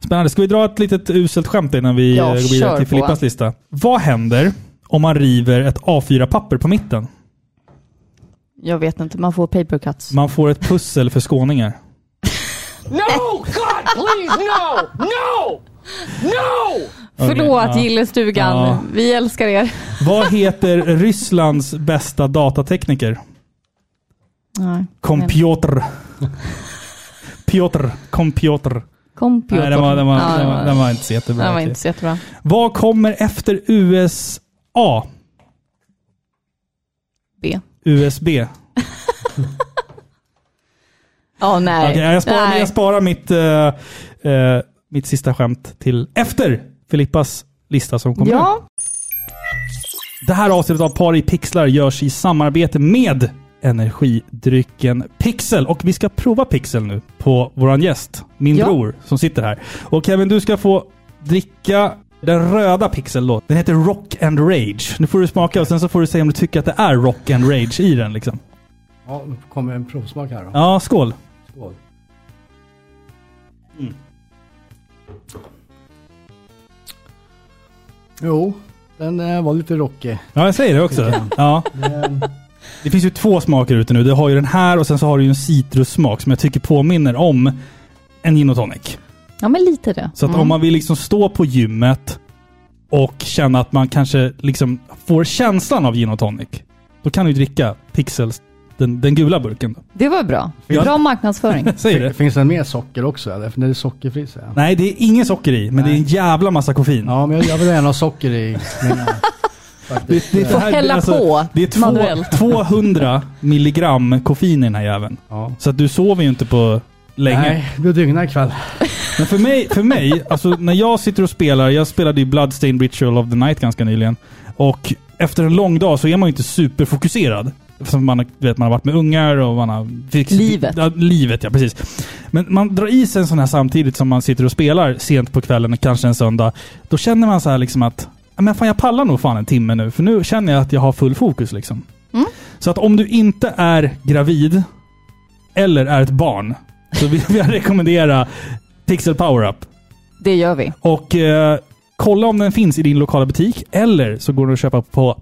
Speaker 1: Spännande. Ska vi dra ett litet uselt skämt innan vi
Speaker 2: Ja,
Speaker 1: eh, går
Speaker 2: kör
Speaker 1: vidare till
Speaker 2: på.
Speaker 1: Filippas lista? Vad händer om man river ett A4-papper på mitten?
Speaker 2: Jag vet inte, man får paper cuts.
Speaker 1: Man får ett pussel för skåningar.
Speaker 4: No! God, please, no! No! No!
Speaker 2: Förlåt
Speaker 1: ja.
Speaker 2: gillestugan,
Speaker 1: Ja.
Speaker 2: vi älskar er.
Speaker 1: Vad heter Rysslands bästa datatekniker?
Speaker 2: Nej.
Speaker 1: Kompjotr. Piotr. Kompjotr.
Speaker 2: Kom Piotr.
Speaker 1: Nej, den var, den, var,
Speaker 2: Ja,
Speaker 1: den, var, den var inte så
Speaker 2: den
Speaker 1: jättebra.
Speaker 2: var
Speaker 1: okej.
Speaker 2: inte så jättebra.
Speaker 1: Vad kommer efter USA?
Speaker 2: B.
Speaker 1: USB.
Speaker 2: Ja, nej.
Speaker 1: Okej, jag, sparar,
Speaker 2: nej.
Speaker 1: jag sparar mitt, eh, eh, mitt sista skämt till efter Filippas lista som kommer ut.
Speaker 2: Ja,
Speaker 1: Det här avsnittet av Par i pixlar görs i samarbete med energidrycken Pixel. Och vi ska prova Pixel nu på våran gäst, min
Speaker 2: Ja.
Speaker 1: bror, som sitter här. Och Kevin, du ska få dricka den röda Pixel då. Den heter Rock and Rage. Nu får du smaka och sen så får du säga om du tycker att det är Rock and Rage i den liksom.
Speaker 3: Ja, kommer en provsmak här då.
Speaker 1: Ja, skål!
Speaker 3: Skål. Jo, den eh, var lite rockig.
Speaker 1: Ja, jag säger det också. Ja. Det finns ju två smaker ute nu. Du har ju den här och sen så har du ju en citrussmak som jag tycker påminner om en gin och tonic.
Speaker 2: ja men lite det. Mm.
Speaker 1: Så att om man vill liksom stå på gymmet och känna att man kanske liksom får känslan av gin och tonic, då kan du ju dricka Pixels, den, den gula burken. Då.
Speaker 2: Det var bra.
Speaker 1: Ja.
Speaker 2: Bra marknadsföring.
Speaker 1: Säger det?
Speaker 3: Finns den med socker också eller? För den är sockerfri säger jag.
Speaker 1: Nej, det är inget socker i, men det är en jävla massa koffein.
Speaker 3: Ja, men jag, jag vill gärna ha socker i. mina- faktiskt.
Speaker 1: Det här-
Speaker 2: hälla på
Speaker 1: det är
Speaker 2: manuellt.
Speaker 1: två, 200 milligram koffein i den här jäveln.
Speaker 3: Ja.
Speaker 1: Så att du sover ju inte på länge.
Speaker 3: Nej, du dygnar ikväll.
Speaker 1: Men för mig, för mig alltså när jag sitter och spelar, jag spelade ju Bloodstained Ritual of the Night ganska nyligen. Och efter en lång dag så är man ju inte superfokuserad. Eftersom man, har- du vet, man har varit med ungar och man har... Fick,
Speaker 2: Livet.
Speaker 1: Ja, livet, ja precis. Men man drar i sig en sån här samtidigt som man sitter och spelar sent på kvällen, kanske en söndag. Då känner man så här liksom att, "Ja, men fan jag pallar nog fan en timme nu, för nu känner jag att jag har full fokus liksom. Så att om du inte är gravid eller är ett barn, så vill jag rekommendera Pixel Power Up.
Speaker 2: Det gör vi.
Speaker 1: Och eh, Kolla om den finns i din lokala butik eller så går den att köpa på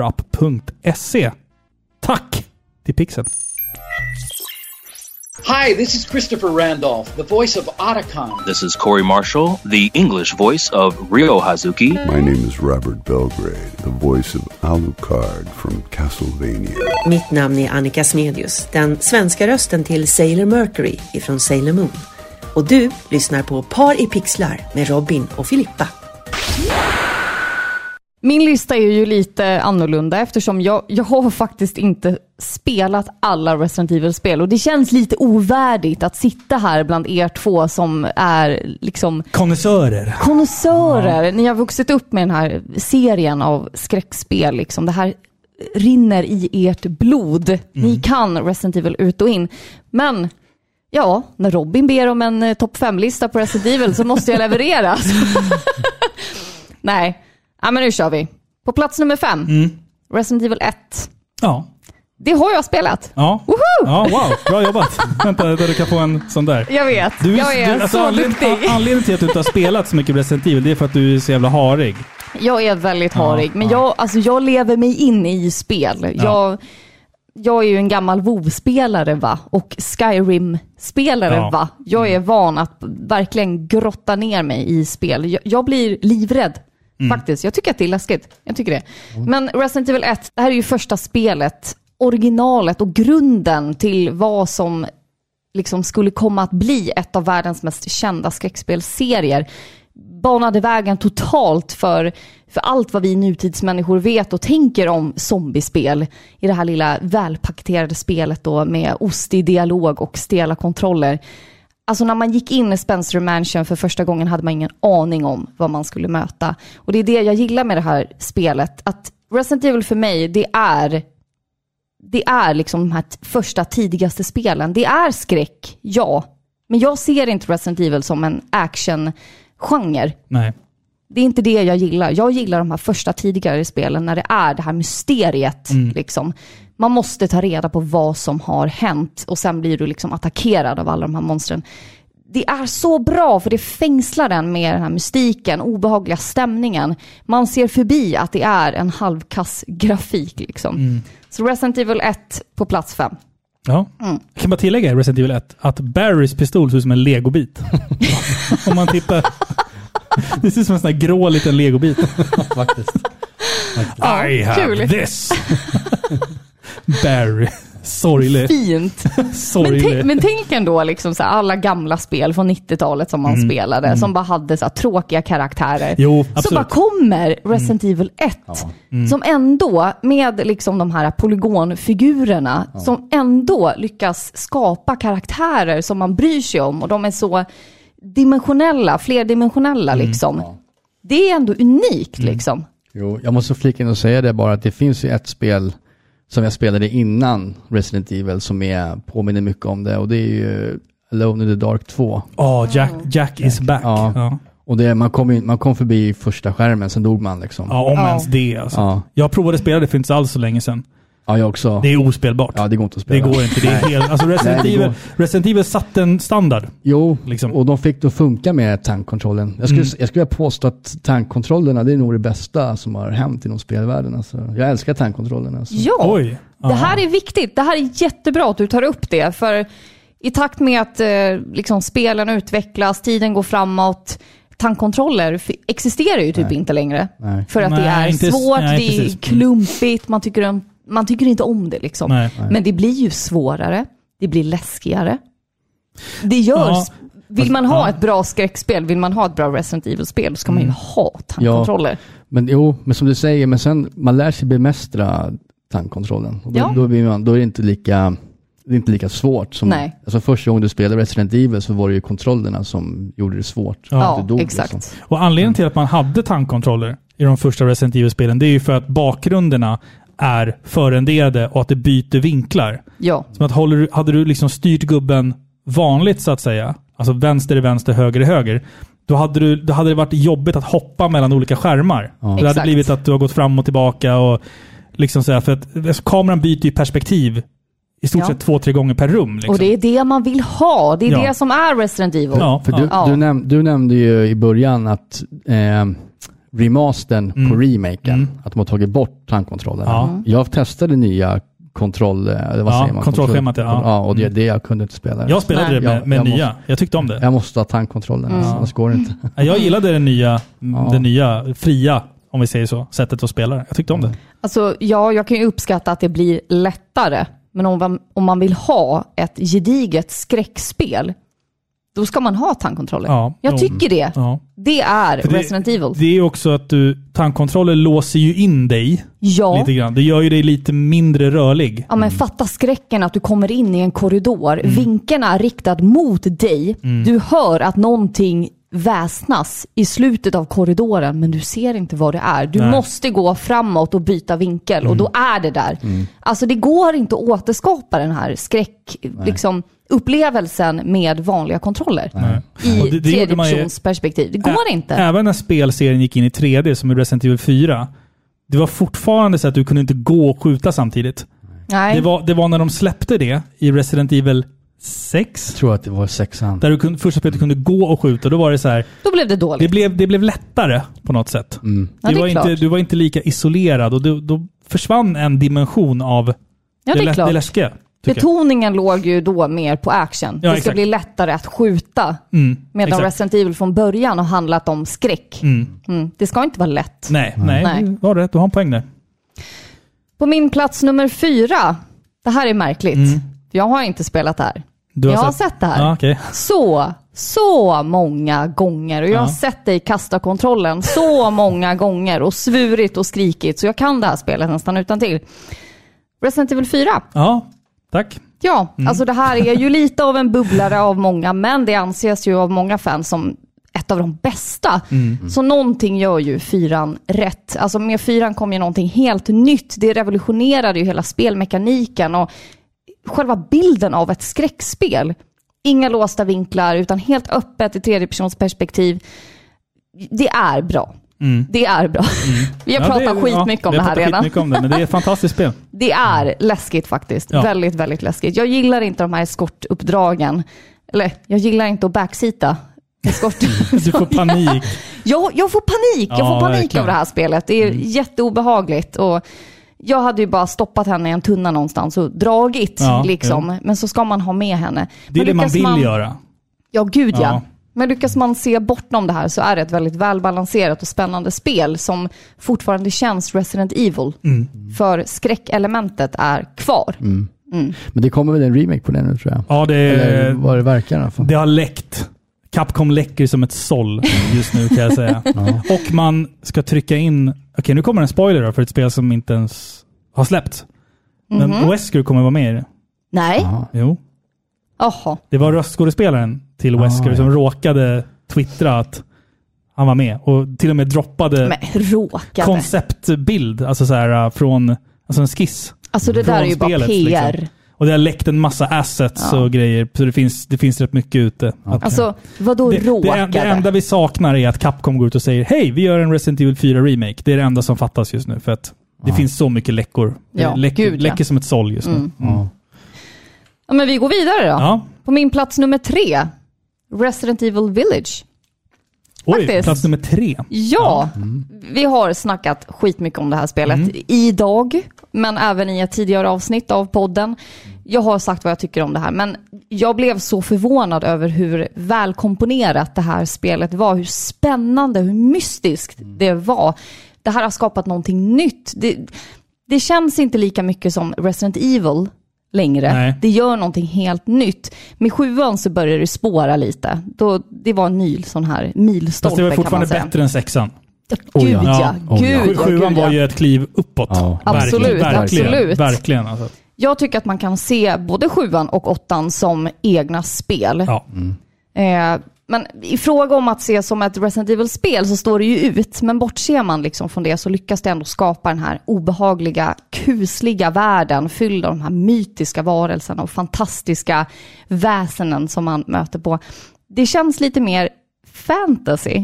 Speaker 1: pxlpowerup.se. Tack till Pixen.
Speaker 7: Hi, this is Christopher Randolph, the voice of Otacon.
Speaker 8: This is Corey Marshall, the English voice of Ryo Hazuki.
Speaker 9: My name is Robert Belgrade, the voice of Alucard from Castlevania.
Speaker 10: Mitt namn är Annika Smedius, den svenska rösten till Sailor Mercury ifrån Sailor Moon. Och du lyssnar på Par i pixlar med Robin och Filippa.
Speaker 2: Min lista är ju lite annorlunda eftersom jag, jag har faktiskt inte spelat alla Resident Evil-spel och det känns lite ovärdigt att sitta här bland er två som är liksom
Speaker 1: Konnässörer.
Speaker 2: konnässörer. Ni har vuxit upp med den här serien av skräckspel. Liksom. Det här rinner i ert blod.
Speaker 1: Mm.
Speaker 2: Ni kan Resident Evil ut och in. Men ja, när Robin ber om en eh, topp 5-lista på Resident Evil så måste jag leverera. Nej, ja, men nu kör vi. På plats nummer fem,
Speaker 1: Mm.
Speaker 2: Resident Evil 1.
Speaker 1: Ja.
Speaker 2: Det har jag spelat.
Speaker 1: Ja.
Speaker 2: Woho!
Speaker 1: ja. Wow, bra jobbat. Vänta, där du kan få en sån där.
Speaker 2: Jag vet,
Speaker 1: Du,
Speaker 2: jag är
Speaker 1: du, alltså,
Speaker 2: så
Speaker 1: anledningen,
Speaker 2: duktig.
Speaker 1: an- Anledningen till att du inte har spelat så mycket Resident Evil, det är för att du är så jävla harig.
Speaker 2: Jag är väldigt harig, men
Speaker 1: ja.
Speaker 2: jag, alltså, jag lever mig in i spel. Jag, jag är ju en gammal WoW-spelare va? och Skyrim-spelare.
Speaker 1: Ja. Mm.
Speaker 2: va? Jag är van att verkligen grotta ner mig i spel. Jag, jag blir livrädd.
Speaker 1: Mm.
Speaker 2: Faktiskt. Jag tycker att det är läskigt. Jag tycker det. Men Resident Evil 1, det här är ju första spelet, originalet och grunden till vad som liksom skulle komma att bli ett av världens mest kända skräckspelserier banade vägen totalt för, för allt vad vi nutidsmänniskor vet och tänker om zombiespel i det här lilla välpaketerade spelet då med ostig dialog och stela kontroller. Alltså när man gick in i Spencer Mansion för första gången hade man ingen aning om vad man skulle möta. Och det är det jag gillar med det här spelet. Att Resident Evil för mig, det är det är liksom de här t- första tidigaste spelen. Det är skräck, ja. Men jag ser inte Resident Evil som en actiongenre.
Speaker 1: Nej.
Speaker 2: Det är inte det jag gillar. Jag gillar de här första tidigare spelen när det är det här mysteriet. Liksom. Man måste ta reda på vad som har hänt och sen blir du liksom attackerad av alla de här monstren. Det är så bra för det fängslar den med den här mystiken, obehagliga stämningen. Man ser förbi att det är en halvkass grafik. Liksom. Så Resident Evil 1 på plats 5.
Speaker 1: Ja.
Speaker 3: Mm.
Speaker 1: Jag kan bara tillägga i Resident Evil 1 att Barrys pistol ser ut som en legobit. Om man tittar. Det ser ut som en sån här grå liten legobit.
Speaker 3: faktiskt.
Speaker 1: I have
Speaker 2: kul.
Speaker 1: this! Barry. Sorglig.
Speaker 2: Fint! Men,
Speaker 1: Sorglig.
Speaker 2: tänk, men tänk ändå liksom så här, alla gamla spel från 90-talet som man spelade, som bara hade så här, tråkiga karaktärer.
Speaker 1: Mm. Jo,
Speaker 2: så
Speaker 1: absolut. Mm.
Speaker 2: bara kommer Resident Evil 1, som ändå med liksom de här polygonfigurerna, som ändå lyckas skapa karaktärer som man bryr sig om och de är så dimensionella, flerdimensionella
Speaker 1: Mm.
Speaker 2: liksom. Det är ändå unikt liksom.
Speaker 3: Jo, jag måste flika in och säga det bara att det finns ju ett spel som jag spelade innan Resident Evil som är, påminner mycket om det och det är ju Alone in the Dark 2.
Speaker 1: Ja, Jack, Jack is back. Ja,
Speaker 3: Ja.
Speaker 1: ja.
Speaker 3: Och det, man, kom in, man kom förbi första skärmen, sen dog man liksom.
Speaker 1: om
Speaker 2: Ja.
Speaker 1: ens det alltså.
Speaker 3: Ja.
Speaker 1: Jag provade att spela det för inte alls så länge sedan.
Speaker 3: Ja, jag också.
Speaker 1: Det är ospelbart.
Speaker 3: ja, det går inte att
Speaker 1: det
Speaker 3: spela.
Speaker 1: går inte. Det är helt, alltså Resident,
Speaker 3: Nej, det går.
Speaker 1: Evil, Resident Evil satte en standard.
Speaker 3: Jo,
Speaker 1: Liksom.
Speaker 3: och de fick det att funka med tankkontrollen. Jag skulle, jag skulle vilja påstå att tankkontrollerna, det är nog det bästa som har hänt inom spelvärlden. Alltså. Jag älskar tankkontrollerna. Alltså.
Speaker 2: Ja,
Speaker 1: Oj.
Speaker 2: det här är viktigt. Det här är jättebra att du tar upp det. För i takt med att eh, liksom, spelen utvecklas, tiden går framåt, tankkontroller f- existerar ju typ inte längre.
Speaker 3: Nej.
Speaker 2: För att det
Speaker 1: Nej,
Speaker 2: är
Speaker 1: inte-
Speaker 2: svårt,
Speaker 1: nej,
Speaker 2: det är
Speaker 1: precis.
Speaker 2: klumpigt, man tycker, om- man tycker inte om det. Liksom.
Speaker 1: Nej.
Speaker 2: Men det blir ju svårare, det blir läskigare. Det görs.
Speaker 1: Ja.
Speaker 2: Vill man ha
Speaker 1: Ja.
Speaker 2: ett bra skräckspel, vill man ha ett bra Resident Evil-spel, så ska
Speaker 3: Mm.
Speaker 2: man ju ha tankkontroller.
Speaker 3: Men jo, men som du säger, men sen man lär sig bemästra tankkontrollen. Och då,
Speaker 2: Ja.
Speaker 3: då, blir man, då är det inte lika, det är inte lika svårt. Som,
Speaker 2: Nej.
Speaker 3: Alltså första gången du spelade Resident Evil så var det ju kontrollerna som gjorde det svårt.
Speaker 2: Ja,
Speaker 3: Att du dog,
Speaker 2: exakt.
Speaker 3: liksom.
Speaker 1: Och anledningen till att man hade tankkontroller i de första Resident Evil-spelen, det är ju för att bakgrunderna är förenderade och att det byter vinklar.
Speaker 2: Ja.
Speaker 1: Som att håller, du- hade du liksom styrt gubben vanligt så att säga, alltså vänster är vänster, höger är höger, då hade, du, då hade det varit jobbigt att hoppa mellan olika skärmar. Det hade
Speaker 2: Exakt.
Speaker 1: blivit att du har gått fram och tillbaka och liksom så här, för att alltså, kameran byter ju perspektiv i stort
Speaker 2: Ja.
Speaker 1: sett två, tre gånger per rum. Liksom.
Speaker 2: Och det är det man vill ha. Det är
Speaker 1: Ja.
Speaker 2: det som är Resident Evil.
Speaker 1: Ja,
Speaker 3: För
Speaker 1: ja.
Speaker 3: du,
Speaker 2: Ja.
Speaker 3: du, näm du nämnde ju i början att eh, remastern på remaken, att de har tagit bort tandkontrollen.
Speaker 1: Mm. Ja.
Speaker 3: Jag testade nya kontroll... eh, Vad
Speaker 1: Ja,
Speaker 3: säger man?
Speaker 1: kontrollschemat, ja. Mm.
Speaker 3: Kontroll- och det är det jag kunde inte spela.
Speaker 1: Jag spelade
Speaker 2: Nej.
Speaker 1: det med,
Speaker 3: Jag-
Speaker 1: med
Speaker 3: jag
Speaker 1: nya. Jag tyckte om det.
Speaker 3: Jag måste ha tandkontrollen, mm. annars går det inte.
Speaker 1: Nej,
Speaker 2: Mm.
Speaker 1: Jag gillade det nya,
Speaker 3: Ja.
Speaker 1: det nya fria, om vi säger så, sättet att spela det. Jag tyckte om det.
Speaker 2: Alltså, ja, jag kan ju uppskatta att det blir lättare. Men om man, om man vill ha ett gediget skräckspel, då ska man ha tandkontroller.
Speaker 1: Ja,
Speaker 2: jag
Speaker 1: jo.
Speaker 2: tycker det.
Speaker 1: Ja.
Speaker 2: Det är
Speaker 1: För det-
Speaker 2: Resident Evil.
Speaker 1: Det är ju också att du, tandkontroller låser ju in dig
Speaker 2: ja.
Speaker 1: lite grann. Det gör ju dig lite mindre rörlig.
Speaker 2: ja, men fatta skräcken att du kommer in i en korridor.
Speaker 1: Mm.
Speaker 2: Vinkeln är riktad mot dig. Du hör att någonting väsnas i slutet av korridoren, men du ser inte vad det är. Du
Speaker 1: Nej. Mm.
Speaker 2: måste gå framåt och byta vinkel och då är det där. Alltså det går inte att återskapa den här skräck, liksom, upplevelsen med vanliga kontroller.
Speaker 1: Och
Speaker 2: I
Speaker 1: det- det gjorde man ju-
Speaker 2: tredjepersonsperspektiv. Det går
Speaker 1: Ä-
Speaker 2: inte.
Speaker 1: Även när spelserien gick in i 3D, som i Resident Evil 4, det var fortfarande så att du kunde inte gå och skjuta samtidigt.
Speaker 2: Nej.
Speaker 1: Det var, det var när de släppte det i Resident Evil 6,
Speaker 3: Jag tror att det var sexan.
Speaker 1: där du kunde, första spelet du kunde gå och skjuta. Då var det så här,
Speaker 2: Då blev det dåligt.
Speaker 1: det blev, det blev lättare på något sätt.
Speaker 2: Mm. Ja, det
Speaker 1: Du,
Speaker 2: är
Speaker 1: var
Speaker 2: klart.
Speaker 1: inte, du var inte lika isolerad och då, då försvann en dimension av
Speaker 2: ja,
Speaker 1: det,
Speaker 2: det är
Speaker 1: lä-
Speaker 2: klart.
Speaker 1: det läskiga. tycker jag.
Speaker 2: Betoningen låg ju då mer på action. det ska
Speaker 1: exakt. Mm,
Speaker 2: bli lättare att skjuta. medan
Speaker 1: exakt.
Speaker 2: Resident Evil från början har handlat om skräck. Mm, det ska inte vara lätt.
Speaker 1: Nej, nej,
Speaker 2: Nej.
Speaker 1: du har rätt. Du har en poäng där.
Speaker 2: På min plats nummer fyra. Det här är märkligt. Jag har inte spelat det här.
Speaker 1: Mm. Du
Speaker 2: jag har sett det här.
Speaker 1: Ja, okej.
Speaker 2: Så, så många gånger. Och jag har
Speaker 1: Ja.
Speaker 2: sett dig kasta kontrollen så många gånger och svurit och skrikit. Så jag kan det här spelet nästan utan till. Resident Evil 4.
Speaker 1: ja tack.
Speaker 2: Ja,
Speaker 1: Mm.
Speaker 2: alltså det här är ju lite av en bubblare av många, men det anses ju av många fans som ett av de bästa.
Speaker 1: Mm.
Speaker 2: Så någonting gör ju fyran rätt. Alltså med fyran kom ju någonting helt nytt. Det revolutionerade ju hela spelmekaniken och själva bilden av ett skräckspel. Inga låsta vinklar, utan helt öppet i tredjepersonsperspektiv. Det är bra. Det är bra. Vi har
Speaker 1: Mm. Ja,
Speaker 2: pratat
Speaker 1: det-
Speaker 2: skitmycket om
Speaker 1: vi
Speaker 2: det
Speaker 1: har
Speaker 2: här
Speaker 1: pratat
Speaker 2: redan.
Speaker 1: skitmycket om det, men det är ett fantastiskt spel.
Speaker 2: Det är läskigt faktiskt.
Speaker 1: Ja.
Speaker 2: Väldigt, väldigt läskigt. Jag gillar inte de här eskortuppdragen. Eller, jag gillar inte att backsita eskort.
Speaker 1: Mm. Du får panik.
Speaker 2: jag, jag får panik. Jag
Speaker 1: Ja,
Speaker 2: får panik
Speaker 1: verkligen. Mm.
Speaker 2: av det här spelet. Det är jätteobehagligt. Och jag hade ju bara stoppat henne i en tunna någonstans och dragit.
Speaker 1: Ja,
Speaker 2: liksom. Men så ska man ha med henne.
Speaker 1: Det är
Speaker 2: Men
Speaker 1: det man
Speaker 2: lyckas
Speaker 1: vill göra.
Speaker 2: Ja, gud ja.
Speaker 1: Ja.
Speaker 2: Men lyckas man se bortom det här så är det ett väldigt välbalanserat och spännande spel som fortfarande känns Resident Evil.
Speaker 1: Mm.
Speaker 2: För skräckelementet är kvar.
Speaker 3: Men det kommer väl en remake på den nu tror jag.
Speaker 1: Ja,
Speaker 3: Eller
Speaker 1: det,
Speaker 3: vad det verkar i alla fall.
Speaker 1: Eh, det har läckt. Capcom läcker som ett såll just nu kan jag säga. Och man ska trycka in... Okej, nu kommer en spoiler då för ett spel som inte ens har släppts. Men
Speaker 2: Mhm.
Speaker 1: Wesker kommer vara med i det.
Speaker 2: Nej.
Speaker 1: Jo.
Speaker 2: Jaha.
Speaker 1: Det var röstskådespelaren till Wesker
Speaker 3: ja.
Speaker 1: som råkade twittra att han var med och till och med droppade
Speaker 2: Men råkade.
Speaker 1: konceptbild, alltså så här äh, från, alltså en skiss.
Speaker 2: alltså det där är ju
Speaker 1: från
Speaker 2: bara
Speaker 1: spelet,
Speaker 2: PR.
Speaker 1: liksom. Och det har läckt en massa assets
Speaker 2: Ja.
Speaker 1: och grejer, så det finns, det finns rätt mycket ute. Att-
Speaker 2: Alltså vadå
Speaker 1: det, det,
Speaker 2: råkade?
Speaker 1: en- det enda vi saknar är att Capcom går ut och säger hej, vi gör en Resident Evil 4 remake. Det är det enda som fattas just nu för att det finns så mycket läckor.
Speaker 2: Ja,
Speaker 1: Det läcker,
Speaker 2: gud, ja. Mm.
Speaker 1: läcker som ett såll just nu. Mm.
Speaker 3: Ja.
Speaker 2: Ja, men vi går vidare då.
Speaker 1: Ja.
Speaker 2: På min plats nummer tre. Resident Evil Village.
Speaker 1: Oj,
Speaker 2: Faktiskt.
Speaker 1: plats nummer tre.
Speaker 2: Ja, Mm. vi har snackat skitmycket om det här spelet
Speaker 1: Mm.
Speaker 2: idag, men även i ett tidigare avsnitt av podden. Jag har sagt vad jag tycker om det här, men jag blev så förvånad över hur välkomponerat det här spelet var, hur spännande, hur mystiskt
Speaker 1: Mm.
Speaker 2: det var. Det här har skapat någonting nytt. Det, det känns inte lika mycket som Resident Evil längre.
Speaker 1: Nej.
Speaker 2: Det gör någonting helt nytt. Med sjuan så började det spåra lite. Då, det var en ny sån här milstolpe
Speaker 1: Fast det var
Speaker 2: kan man
Speaker 1: fortfarande
Speaker 2: säga.
Speaker 1: bättre än sexan.
Speaker 2: Gud ja,
Speaker 1: Ja.
Speaker 3: Oh ja.
Speaker 2: gud ja. Gud,
Speaker 1: Sjuan
Speaker 2: ja.
Speaker 1: var ju ett kliv uppåt.
Speaker 3: Ja.
Speaker 2: Absolut,
Speaker 1: verkligen,
Speaker 2: absolut.
Speaker 1: Verkligen. Alltså.
Speaker 2: Jag tycker att man kan se både sjuan och åttan som egna spel.
Speaker 1: Ja.
Speaker 3: Mm.
Speaker 2: Eh, men i fråga om att se som ett Resident Evil-spel så står det ju ut, men bortser man liksom från det så lyckas det ändå skapa den här obehagliga, kusliga världen fylld av de här mytiska varelserna och fantastiska väsenen som man möter på. Det känns lite mer fantasy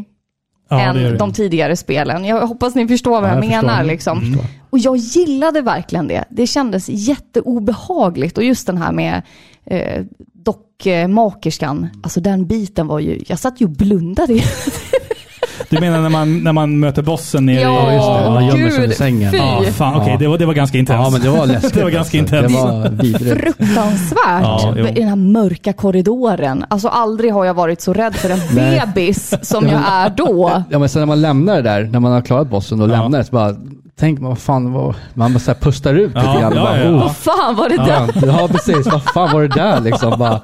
Speaker 1: Ja, det gör
Speaker 2: än
Speaker 1: det.
Speaker 2: de tidigare spelen. Jag hoppas ni förstår vad
Speaker 3: Ja,
Speaker 2: jag,
Speaker 3: jag förstår.
Speaker 2: menar. Liksom. Och Och jag gillade verkligen det. Det kändes jätteobehagligt. Och just den här med eh, dockmakerskan, alltså den biten var ju, jag satt ju och blundade.
Speaker 1: Du menar när man, när man möter bossen nere
Speaker 2: Ja,
Speaker 1: i...
Speaker 3: just det. Man gömmer sig under
Speaker 2: gud,
Speaker 3: sängen.
Speaker 2: fy.
Speaker 1: Ja, fan okej.
Speaker 3: Ja.
Speaker 1: Det, var, det var ganska intenskt.
Speaker 3: Ja, men det var läskigt. alltså.
Speaker 1: Det var ganska intensivt.
Speaker 3: Det var vidrigt.
Speaker 2: Fruktansvärt!
Speaker 1: Ja, jo.
Speaker 2: I den här mörka korridoren. Alltså aldrig har jag varit så rädd för en
Speaker 3: Nej.
Speaker 2: bebis som jag är då.
Speaker 3: Ja, men sen när man lämnar det där, när man har klarat bossen och lämnar det, så bara, tänk man, vad fan, vad, man bara så här pustar ut
Speaker 1: Ja,
Speaker 3: lite grann.
Speaker 1: ja,
Speaker 3: bara,
Speaker 1: ja, ja.
Speaker 3: Oh,
Speaker 2: Vad fan var det där?
Speaker 3: Ja, ja, precis. Vad fan var det där liksom? Bara,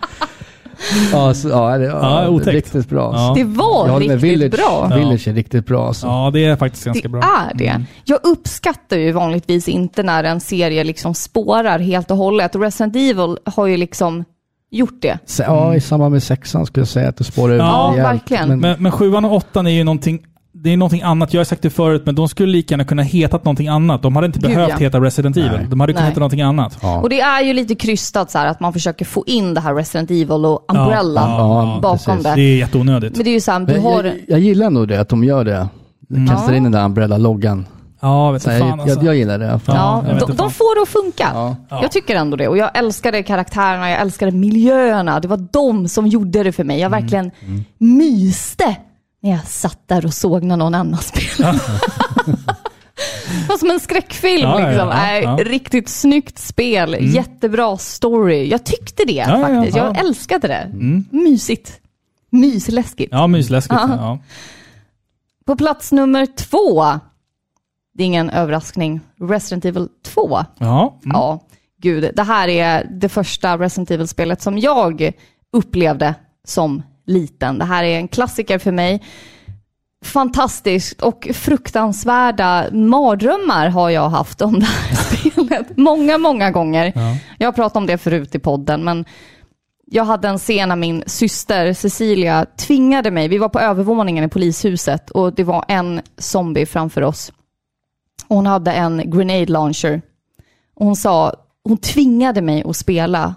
Speaker 3: ja, så, ja, det, ja,
Speaker 1: Ja, otäckt.
Speaker 3: Riktigt bra.
Speaker 1: Ja.
Speaker 2: Det
Speaker 3: Jag
Speaker 2: var
Speaker 3: håller med,
Speaker 2: riktigt
Speaker 3: Village,
Speaker 2: bra.
Speaker 3: Village är riktigt bra. Alltså.
Speaker 1: Ja, det är faktiskt ganska
Speaker 2: det
Speaker 1: bra. Mm.
Speaker 2: är det. Jag uppskattar ju vanligtvis inte när en serie liksom spårar helt och hållet. Resident Evil har ju liksom gjort det.
Speaker 3: Se- Ja, i samband med sexan skulle jag säga att det spårar ur
Speaker 1: Ja,
Speaker 3: rejält,
Speaker 2: verkligen.
Speaker 3: Men,
Speaker 1: Men, men sjuan och åttan är ju någonting, det är någonting annat. Jag har sagt det förut, men de skulle lika gärna kunna hetat någonting annat. De hade inte
Speaker 2: Gud,
Speaker 1: behövt
Speaker 2: ja.
Speaker 1: heta Resident Evil. De hade kunnat
Speaker 2: Nej.
Speaker 1: heta någonting annat.
Speaker 3: ja.
Speaker 2: Och det är ju lite krystat så här att man försöker få in det här Resident Evil och
Speaker 1: Ja,
Speaker 2: Umbrella
Speaker 1: ja,
Speaker 2: bakom
Speaker 3: precis.
Speaker 1: Det
Speaker 2: det.
Speaker 1: är jätteonödigt.
Speaker 2: Men det är ju så här, du
Speaker 3: Men
Speaker 2: har...
Speaker 3: jag, jag gillar nog det, att de gör det. Kastar in den där Umbrella-loggan.
Speaker 1: Mm. Ja, vet
Speaker 3: Så
Speaker 1: du
Speaker 3: jag,
Speaker 1: fan alltså.
Speaker 3: jag, jag gillar det.
Speaker 2: Ja,
Speaker 1: Ja, jag vet
Speaker 2: de,
Speaker 1: inte fan.
Speaker 2: de får det att funka.
Speaker 3: Ja.
Speaker 2: Jag tycker ändå det. Och jag älskade karaktärerna, jag älskade miljöerna. Det var de som gjorde det för mig. Jag
Speaker 1: Mm.
Speaker 2: verkligen myste när jag satt där och såg när någon annan spelade. Det var som en skräckfilm.
Speaker 1: Ja, ja,
Speaker 2: liksom.
Speaker 1: ja,
Speaker 2: Nej,
Speaker 1: ja. Mm.
Speaker 2: Riktigt snyggt spel, jättebra story. Jag tyckte det
Speaker 1: ja,
Speaker 2: faktiskt.
Speaker 1: ja. Mm.
Speaker 2: Jag älskade det. Mysigt. Mysläskigt.
Speaker 1: Ja, mysläskigt.
Speaker 2: Ja.
Speaker 1: Ja.
Speaker 2: På plats nummer två, det är ingen överraskning, Resident Evil 2.
Speaker 1: Ja. Mm.
Speaker 2: Ja, gud. Det här är det första Resident Evil-spelet som jag upplevde som liten. Det här är en klassiker för mig. Fantastiskt och fruktansvärda mardrömmar har jag haft om det här spelet. Många, många gånger. Jag har pratat om det förut i podden, men jag hade en scen när min syster Cecilia tvingade mig. Vi var på övervåningen i polishuset och det var en zombie framför oss. Och Hon hade en grenade launcher. Och hon sa, hon tvingade mig att spela.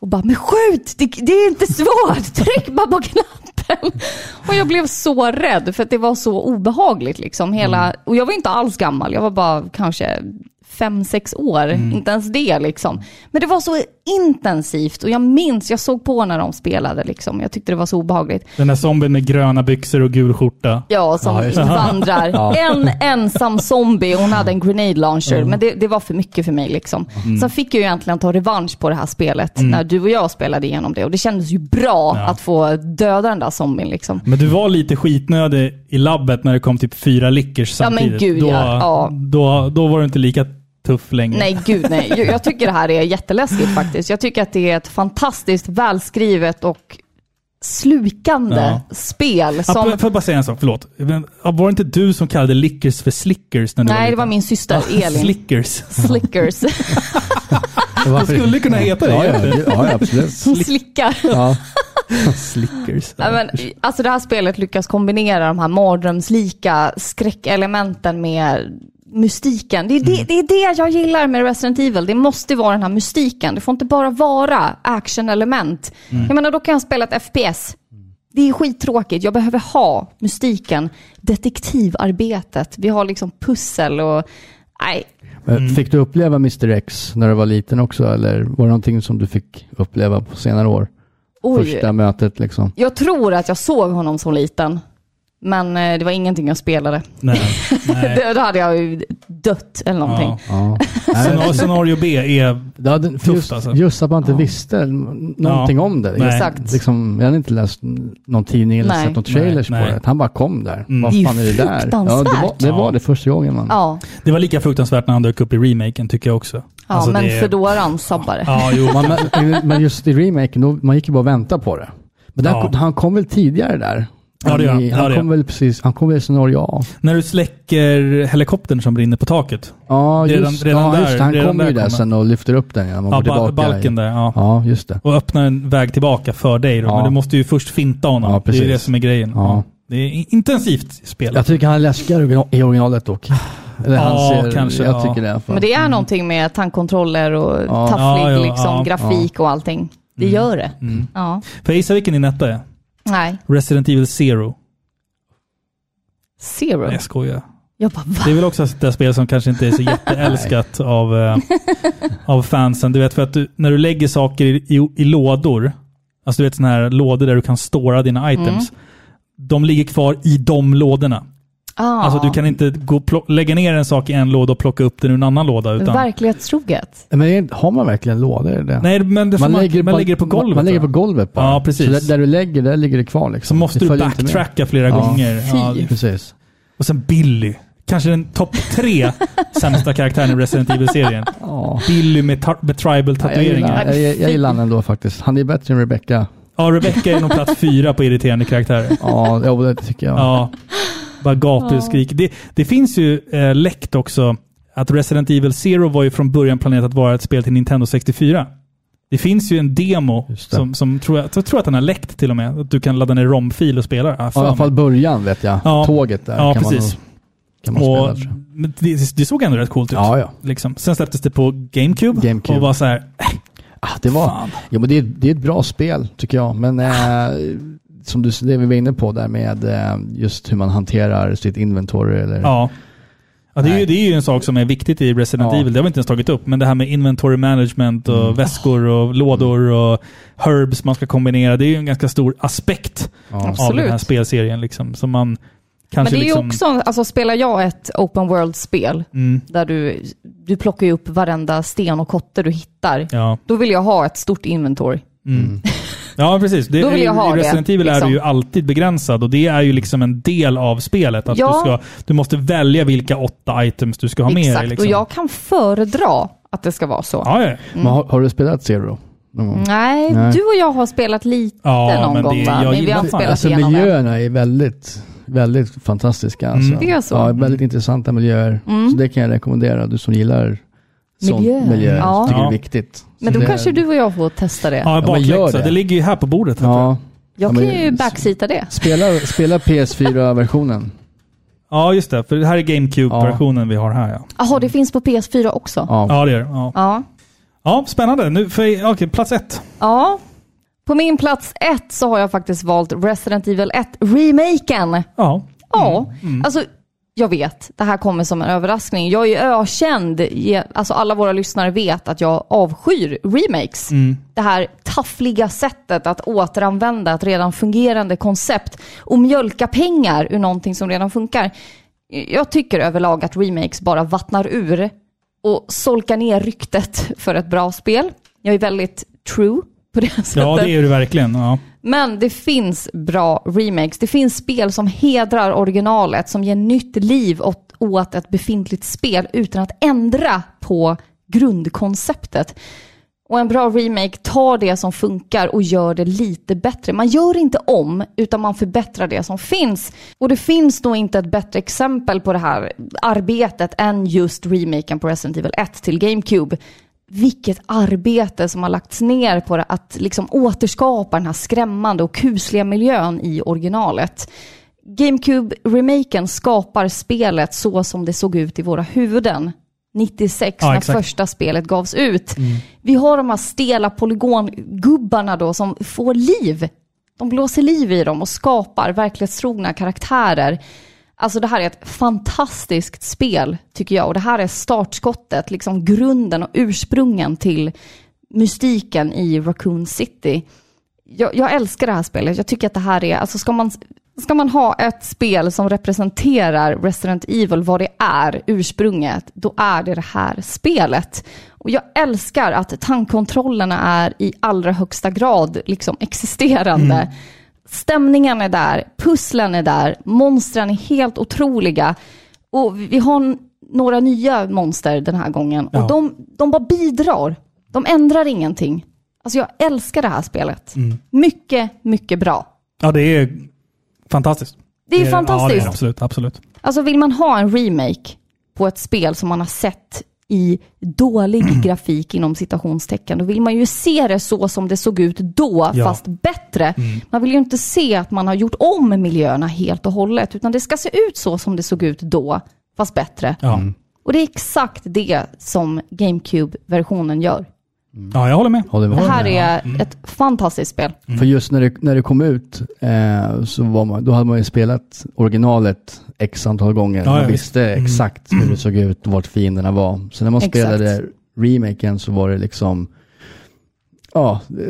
Speaker 2: Och bara, men skjut! Det, det är inte svårt! Tryck bara på knappen! Och jag blev så rädd för att det var så obehagligt. Liksom. Hela, Och jag var inte alls gammal, jag var bara kanske fem, sex år. Inte ens det liksom. Men det var så intensivt och jag minns, jag såg på när de spelade. Liksom. Jag tyckte det var så obehagligt.
Speaker 1: Den där zombien med gröna byxor och gul skjorta.
Speaker 2: Ja, som vandrar. En ensam zombie och hon hade en grenade launcher. Men det, det var för mycket för mig. Liksom. Sen fick jag ju egentligen ta revansch på det här spelet när du och jag spelade igenom det. Och det kändes ju bra att få döda den där zombien. Liksom.
Speaker 1: Men du var lite skitnödig i labbet när det kom typ fyra lickers
Speaker 2: Ja, men
Speaker 1: samtidigt.
Speaker 2: gud,
Speaker 1: då,
Speaker 2: ja. Ja.
Speaker 1: Då, då var du inte lika tuff längre.
Speaker 2: Nej, gud nej. Jag, jag tycker det här är jätteläskigt faktiskt. Jag tycker att det är ett fantastiskt välskrivet och slukande
Speaker 1: Ja.
Speaker 2: spel.
Speaker 1: Som...
Speaker 2: Som,
Speaker 1: Får jag bara säga en sak? Förlåt. Men, ja, Var det inte du som kallade lickers för slickers? När du
Speaker 2: nej, det var
Speaker 1: liten?
Speaker 2: min syster Elin.
Speaker 1: Slickers.
Speaker 2: Slickers.
Speaker 1: De skulle kunna heta det.
Speaker 3: Ja, ja,
Speaker 1: egentligen.
Speaker 3: det- ja, ja absolut.
Speaker 2: Hon slickar.
Speaker 3: Ja.
Speaker 1: Slickers.
Speaker 2: Ja, men, alltså det här spelet lyckas kombinera de här mardrömslika skräckelementen med mystiken. Det är
Speaker 1: Mm.
Speaker 2: det, det är det jag gillar med Resident Evil. Det måste vara den här mystiken. Det får inte bara vara actionelement.
Speaker 1: Mm.
Speaker 2: Jag menar, då kan jag spela ett FPS. Det är skittråkigt. Jag behöver ha mystiken, detektivarbetet. Vi har liksom pussel och... Nej,
Speaker 3: Men Eh,
Speaker 1: Mm.
Speaker 3: Fick du uppleva Mr X när du var liten också, eller var det någonting som du fick uppleva på senare år?
Speaker 2: oj.
Speaker 3: Första mötet liksom.
Speaker 2: Jag tror att jag såg honom som liten, men eh, det var ingenting jag spelade.
Speaker 1: Nej. Nej.
Speaker 2: Då hade jag ju dött eller någonting.
Speaker 1: Ja.
Speaker 3: Ja.
Speaker 1: Scenar- Scenario B är...
Speaker 3: Ja, det, för
Speaker 1: Tufft
Speaker 3: just,
Speaker 1: alltså.
Speaker 3: just att man inte visste n- någonting
Speaker 1: Ja.
Speaker 3: om det.
Speaker 1: Nej.
Speaker 2: Exakt.
Speaker 3: Liksom, jag hade inte läst n- någon tidning eller
Speaker 2: Nej.
Speaker 3: sett någon trailers
Speaker 1: Nej, Mm.
Speaker 3: på
Speaker 1: nej.
Speaker 3: det. Han bara kom där.
Speaker 2: Det är
Speaker 3: Vad
Speaker 2: ju
Speaker 3: fan är det där? Ja, det, var,
Speaker 2: fruktansvärt.
Speaker 3: det var det första gången man.
Speaker 2: Ja,
Speaker 1: Det var lika fruktansvärt när han dök upp i remaken tycker jag också.
Speaker 2: ja
Speaker 1: Alltså,
Speaker 2: men
Speaker 1: det är-
Speaker 2: fedoran sabbade.
Speaker 1: Ja, jo.
Speaker 3: Man, man, men just i remaken, då, man gick ju bara och väntade på det. Men där,
Speaker 1: Ja.
Speaker 3: kom- han kom väl tidigare där?
Speaker 1: Ja, det gör han.
Speaker 3: I-
Speaker 1: Ja,
Speaker 3: han
Speaker 1: det gör
Speaker 3: kom väl precis, han kom väl i scenario A.
Speaker 1: När du släcker helikoptern som brinner på taket.
Speaker 3: Ja, just,
Speaker 1: Redan- redan
Speaker 3: ja,
Speaker 1: där-
Speaker 3: just det. Han
Speaker 1: redan
Speaker 3: kommer ju
Speaker 1: där
Speaker 3: där
Speaker 1: kommer-
Speaker 3: sen och lyfter upp den innan man
Speaker 1: Ja,
Speaker 3: går
Speaker 1: ba-
Speaker 3: tillbaka.
Speaker 1: balken där. Ja.
Speaker 3: Ja, just det.
Speaker 1: Och öppnar en väg tillbaka för dig. Då.
Speaker 3: Ja.
Speaker 1: Men du måste ju först finta honom.
Speaker 3: Ja,
Speaker 1: det är ju
Speaker 3: precis.
Speaker 1: det som är grejen.
Speaker 3: Ja.
Speaker 1: Det är i- intensivt spel.
Speaker 3: Jag tycker han är läskigare original- i originalet dock. Eller
Speaker 1: Ja,
Speaker 3: han ser,
Speaker 1: kanske,
Speaker 3: Jag
Speaker 1: ja.
Speaker 3: tycker det i alla fall.
Speaker 2: Men det är någonting med tandkontroller och
Speaker 3: Ja.
Speaker 2: tafflig
Speaker 1: Ja, ja,
Speaker 2: liksom,
Speaker 1: ja, Mm.
Speaker 2: grafik och allting. Det gör det. Ja.
Speaker 1: Får jag gissa vilken din etta är?
Speaker 2: Nej,
Speaker 1: Resident Evil Zero.
Speaker 2: zero.
Speaker 1: Nej, jag skojar.
Speaker 2: Jag bara va?
Speaker 1: Det är väl också ett där spel som kanske inte är så jätteälskat av, eh, av fansen. Du vet, för att du, när du lägger saker i, i, i lådor, alltså du vet sådana här lådor där du kan stora dina items,
Speaker 3: Mm.
Speaker 1: de ligger kvar i de lådorna.
Speaker 2: Ah,
Speaker 1: Alltså du kan inte gå, och plock- lägga ner en sak i en låda och plocka upp den ur en annan låda. Utan,
Speaker 2: Verklighetstroget.
Speaker 3: Men är- har man verkligen lådor i det?
Speaker 1: Nej, men det får man, man, lägger,
Speaker 3: bara-
Speaker 1: det på golvet.
Speaker 3: Man, man lägger
Speaker 1: va?
Speaker 3: på golvet bara.
Speaker 1: Ja, precis.
Speaker 3: Så där, där du lägger, där ligger det kvar liksom.
Speaker 1: så måste
Speaker 3: Det
Speaker 1: du
Speaker 3: följer inte med.
Speaker 1: backtracka flera
Speaker 3: Ja.
Speaker 1: gånger. Ja,
Speaker 2: Fy.
Speaker 3: Precis.
Speaker 1: och sen Billy. Kanske den topp tre sämsta karaktären i Resident Evil-serien.
Speaker 3: Ja.
Speaker 1: Billy med, tar- med
Speaker 3: Jag gillar,
Speaker 1: tribal-tatueringar.
Speaker 3: jag, jag gillar han ändå faktiskt. Han är bättre än Rebecca.
Speaker 1: Ja, Rebecca är nog plats fyra på irriterande karaktärer.
Speaker 3: Ja, jo, det tycker jag.
Speaker 1: Ja. Bara gapskrik. Det, det finns ju eh, läckt också att Resident Evil Zero var ju från början planerat att vara ett spel till Nintendo 64. Det finns ju en demo
Speaker 3: Just det.
Speaker 1: som, som tror, jag, jag tror att den har läckt till och med. Att du kan ladda ner romfil och spela. Ah,
Speaker 3: Ja,
Speaker 1: fan.
Speaker 3: I alla fall början vet jag.
Speaker 1: Ja.
Speaker 3: Tåget där
Speaker 1: Ja,
Speaker 3: kan,
Speaker 1: precis.
Speaker 3: man, nog- kan man spela.
Speaker 1: och, typ-
Speaker 3: tror jag.
Speaker 1: men det, det såg ändå rätt coolt ut.
Speaker 3: Ja, ja.
Speaker 1: Liksom. Sen släpptes det på GameCube,
Speaker 3: GameCube.
Speaker 1: och var så här,
Speaker 3: Ah, det, var,
Speaker 1: Fan.
Speaker 3: jo, men det, är, det är ett bra spel tycker jag, men eh, som du det vi var inne på där med eh, just hur man hanterar sitt inventory. Eller,
Speaker 1: ja. Ja, det, är ju,
Speaker 3: Nej.
Speaker 1: det är ju en sak som är viktigt i Resident
Speaker 3: Ja.
Speaker 1: Evil. Det har vi inte ens tagit upp. Men det här med inventory management och
Speaker 2: Mm.
Speaker 1: väskor och lådor och herbs man ska kombinera. Det är ju en ganska stor aspekt
Speaker 3: ja.
Speaker 1: av den här
Speaker 2: Absolut.
Speaker 1: spelserien. Liksom, som man kanske
Speaker 2: Men det är ju
Speaker 1: liksom, Mm.
Speaker 2: också, alltså spelar jag ett open world-spel där du, du plockar ju upp varenda sten och kotte du hittar,
Speaker 1: Ja, Mm.
Speaker 2: då vill jag ha ett stort inventory.
Speaker 1: ja precis. Det,
Speaker 2: Mm. Då vill jag
Speaker 1: i-
Speaker 2: ha
Speaker 1: I
Speaker 2: det,
Speaker 1: Resident Evil är
Speaker 2: liksom.
Speaker 1: du ju alltid begränsad och det är ju liksom en del av spelet. Att
Speaker 2: Ja.
Speaker 1: du, ska, du måste välja vilka åtta items du ska ha med
Speaker 2: Exakt,
Speaker 1: dig. Liksom.
Speaker 2: och jag kan föredra att det ska vara så.
Speaker 1: Ja, ja.
Speaker 3: Men har, har du spelat Zero? Någon gång?
Speaker 2: Nej,
Speaker 3: Nej.
Speaker 2: du och jag har spelat lite
Speaker 1: Ja,
Speaker 2: någon
Speaker 1: men
Speaker 2: gång
Speaker 1: det-
Speaker 2: va?
Speaker 1: jag
Speaker 2: Men vi
Speaker 1: gillar
Speaker 2: har inte
Speaker 1: fan-
Speaker 2: spelat
Speaker 3: Alltså
Speaker 2: igenom det.
Speaker 3: miljöerna är väldigt, väldigt fantastiska.
Speaker 1: Mm.
Speaker 3: Alltså.
Speaker 2: Det är så. Mm.
Speaker 3: Ja, väldigt intressanta miljöer. Så det kan jag rekommendera, du som gillar sån
Speaker 2: Miljöer.
Speaker 3: miljö.
Speaker 2: Ja.
Speaker 3: Ja. tycker det
Speaker 1: Ja.
Speaker 3: är viktigt.
Speaker 2: Men
Speaker 3: Så
Speaker 2: då
Speaker 3: det,
Speaker 2: kanske du och jag får testa det.
Speaker 1: Ja,
Speaker 3: men gör
Speaker 1: bakläxa.
Speaker 3: det.
Speaker 1: Det. ligger ju här på bordet. vet du.
Speaker 3: Ja,
Speaker 2: jag
Speaker 3: ja,
Speaker 2: kan
Speaker 3: men-
Speaker 2: ju backsita det.
Speaker 3: spela, spela PS4-versionen.
Speaker 1: ja, just det. För det här är GameCube-versionen vi har här. Ja,
Speaker 2: Jaha, det finns på PS4 också?
Speaker 3: Ja.
Speaker 1: ja det gör det. Ja.
Speaker 2: Ja.
Speaker 1: ja, spännande. Nu, för, okay, plats ett.
Speaker 2: Ja. På min plats ett så har jag faktiskt valt Resident Evil 1-remaken.
Speaker 1: Ja.
Speaker 2: Ja,
Speaker 1: Mm.
Speaker 2: alltså jag vet, det här kommer som en överraskning. Jag är ju ökänd, ge- alltså alla våra lyssnare vet att jag avskyr remakes.
Speaker 1: Mm.
Speaker 2: Det här taffliga sättet att återanvända ett redan fungerande koncept och mjölka pengar ur någonting som redan funkar. Jag tycker överlag att remakes bara vattnar ur och solkar ner ryktet för ett bra spel. Jag är väldigt true på det sättet.
Speaker 1: ja, det är det verkligen. Ja.
Speaker 2: Men det finns bra remakes. Det finns spel som hedrar originalet, som ger nytt liv åt, åt ett befintligt spel utan att ändra på grundkonceptet. Och en bra remake tar det som funkar och gör det lite bättre. Man gör inte om, utan man förbättrar det som finns. Och det finns nog inte ett bättre exempel på det här arbetet än just remaken på Resident Evil 1 till GameCube. Vilket arbete som har lagts ner på det, att liksom återskapa den här skrämmande och kusliga miljön i originalet. GameCube-remaken skapar spelet så som det såg ut i våra huvuden 96
Speaker 1: Ja,
Speaker 2: när
Speaker 1: exakt. Mm.
Speaker 2: första spelet gavs ut. Vi har de här stela polygongubbarna då som får liv. De blåser liv i dem och skapar verklighetstrogna karaktärer. Alltså det här är ett fantastiskt spel tycker jag och det här är startskottet, liksom grunden och ursprungen till mystiken i Raccoon City jag, jag älskar det här spelet. Jag tycker att det här är, alltså ska man, ska man ha ett spel som representerar Resident Evil, vad det är, ursprunget, då är det det här spelet. Och jag älskar att tankkontrollerna är i allra högsta grad liksom existerande. Stämningen är där, pusslen är där, monstren är helt otroliga. Och vi har n- några nya monster den här gången.
Speaker 1: Ja.
Speaker 2: Och de, de bara bidrar. De ändrar ingenting. Alltså jag älskar det här spelet. Mycket, mycket bra.
Speaker 1: ja, det är fantastiskt.
Speaker 2: Det är
Speaker 1: Ja,
Speaker 2: fantastiskt.
Speaker 1: det är, absolut, absolut.
Speaker 2: Alltså vill man ha en remake på ett spel som man har sett i
Speaker 1: Mm.
Speaker 2: dålig grafik inom citationstecken, då vill man ju se det så som det såg ut då,
Speaker 1: Ja. Mm.
Speaker 2: fast bättre. Man vill ju inte se att man har gjort om miljöerna helt och hållet, utan det ska se ut så som det såg ut då, fast bättre.
Speaker 3: Mm.
Speaker 1: Ja.
Speaker 2: Och det är exakt det som GameCube-versionen gör.
Speaker 1: Ja, jag håller med.
Speaker 3: Håller med.
Speaker 2: Det här
Speaker 1: Mm.
Speaker 2: är ett fantastiskt spel.
Speaker 3: För just när det, när det kom ut, eh, så var man, då hade man ju spelat originalet x antal gånger.
Speaker 1: Ja,
Speaker 3: man
Speaker 1: ja, Mm.
Speaker 3: visste exakt hur det såg ut och vart fienderna var. Så när man
Speaker 2: Exakt.
Speaker 3: spelade remaken så var det liksom, ja, det,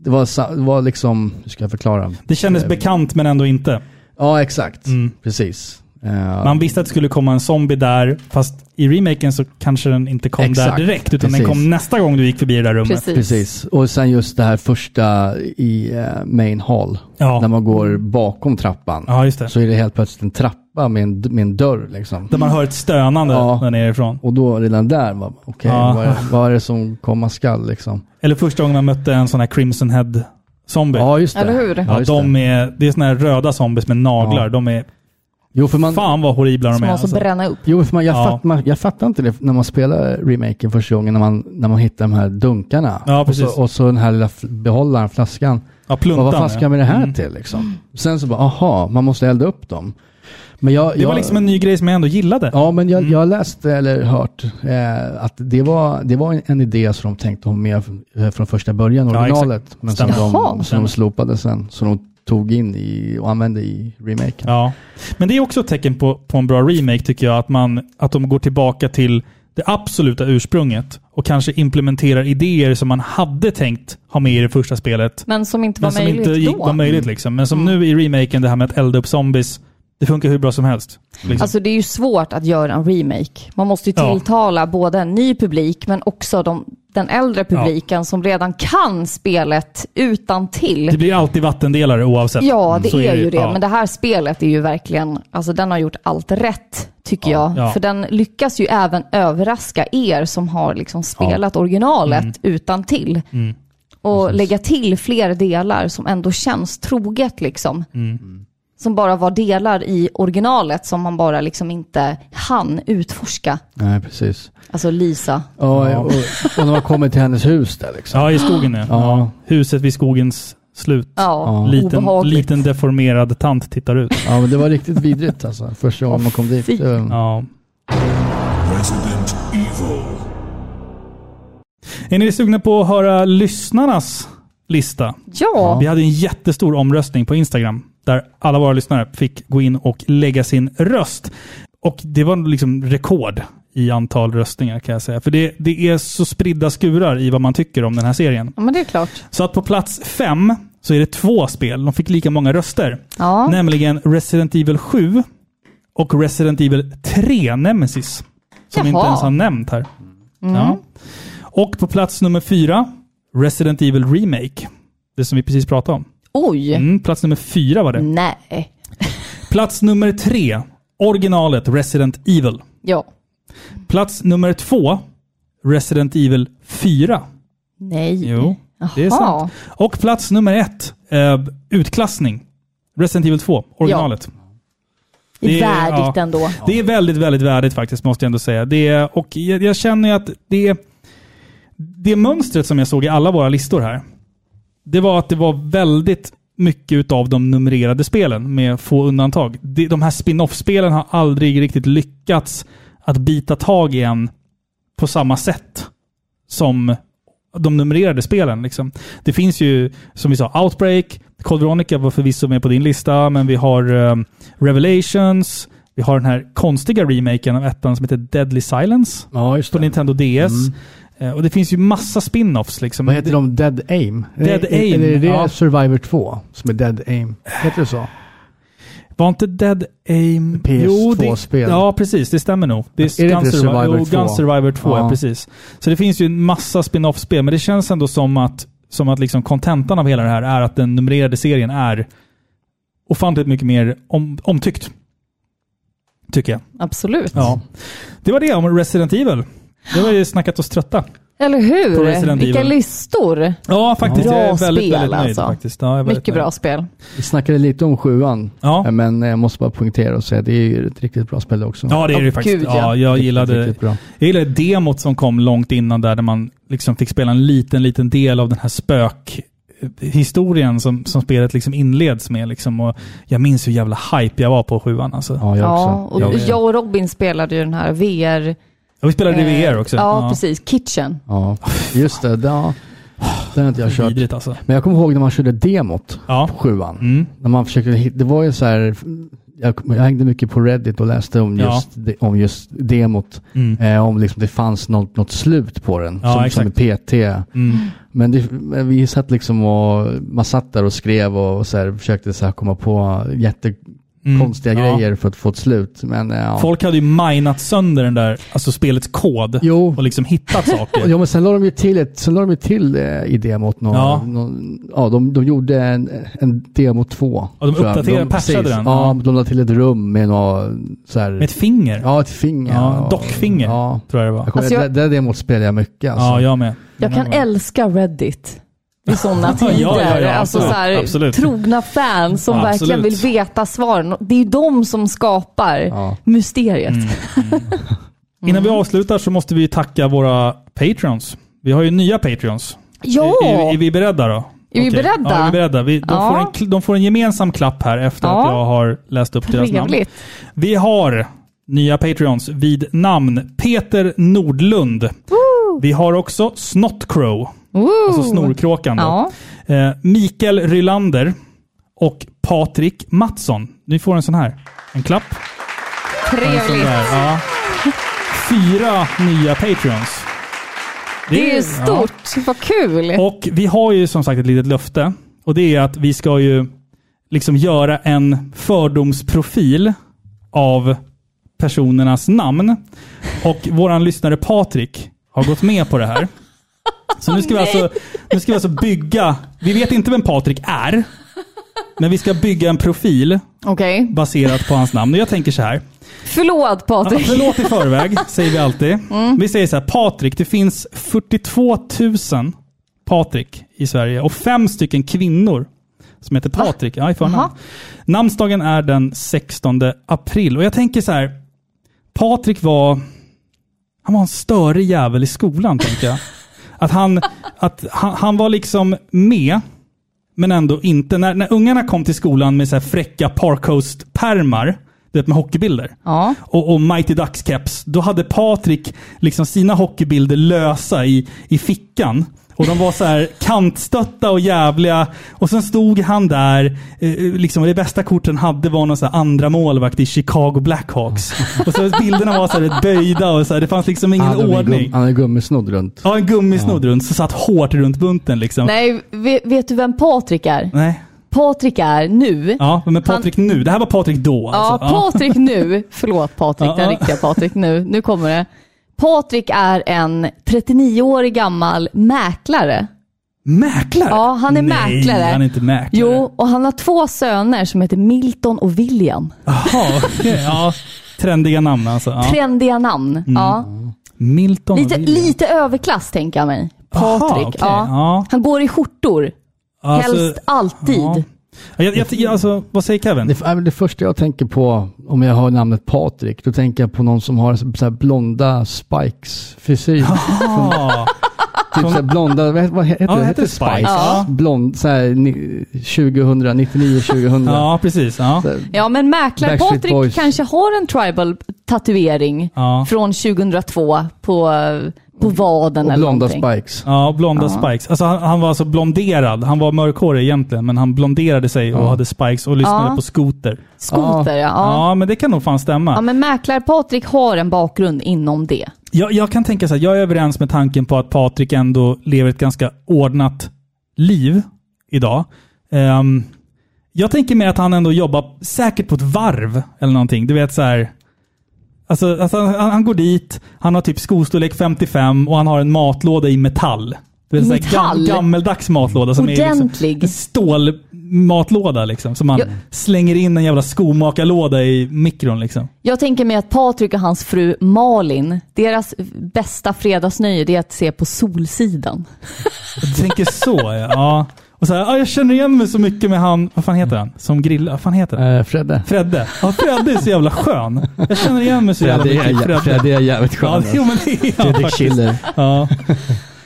Speaker 3: det, var, sa- det var liksom, hur ska jag förklara?
Speaker 1: Det kändes bekant men ändå inte.
Speaker 3: Mm. Ja, exakt. Precis. Eh,
Speaker 1: Mm. Man visste att det skulle komma en zombie där, fast i remaken så kanske den inte kom
Speaker 3: Exakt,
Speaker 1: där direkt, utan den
Speaker 3: precis.
Speaker 1: kom nästa gång du gick förbi det där rummet.
Speaker 2: Precis.
Speaker 3: Precis, och sen just det här första i eh, main hall.
Speaker 1: Ja.
Speaker 3: När man går bakom trappan.
Speaker 1: Ja, just det.
Speaker 3: Så är det helt plötsligt en trappa med en, med en dörr liksom.
Speaker 1: Där man hör ett stönande
Speaker 3: Ja.
Speaker 1: där nerifrån.
Speaker 3: Och då redan där, var- okej,
Speaker 1: Ja.
Speaker 3: vad, är- vad är det som komma skall liksom?
Speaker 1: Eller första gången man mötte en sån här Crimson Head-zombie.
Speaker 3: Ja, just det.
Speaker 2: Eller hur?
Speaker 1: Ja,
Speaker 3: Ja, just
Speaker 1: de
Speaker 3: det.
Speaker 1: är, det är såna här röda zombies med naglar.
Speaker 3: Ja.
Speaker 1: De är...
Speaker 3: Jo, för man,
Speaker 1: Fan vad horribla de
Speaker 2: Som
Speaker 1: är.
Speaker 2: måste
Speaker 1: alltså.
Speaker 2: bränna upp.
Speaker 3: jo, för man, jag,
Speaker 1: Ja.
Speaker 3: fatt, man, jag fattar inte det när man spelar remaken första gången, när man, när man hittar de här dunkarna.
Speaker 1: Ja,
Speaker 3: och,
Speaker 1: precis.
Speaker 3: så, och så den här lilla f- behållaren, flaskan.
Speaker 1: Ja,
Speaker 3: Vad
Speaker 1: pluntan.
Speaker 3: vad fan ska jag med det här
Speaker 1: Mm.
Speaker 3: till liksom? Sen så bara, aha, man måste elda upp dem. Men jag,
Speaker 1: Det var
Speaker 3: jag,
Speaker 1: liksom en ny grej som jag ändå gillade.
Speaker 3: Ja, men jag, jag läste eller hört eh, att det var, det var en, en idé som de tänkte ha med eh, från första början,
Speaker 1: Ja,
Speaker 3: originalet. men som
Speaker 2: Stämmer. Jaha.
Speaker 3: de, som de slopade sen, som de tog in i, och använde i remaken.
Speaker 1: Ja. Men det är också ett tecken på, på en bra remake tycker jag. Att, man, att de går tillbaka till det absoluta ursprunget och kanske implementerar idéer som man hade tänkt ha med i det första spelet.
Speaker 2: Men som inte var
Speaker 1: Men som
Speaker 2: möjligt
Speaker 1: inte gick,
Speaker 2: då.
Speaker 1: var möjligt liksom. Men som nu i remaken, det här med att elda upp zombies. Det funkar hur bra som helst. Liksom.
Speaker 2: Alltså det är ju svårt att göra en remake. Man måste ju
Speaker 1: Ja.
Speaker 2: tilltala både en ny publik men också de, den äldre publiken som redan kan spelet utan
Speaker 1: det
Speaker 2: till.
Speaker 1: blir alltid vattendelare oavsett.
Speaker 2: Ja, det
Speaker 1: Så
Speaker 2: är ju det.
Speaker 1: ja.
Speaker 2: Men det här spelet är ju verkligen, alltså den har gjort allt rätt tycker jag.
Speaker 1: ja.
Speaker 2: För den lyckas ju även överraska er som har liksom spelat originalet
Speaker 1: Mm.
Speaker 2: utan till. Och lägga till fler delar som ändå känns troget liksom.
Speaker 1: Mm.
Speaker 2: Som bara var delar i originalet som man bara liksom inte hann utforska.
Speaker 3: Nej, precis.
Speaker 2: Alltså Lisa.
Speaker 3: Ja, Och, och de har kommit till hennes hus där liksom.
Speaker 1: Ja, i skogen ja. ja.
Speaker 3: Ja.
Speaker 1: Huset vid skogens slut.
Speaker 2: Ja,
Speaker 1: Liten,
Speaker 2: obehagligt. Mm.
Speaker 1: liten deformerad tant tittar ut.
Speaker 3: Ja, men det var riktigt vidrigt alltså, första gången man kom dit. Ehm,
Speaker 2: fy.
Speaker 3: Det-
Speaker 1: Ja.
Speaker 4: Resident Evil.
Speaker 1: Är ni sugna på att höra lyssnarnas lista?
Speaker 2: Ja,
Speaker 1: Vi hade en jättestor omröstning på Instagram där alla våra lyssnare fick gå in och lägga sin röst. Och det var liksom rekord i antal röstningar kan jag säga. För det, det är så spridda skurar i vad man tycker om den här serien.
Speaker 2: ja men det är klart.
Speaker 1: Så att på plats fem så är det två spel. De fick lika många röster.
Speaker 2: Ja.
Speaker 1: Nämligen Resident Evil 7 och Resident Evil 3 Nemesis. Som
Speaker 2: Jaha. Mm.
Speaker 1: inte ens har nämnt här. Ja. Och på plats nummer fyra, Resident Evil Remake. Det som vi precis pratade om.
Speaker 2: Oj,
Speaker 1: Mm, plats nummer fyra var det.
Speaker 2: Mm. nej.
Speaker 1: Plats nummer tre, originalet Resident Evil.
Speaker 2: Ja,
Speaker 1: Plats nummer två, Resident Evil 4.
Speaker 2: nej.
Speaker 1: Jo, det är
Speaker 2: Jaha.
Speaker 1: sant. Och plats nummer ett, eh, utklassning. Resident Evil 2, originalet. Det
Speaker 2: Det
Speaker 1: är-
Speaker 2: är värdigt
Speaker 1: ja.
Speaker 2: ändå.
Speaker 1: Det är väldigt, väldigt värdigt faktiskt, måste jag ändå säga. Det är, och jag, jag känner ju att det, det mönstret som jag såg i alla våra listor här, det var att det var väldigt mycket av de numrerade spelen, med få undantag. Det- De här spin-off-spelen har aldrig riktigt lyckats att bita tag i en på samma sätt som de numrerade spelen. Liksom. Det finns ju, som vi sa, Outbreak, Cold Veronica var förvisso med på din lista, men vi har ehm, Revelations, vi har den här konstiga remaken av ettan som heter Deadly Silence
Speaker 3: Ja, just
Speaker 1: på
Speaker 3: det.
Speaker 1: Nintendo DS. Eh, Och det finns ju massa spin-offs. Liksom.
Speaker 3: Mm. Vad heter de? Dead Aim?
Speaker 1: Dead
Speaker 3: Eller-
Speaker 1: Aim,
Speaker 3: Eller är det
Speaker 1: ja.
Speaker 3: Survivor 2 som är Dead Aim? Heter det så?
Speaker 1: Var inte Dead Aim... Jo, det-
Speaker 3: PS2-spel.
Speaker 1: Ja, precis. Det stämmer nog. Det
Speaker 3: Är det inte
Speaker 1: Survi-
Speaker 3: Survivor
Speaker 1: jo,
Speaker 3: 2?
Speaker 1: Gun Survivor 2, ja.
Speaker 3: Ja.
Speaker 1: precis. Så det finns ju en massa spin-off-spel, men det känns ändå som att som att liksom kontentan av hela det här är att den numrerade serien är ofantligt mycket mer om, omtyckt. Tycker jag.
Speaker 2: Absolut.
Speaker 1: Ja.
Speaker 3: Mm.
Speaker 1: Det var det om Resident Evil. Det var ju snackat oss trötta.
Speaker 2: Eller
Speaker 1: På
Speaker 2: hur?
Speaker 1: Resident
Speaker 2: Vilka
Speaker 1: Evil.
Speaker 2: listor.
Speaker 1: Ja, faktiskt.
Speaker 2: Bra
Speaker 1: jag är väldigt,
Speaker 2: spel,
Speaker 1: väldigt nöjd
Speaker 2: alltså.
Speaker 1: faktiskt. Ja, jag är väldigt
Speaker 2: Mycket
Speaker 1: nöjd.
Speaker 2: bra spel.
Speaker 3: Vi snackade lite om sjuan,
Speaker 1: Ja.
Speaker 3: eh, men jag måste bara punktera och säga att det är ju ett riktigt bra spel också.
Speaker 1: Ja, det är det
Speaker 2: Åh,
Speaker 1: ju faktiskt.
Speaker 2: gud,
Speaker 1: ja.
Speaker 2: ja.
Speaker 1: jag,
Speaker 3: Riktigt,
Speaker 1: gillade,
Speaker 3: riktigt bra.
Speaker 1: jag gillade demot som kom långt innan där, där man liksom fick spela en liten, liten del av den här spökhistorien som, som spelet liksom inleds med. Liksom. Och jag minns hur jävla hype jag var på sjuan. Alltså.
Speaker 3: Ja, jag
Speaker 2: Ja,
Speaker 3: också.
Speaker 2: och
Speaker 3: Jag också.
Speaker 2: jag och Robin spelade ju den här VR
Speaker 1: Ja, vi spelade i VR också.
Speaker 2: Eh, Ja, precis. Kitchen.
Speaker 3: Ja, just det. Ja, den har inte jag kört.
Speaker 1: Vidrigt alltså.
Speaker 3: Men jag kommer ihåg när man körde demot
Speaker 1: Ja.
Speaker 3: på sjuan.
Speaker 1: Mm.
Speaker 3: När man försökte, hit- det var ju så här, jag, jag hängde mycket på Reddit och läste om
Speaker 1: Ja.
Speaker 3: just, de- om just demot.
Speaker 1: Mm.
Speaker 3: Eh, om liksom det fanns något, något slut på den,
Speaker 1: Ja,
Speaker 3: som, som i
Speaker 1: exakt.
Speaker 3: PT.
Speaker 1: Mm.
Speaker 3: Men det, men vi satt liksom och, man satt där och skrev och, och så här, försökte så här komma på
Speaker 1: Mm.
Speaker 3: jättekonstiga
Speaker 1: Ja.
Speaker 3: grejer för att få ett slut. Men eh, ja.
Speaker 1: Folk hade ju minat sönder den där, alltså spelets kod
Speaker 3: Jo.
Speaker 1: och liksom hittat saker.
Speaker 3: Ja men sen la de ju till, ett, sen la de ju till eh, i demot någon,
Speaker 1: Ja.
Speaker 3: ja. någon, ja de, de gjorde en, en demo 2.
Speaker 1: Ja, de
Speaker 3: tror jag.
Speaker 1: uppdaterade, patchade
Speaker 3: precis.
Speaker 1: den.
Speaker 3: Ja,
Speaker 1: Ja.
Speaker 3: de la till ett rum med något så här,
Speaker 1: Med ett finger,
Speaker 3: ja ett finger.
Speaker 1: Ja,
Speaker 3: och-
Speaker 1: dockfinger.
Speaker 3: Ja.
Speaker 1: tror jag det var.
Speaker 3: Jag kommer,
Speaker 2: Alltså, jag-
Speaker 3: det, det demot spelade jag mycket alltså.
Speaker 1: Ja, jag med.
Speaker 2: Jag kan älska Reddit i sådana
Speaker 1: Ja,
Speaker 2: tider.
Speaker 1: ja, ja,
Speaker 2: alltså
Speaker 1: absolut.
Speaker 2: så här,
Speaker 1: Absolut.
Speaker 2: trogna fans som
Speaker 1: Ja,
Speaker 2: verkligen vill
Speaker 1: absolut.
Speaker 2: veta svaren. Det är ju de som skapar
Speaker 3: Ja.
Speaker 2: mysteriet.
Speaker 1: Mm. Innan vi avslutar så måste vi ju tacka våra patreons. Vi har ju nya patreons.
Speaker 2: Ja!
Speaker 1: Är, är, är vi beredda då?
Speaker 2: Är
Speaker 1: Okej.
Speaker 2: vi beredda?
Speaker 1: Ja, är vi beredda? Vi, de,
Speaker 2: Ja.
Speaker 1: får en, kl- de får en gemensam klapp här efter
Speaker 2: Ja.
Speaker 1: att jag har läst upp deras namn.
Speaker 2: Trevligt.
Speaker 1: Vi har nya patreons vid namn Peter Nordlund. Vi har också Snottcrow,
Speaker 2: Woo!
Speaker 1: alltså snorkråkan. Då.
Speaker 2: Ja.
Speaker 1: Eh, Mikael Rylander och Patrik Mattsson. Ni får en sån här. En klapp. En sån
Speaker 2: Trevligt.
Speaker 1: där, ja. Fyra nya patreons.
Speaker 2: Det är ju
Speaker 1: ja.
Speaker 2: stort. Vad kul.
Speaker 1: Och vi har ju som sagt ett litet löfte. Och det är att vi ska ju liksom göra en fördomsprofil av personernas namn. Och våran lyssnare Patrik har gått med på det här. Så nu ska, vi alltså, nu ska vi alltså bygga, vi vet inte vem Patrik är, men vi ska bygga en profil
Speaker 2: Okej.
Speaker 1: baserat på hans namn. Och jag tänker så här,
Speaker 2: Förlåt
Speaker 1: Ja,
Speaker 2: Patrik.
Speaker 1: förlåt i förväg, säger vi alltid. Vi säger så här, Patrik, det finns 42 000 Patrik i Sverige och fem stycken kvinnor som heter Patrik. Ja, i förnamn.
Speaker 2: Jaha.
Speaker 1: Namnsdagen är den 16 april och jag tänker så här, Patrik var, han var en större jävel i skolan, tänker jag. Att han, att han, han var liksom med, men ändå inte. När, när ungarna kom till skolan med så här fräcka Parkhost-pärmar, du vet med hockeybilder
Speaker 2: Ja.
Speaker 1: och, och Mighty Ducks caps, då hade Patrik liksom sina hockeybilder lösa i, i fickan. Och de var så här kantstötta och jävliga. Och sen stod han där, eh, liksom, och det bästa korten hade var någon så här andra målvakt i Chicago Blackhawks. Och så bilderna var så här rätt böjda och så här, det fanns liksom ingen
Speaker 3: Han hade en gum-
Speaker 1: ordning.
Speaker 3: han hade gummisnodd runt.
Speaker 1: Ja, en gummisnodd runt, så satt hårt runt bunten liksom.
Speaker 2: Nej, vet, vet du vem Patrik är?
Speaker 1: Nej.
Speaker 2: Patrik är nu.
Speaker 1: Ja, men Patrik nu. Det här var Patrik då.
Speaker 2: Ja,
Speaker 1: alltså. Ja.
Speaker 2: Patrik nu. Förlåt Patrik,
Speaker 1: Ja,
Speaker 2: den
Speaker 1: ja.
Speaker 2: riktiga Patrik nu. Nu kommer det. Patrik är en 39-årig gammal mäklare.
Speaker 1: Mäklare?
Speaker 2: Ja, han är
Speaker 1: Nej,
Speaker 2: mäklare.
Speaker 1: han är inte mäklare.
Speaker 2: Jo, och han har två söner som heter Milton och William.
Speaker 1: Jaha, okej. ja. Trendiga namn alltså. Ja.
Speaker 2: Trendiga namn. Ja.
Speaker 1: Milton
Speaker 2: Lite,
Speaker 1: och William.
Speaker 2: lite överklass tänker jag mig.
Speaker 1: Aha,
Speaker 2: Patrik.
Speaker 1: okej,
Speaker 2: ja.
Speaker 1: ja.
Speaker 2: Han går i skjortor.
Speaker 1: Alltså,
Speaker 2: Helst alltid.
Speaker 1: ja. Ja, jag, jag, jag, alltså, vad säger Kevin?
Speaker 3: Det, äh, men det första jag tänker på, om jag hör namnet Patrik, då tänker jag på någon som har så så här blonda spikes frisyr.
Speaker 1: Ja.
Speaker 3: Typ såhär blonda, vad, vad heter
Speaker 1: Ja,
Speaker 3: det?
Speaker 1: det heter
Speaker 3: Heter Spice?
Speaker 1: Spice. Ja.
Speaker 3: Blond, såhär 2000, 99, 2000.
Speaker 1: ja, precis. Ja.
Speaker 3: Såhär,
Speaker 2: Ja, men
Speaker 3: Backstreet
Speaker 2: mäklar-Patrik
Speaker 3: Boys.
Speaker 2: kanske har en tribal-tatuering
Speaker 1: Ja.
Speaker 2: från 2002 på, på vaden
Speaker 3: och
Speaker 2: eller
Speaker 3: blonda
Speaker 2: någonting.
Speaker 3: spikes.
Speaker 1: Ja, blonda spikes. Alltså, han, han var alltså blonderad. Han var mörkhårig egentligen, men han blonderade sig och hade spikes och lyssnade
Speaker 2: Ja.
Speaker 1: på skoter.
Speaker 2: Skoter, ja.
Speaker 1: Ja.
Speaker 2: ja.
Speaker 1: men det kan nog fan stämma.
Speaker 2: Ja, men mäklar-Patrik har en bakgrund inom det.
Speaker 1: Jag, jag kan tänka så här, jag är överens med tanken på att Patrik ändå lever ett ganska ordnat liv idag. Ehm, jag tänker mer att han ändå jobbar säkert på ett varv eller någonting. Du vet så här. Alltså, alltså han, han han går dit, han har typ skostorlek 55 och han har en matlåda i metall. Du vet, så här,
Speaker 2: Metall?
Speaker 1: gammeldags matlåda som är liksom
Speaker 2: Ordentlig.
Speaker 1: en stålmatlåda liksom. Som man
Speaker 2: Jag-
Speaker 1: slänger in en jävla skomakarlåda i mikron liksom.
Speaker 2: Jag tänker mig att Patrik och hans fru Malin, deras bästa fredagsnöje det är att se på Solsidan.
Speaker 1: Du tänker så ja. ja. Och så här, ja, jag känner igen mig så mycket med han, vad fan heter han? Som grillar, vad fan heter han?
Speaker 3: Eh, Fredde.
Speaker 1: Fredde. Ja, Fredde är så jävla skön. Jag känner igen mig så jävla
Speaker 3: Fredde är,
Speaker 1: mycket i
Speaker 3: jä-
Speaker 1: Fredde.
Speaker 3: Fredde är jävligt skön.
Speaker 1: Ja,
Speaker 3: alltså.
Speaker 1: jo men det är han
Speaker 3: Fredrik
Speaker 1: faktiskt.
Speaker 3: Schiller.
Speaker 1: Ja.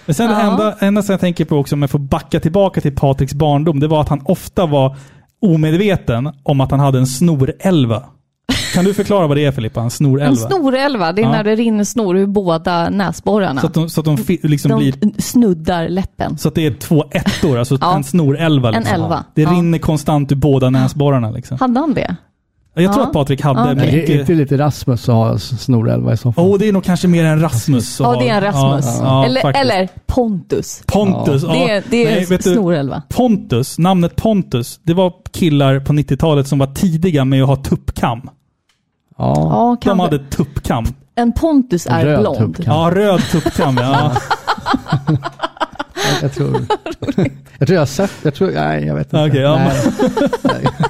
Speaker 1: Men sen det
Speaker 2: Ja.
Speaker 1: enda, enda som jag tänker på också, om jag får backa tillbaka till Patriks barndom, det var att han ofta var omedveten om att han hade en snorälva Kan du förklara vad det är Filippa? En snorälva?
Speaker 2: En snorälva, det är
Speaker 1: Ja.
Speaker 2: när det rinner snor ur båda näsborrarna.
Speaker 1: Så att de, så att de fi, liksom
Speaker 2: de
Speaker 1: blir...
Speaker 2: snuddar läppen.
Speaker 1: Så att det är två ettor, alltså
Speaker 2: Ja.
Speaker 1: en snorälva.
Speaker 2: En
Speaker 1: Liksom.
Speaker 2: elva.
Speaker 1: Det
Speaker 2: Ja.
Speaker 1: rinner konstant ur båda näsborrarna. Liksom.
Speaker 2: Hade han det?
Speaker 1: Jag tror
Speaker 2: Ja.
Speaker 1: att Patrik hade
Speaker 2: Ja.
Speaker 3: Är det
Speaker 1: mycket... Oh.
Speaker 3: inte lite Rasmus som har snorälva i så fall?
Speaker 1: Åh, det är nog kanske mer en Rasmus. som
Speaker 2: Ja, det är en
Speaker 1: har-
Speaker 2: Rasmus.
Speaker 1: Ja, ja,
Speaker 2: eller,
Speaker 1: faktiskt.
Speaker 2: eller Pontus.
Speaker 1: Pontus. Ja.
Speaker 2: Det är, det är
Speaker 1: Nej,
Speaker 2: en
Speaker 1: vet du,
Speaker 2: snorälva.
Speaker 1: Pontus, namnet Pontus, det var killar på 90-talet som var tidiga med att ha tuppkam.
Speaker 3: Ja.
Speaker 2: Ja,
Speaker 1: De
Speaker 2: kan
Speaker 1: hade tuppkam.
Speaker 2: En Pontus är
Speaker 3: Röd
Speaker 2: blond.
Speaker 3: tuppkam.
Speaker 1: Ja, röd tuppkam. Ja.
Speaker 3: Jag tror, jag tror jag har sett, jag tror, nej jag vet inte.
Speaker 1: Okej, ja,
Speaker 3: nej.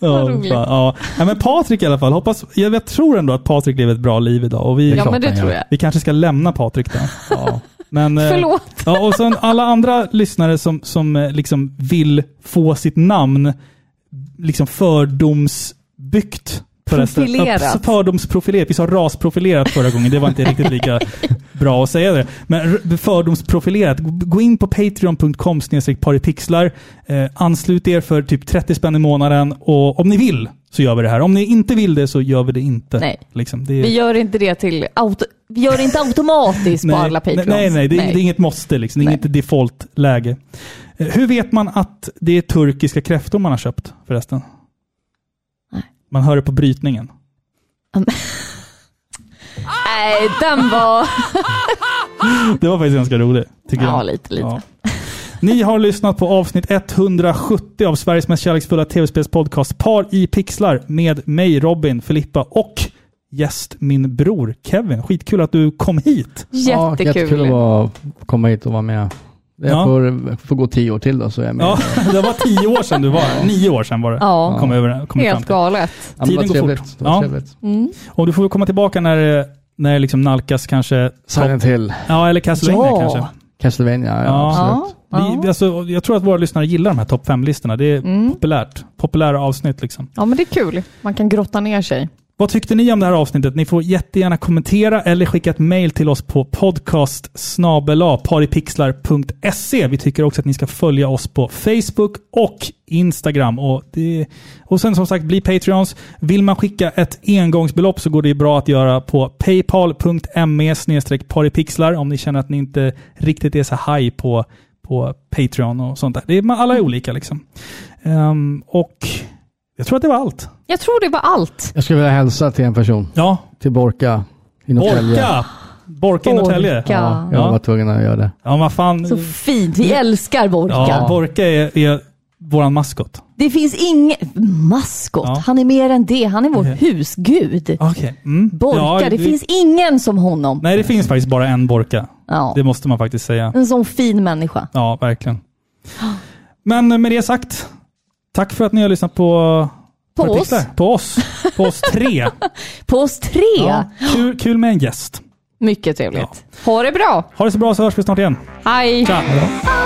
Speaker 1: Ja,
Speaker 2: roligt.
Speaker 1: fan, ja. Nej, men Patrik i alla fall. Hoppas, jag, jag tror ändå att Patrik lever ett bra liv idag. Och vi,
Speaker 2: Ja,
Speaker 3: klart
Speaker 2: men det
Speaker 3: han
Speaker 2: tror
Speaker 3: gör.
Speaker 2: jag.
Speaker 1: vi kanske ska lämna Patrik där.
Speaker 3: Ja.
Speaker 1: Men, eh,
Speaker 2: Förlåt.
Speaker 1: Ja, och sen alla andra lyssnare som, som eh, liksom vill få sitt namn liksom fördomsbyggt. på resten-
Speaker 2: Profilerat.
Speaker 1: Ja, Fördomsprofilerat. Vi sa rasprofilerat förra gången. Det var inte riktigt lika bra att säga det. Men r- fördomsprofilerat. G- Gå in på patreon.com snedstreck paripixlar. Eh, anslut er för typ 30 spänn i månaden. Och om ni vill så gör vi det här. Om ni inte vill det så gör vi det inte.
Speaker 2: Nej.
Speaker 1: Liksom, det är-
Speaker 2: Vi gör inte det till auto, vi gör det inte automatiskt på alla
Speaker 1: nej,
Speaker 2: Patreons.
Speaker 1: nej, nej, det, är- det är inget måste liksom. Det är
Speaker 2: Nej.
Speaker 1: inget default-läge. Eh, Hur vet man att det är turkiska kräftor man har köpt förresten?
Speaker 2: Nej.
Speaker 1: Man hör det på brytningen.
Speaker 2: Nej, den var...
Speaker 1: Det var faktiskt ganska roligt, tycker
Speaker 2: Ja,
Speaker 1: jag.
Speaker 2: lite, lite.
Speaker 1: Ni har lyssnat på avsnitt 170 av Sveriges mest kärleksfulla tv-spelspodcast Par i pixlar med mig Robin, Filippa och gäst min bror Kevin. Skitkul att du kom hit.
Speaker 3: Ja,
Speaker 2: Jättekul.
Speaker 3: jättekul att vara, komma hit och vara med. Jag
Speaker 1: Ja.
Speaker 3: får, får gå tio år till då så är jag med.
Speaker 1: Ja, det var tio år sedan du var här. Nio år sedan var det.
Speaker 2: Ja.
Speaker 1: Kom över, kom vi fram
Speaker 2: Helt
Speaker 1: till.
Speaker 2: galet.
Speaker 3: men vad
Speaker 1: Tiden går
Speaker 3: trevligt.
Speaker 1: fort.
Speaker 3: Det var
Speaker 1: Ja.
Speaker 3: trevligt.
Speaker 1: Och du får väl komma tillbaka när, eh, när det liksom nalkas kanske...
Speaker 3: Silent Hill,
Speaker 1: Ja, eller Castlevania
Speaker 2: Ja.
Speaker 1: kanske.
Speaker 3: Castlevania, ja,
Speaker 1: Ja.
Speaker 3: absolut.
Speaker 2: Ja.
Speaker 1: Vi, alltså, jag tror att våra lyssnare gillar de här topp 5-listorna. Det är populärt. Populära avsnitt liksom.
Speaker 2: Ja, men det är kul. Man kan grotta ner sig.
Speaker 1: Vad tyckte ni om det här avsnittet? Ni får jättegärna kommentera eller skicka ett mejl till oss på podcast paripixlar.se. Vi tycker också att ni ska följa oss på Facebook och Instagram. Och, det, och sen som sagt, bli Patreons. Vill man skicka ett engångsbelopp så går det ju bra att göra på paypal.me paripixlar om ni känner att ni inte riktigt är så high på, på Patreon och sånt där. Det är, man- alla är olika liksom. Ehm, och jag tror att det var allt.
Speaker 2: Jag tror det var allt.
Speaker 3: Jag skulle vilja hälsa till en person,
Speaker 1: Ja,
Speaker 3: till Borka i Norrtälje.
Speaker 1: Borka! Borka i Norrtälje.
Speaker 2: Borka.
Speaker 3: Ja, jag
Speaker 1: Ja.
Speaker 3: var tvungen att göra det.
Speaker 1: Ja, vad fan.
Speaker 2: Så fint. Vi älskar Borka.
Speaker 1: Ja, Borka är, är våran maskot.
Speaker 2: Det finns ingen... Maskot.
Speaker 1: Ja.
Speaker 2: Han är mer än det. Han är vår husgud.
Speaker 1: Okej. Mm.
Speaker 2: Borka.
Speaker 1: Ja,
Speaker 2: det, finns ingen som honom.
Speaker 1: Nej, det finns faktiskt bara en Borka.
Speaker 2: Ja. Mm.
Speaker 1: Det måste man faktiskt säga.
Speaker 2: En sån fin människa.
Speaker 1: Ja, verkligen. Men med det sagt, tack för att ni har lyssnat på
Speaker 2: På
Speaker 1: på
Speaker 2: oss.
Speaker 1: Pixlar. På oss. På oss tre.
Speaker 2: På oss tre.
Speaker 1: Ja, kul, kul med en gäst.
Speaker 2: Mycket trevligt. Ha det bra.
Speaker 1: Ha det så bra så hörs vi snart igen.
Speaker 2: Hej.
Speaker 1: Tja!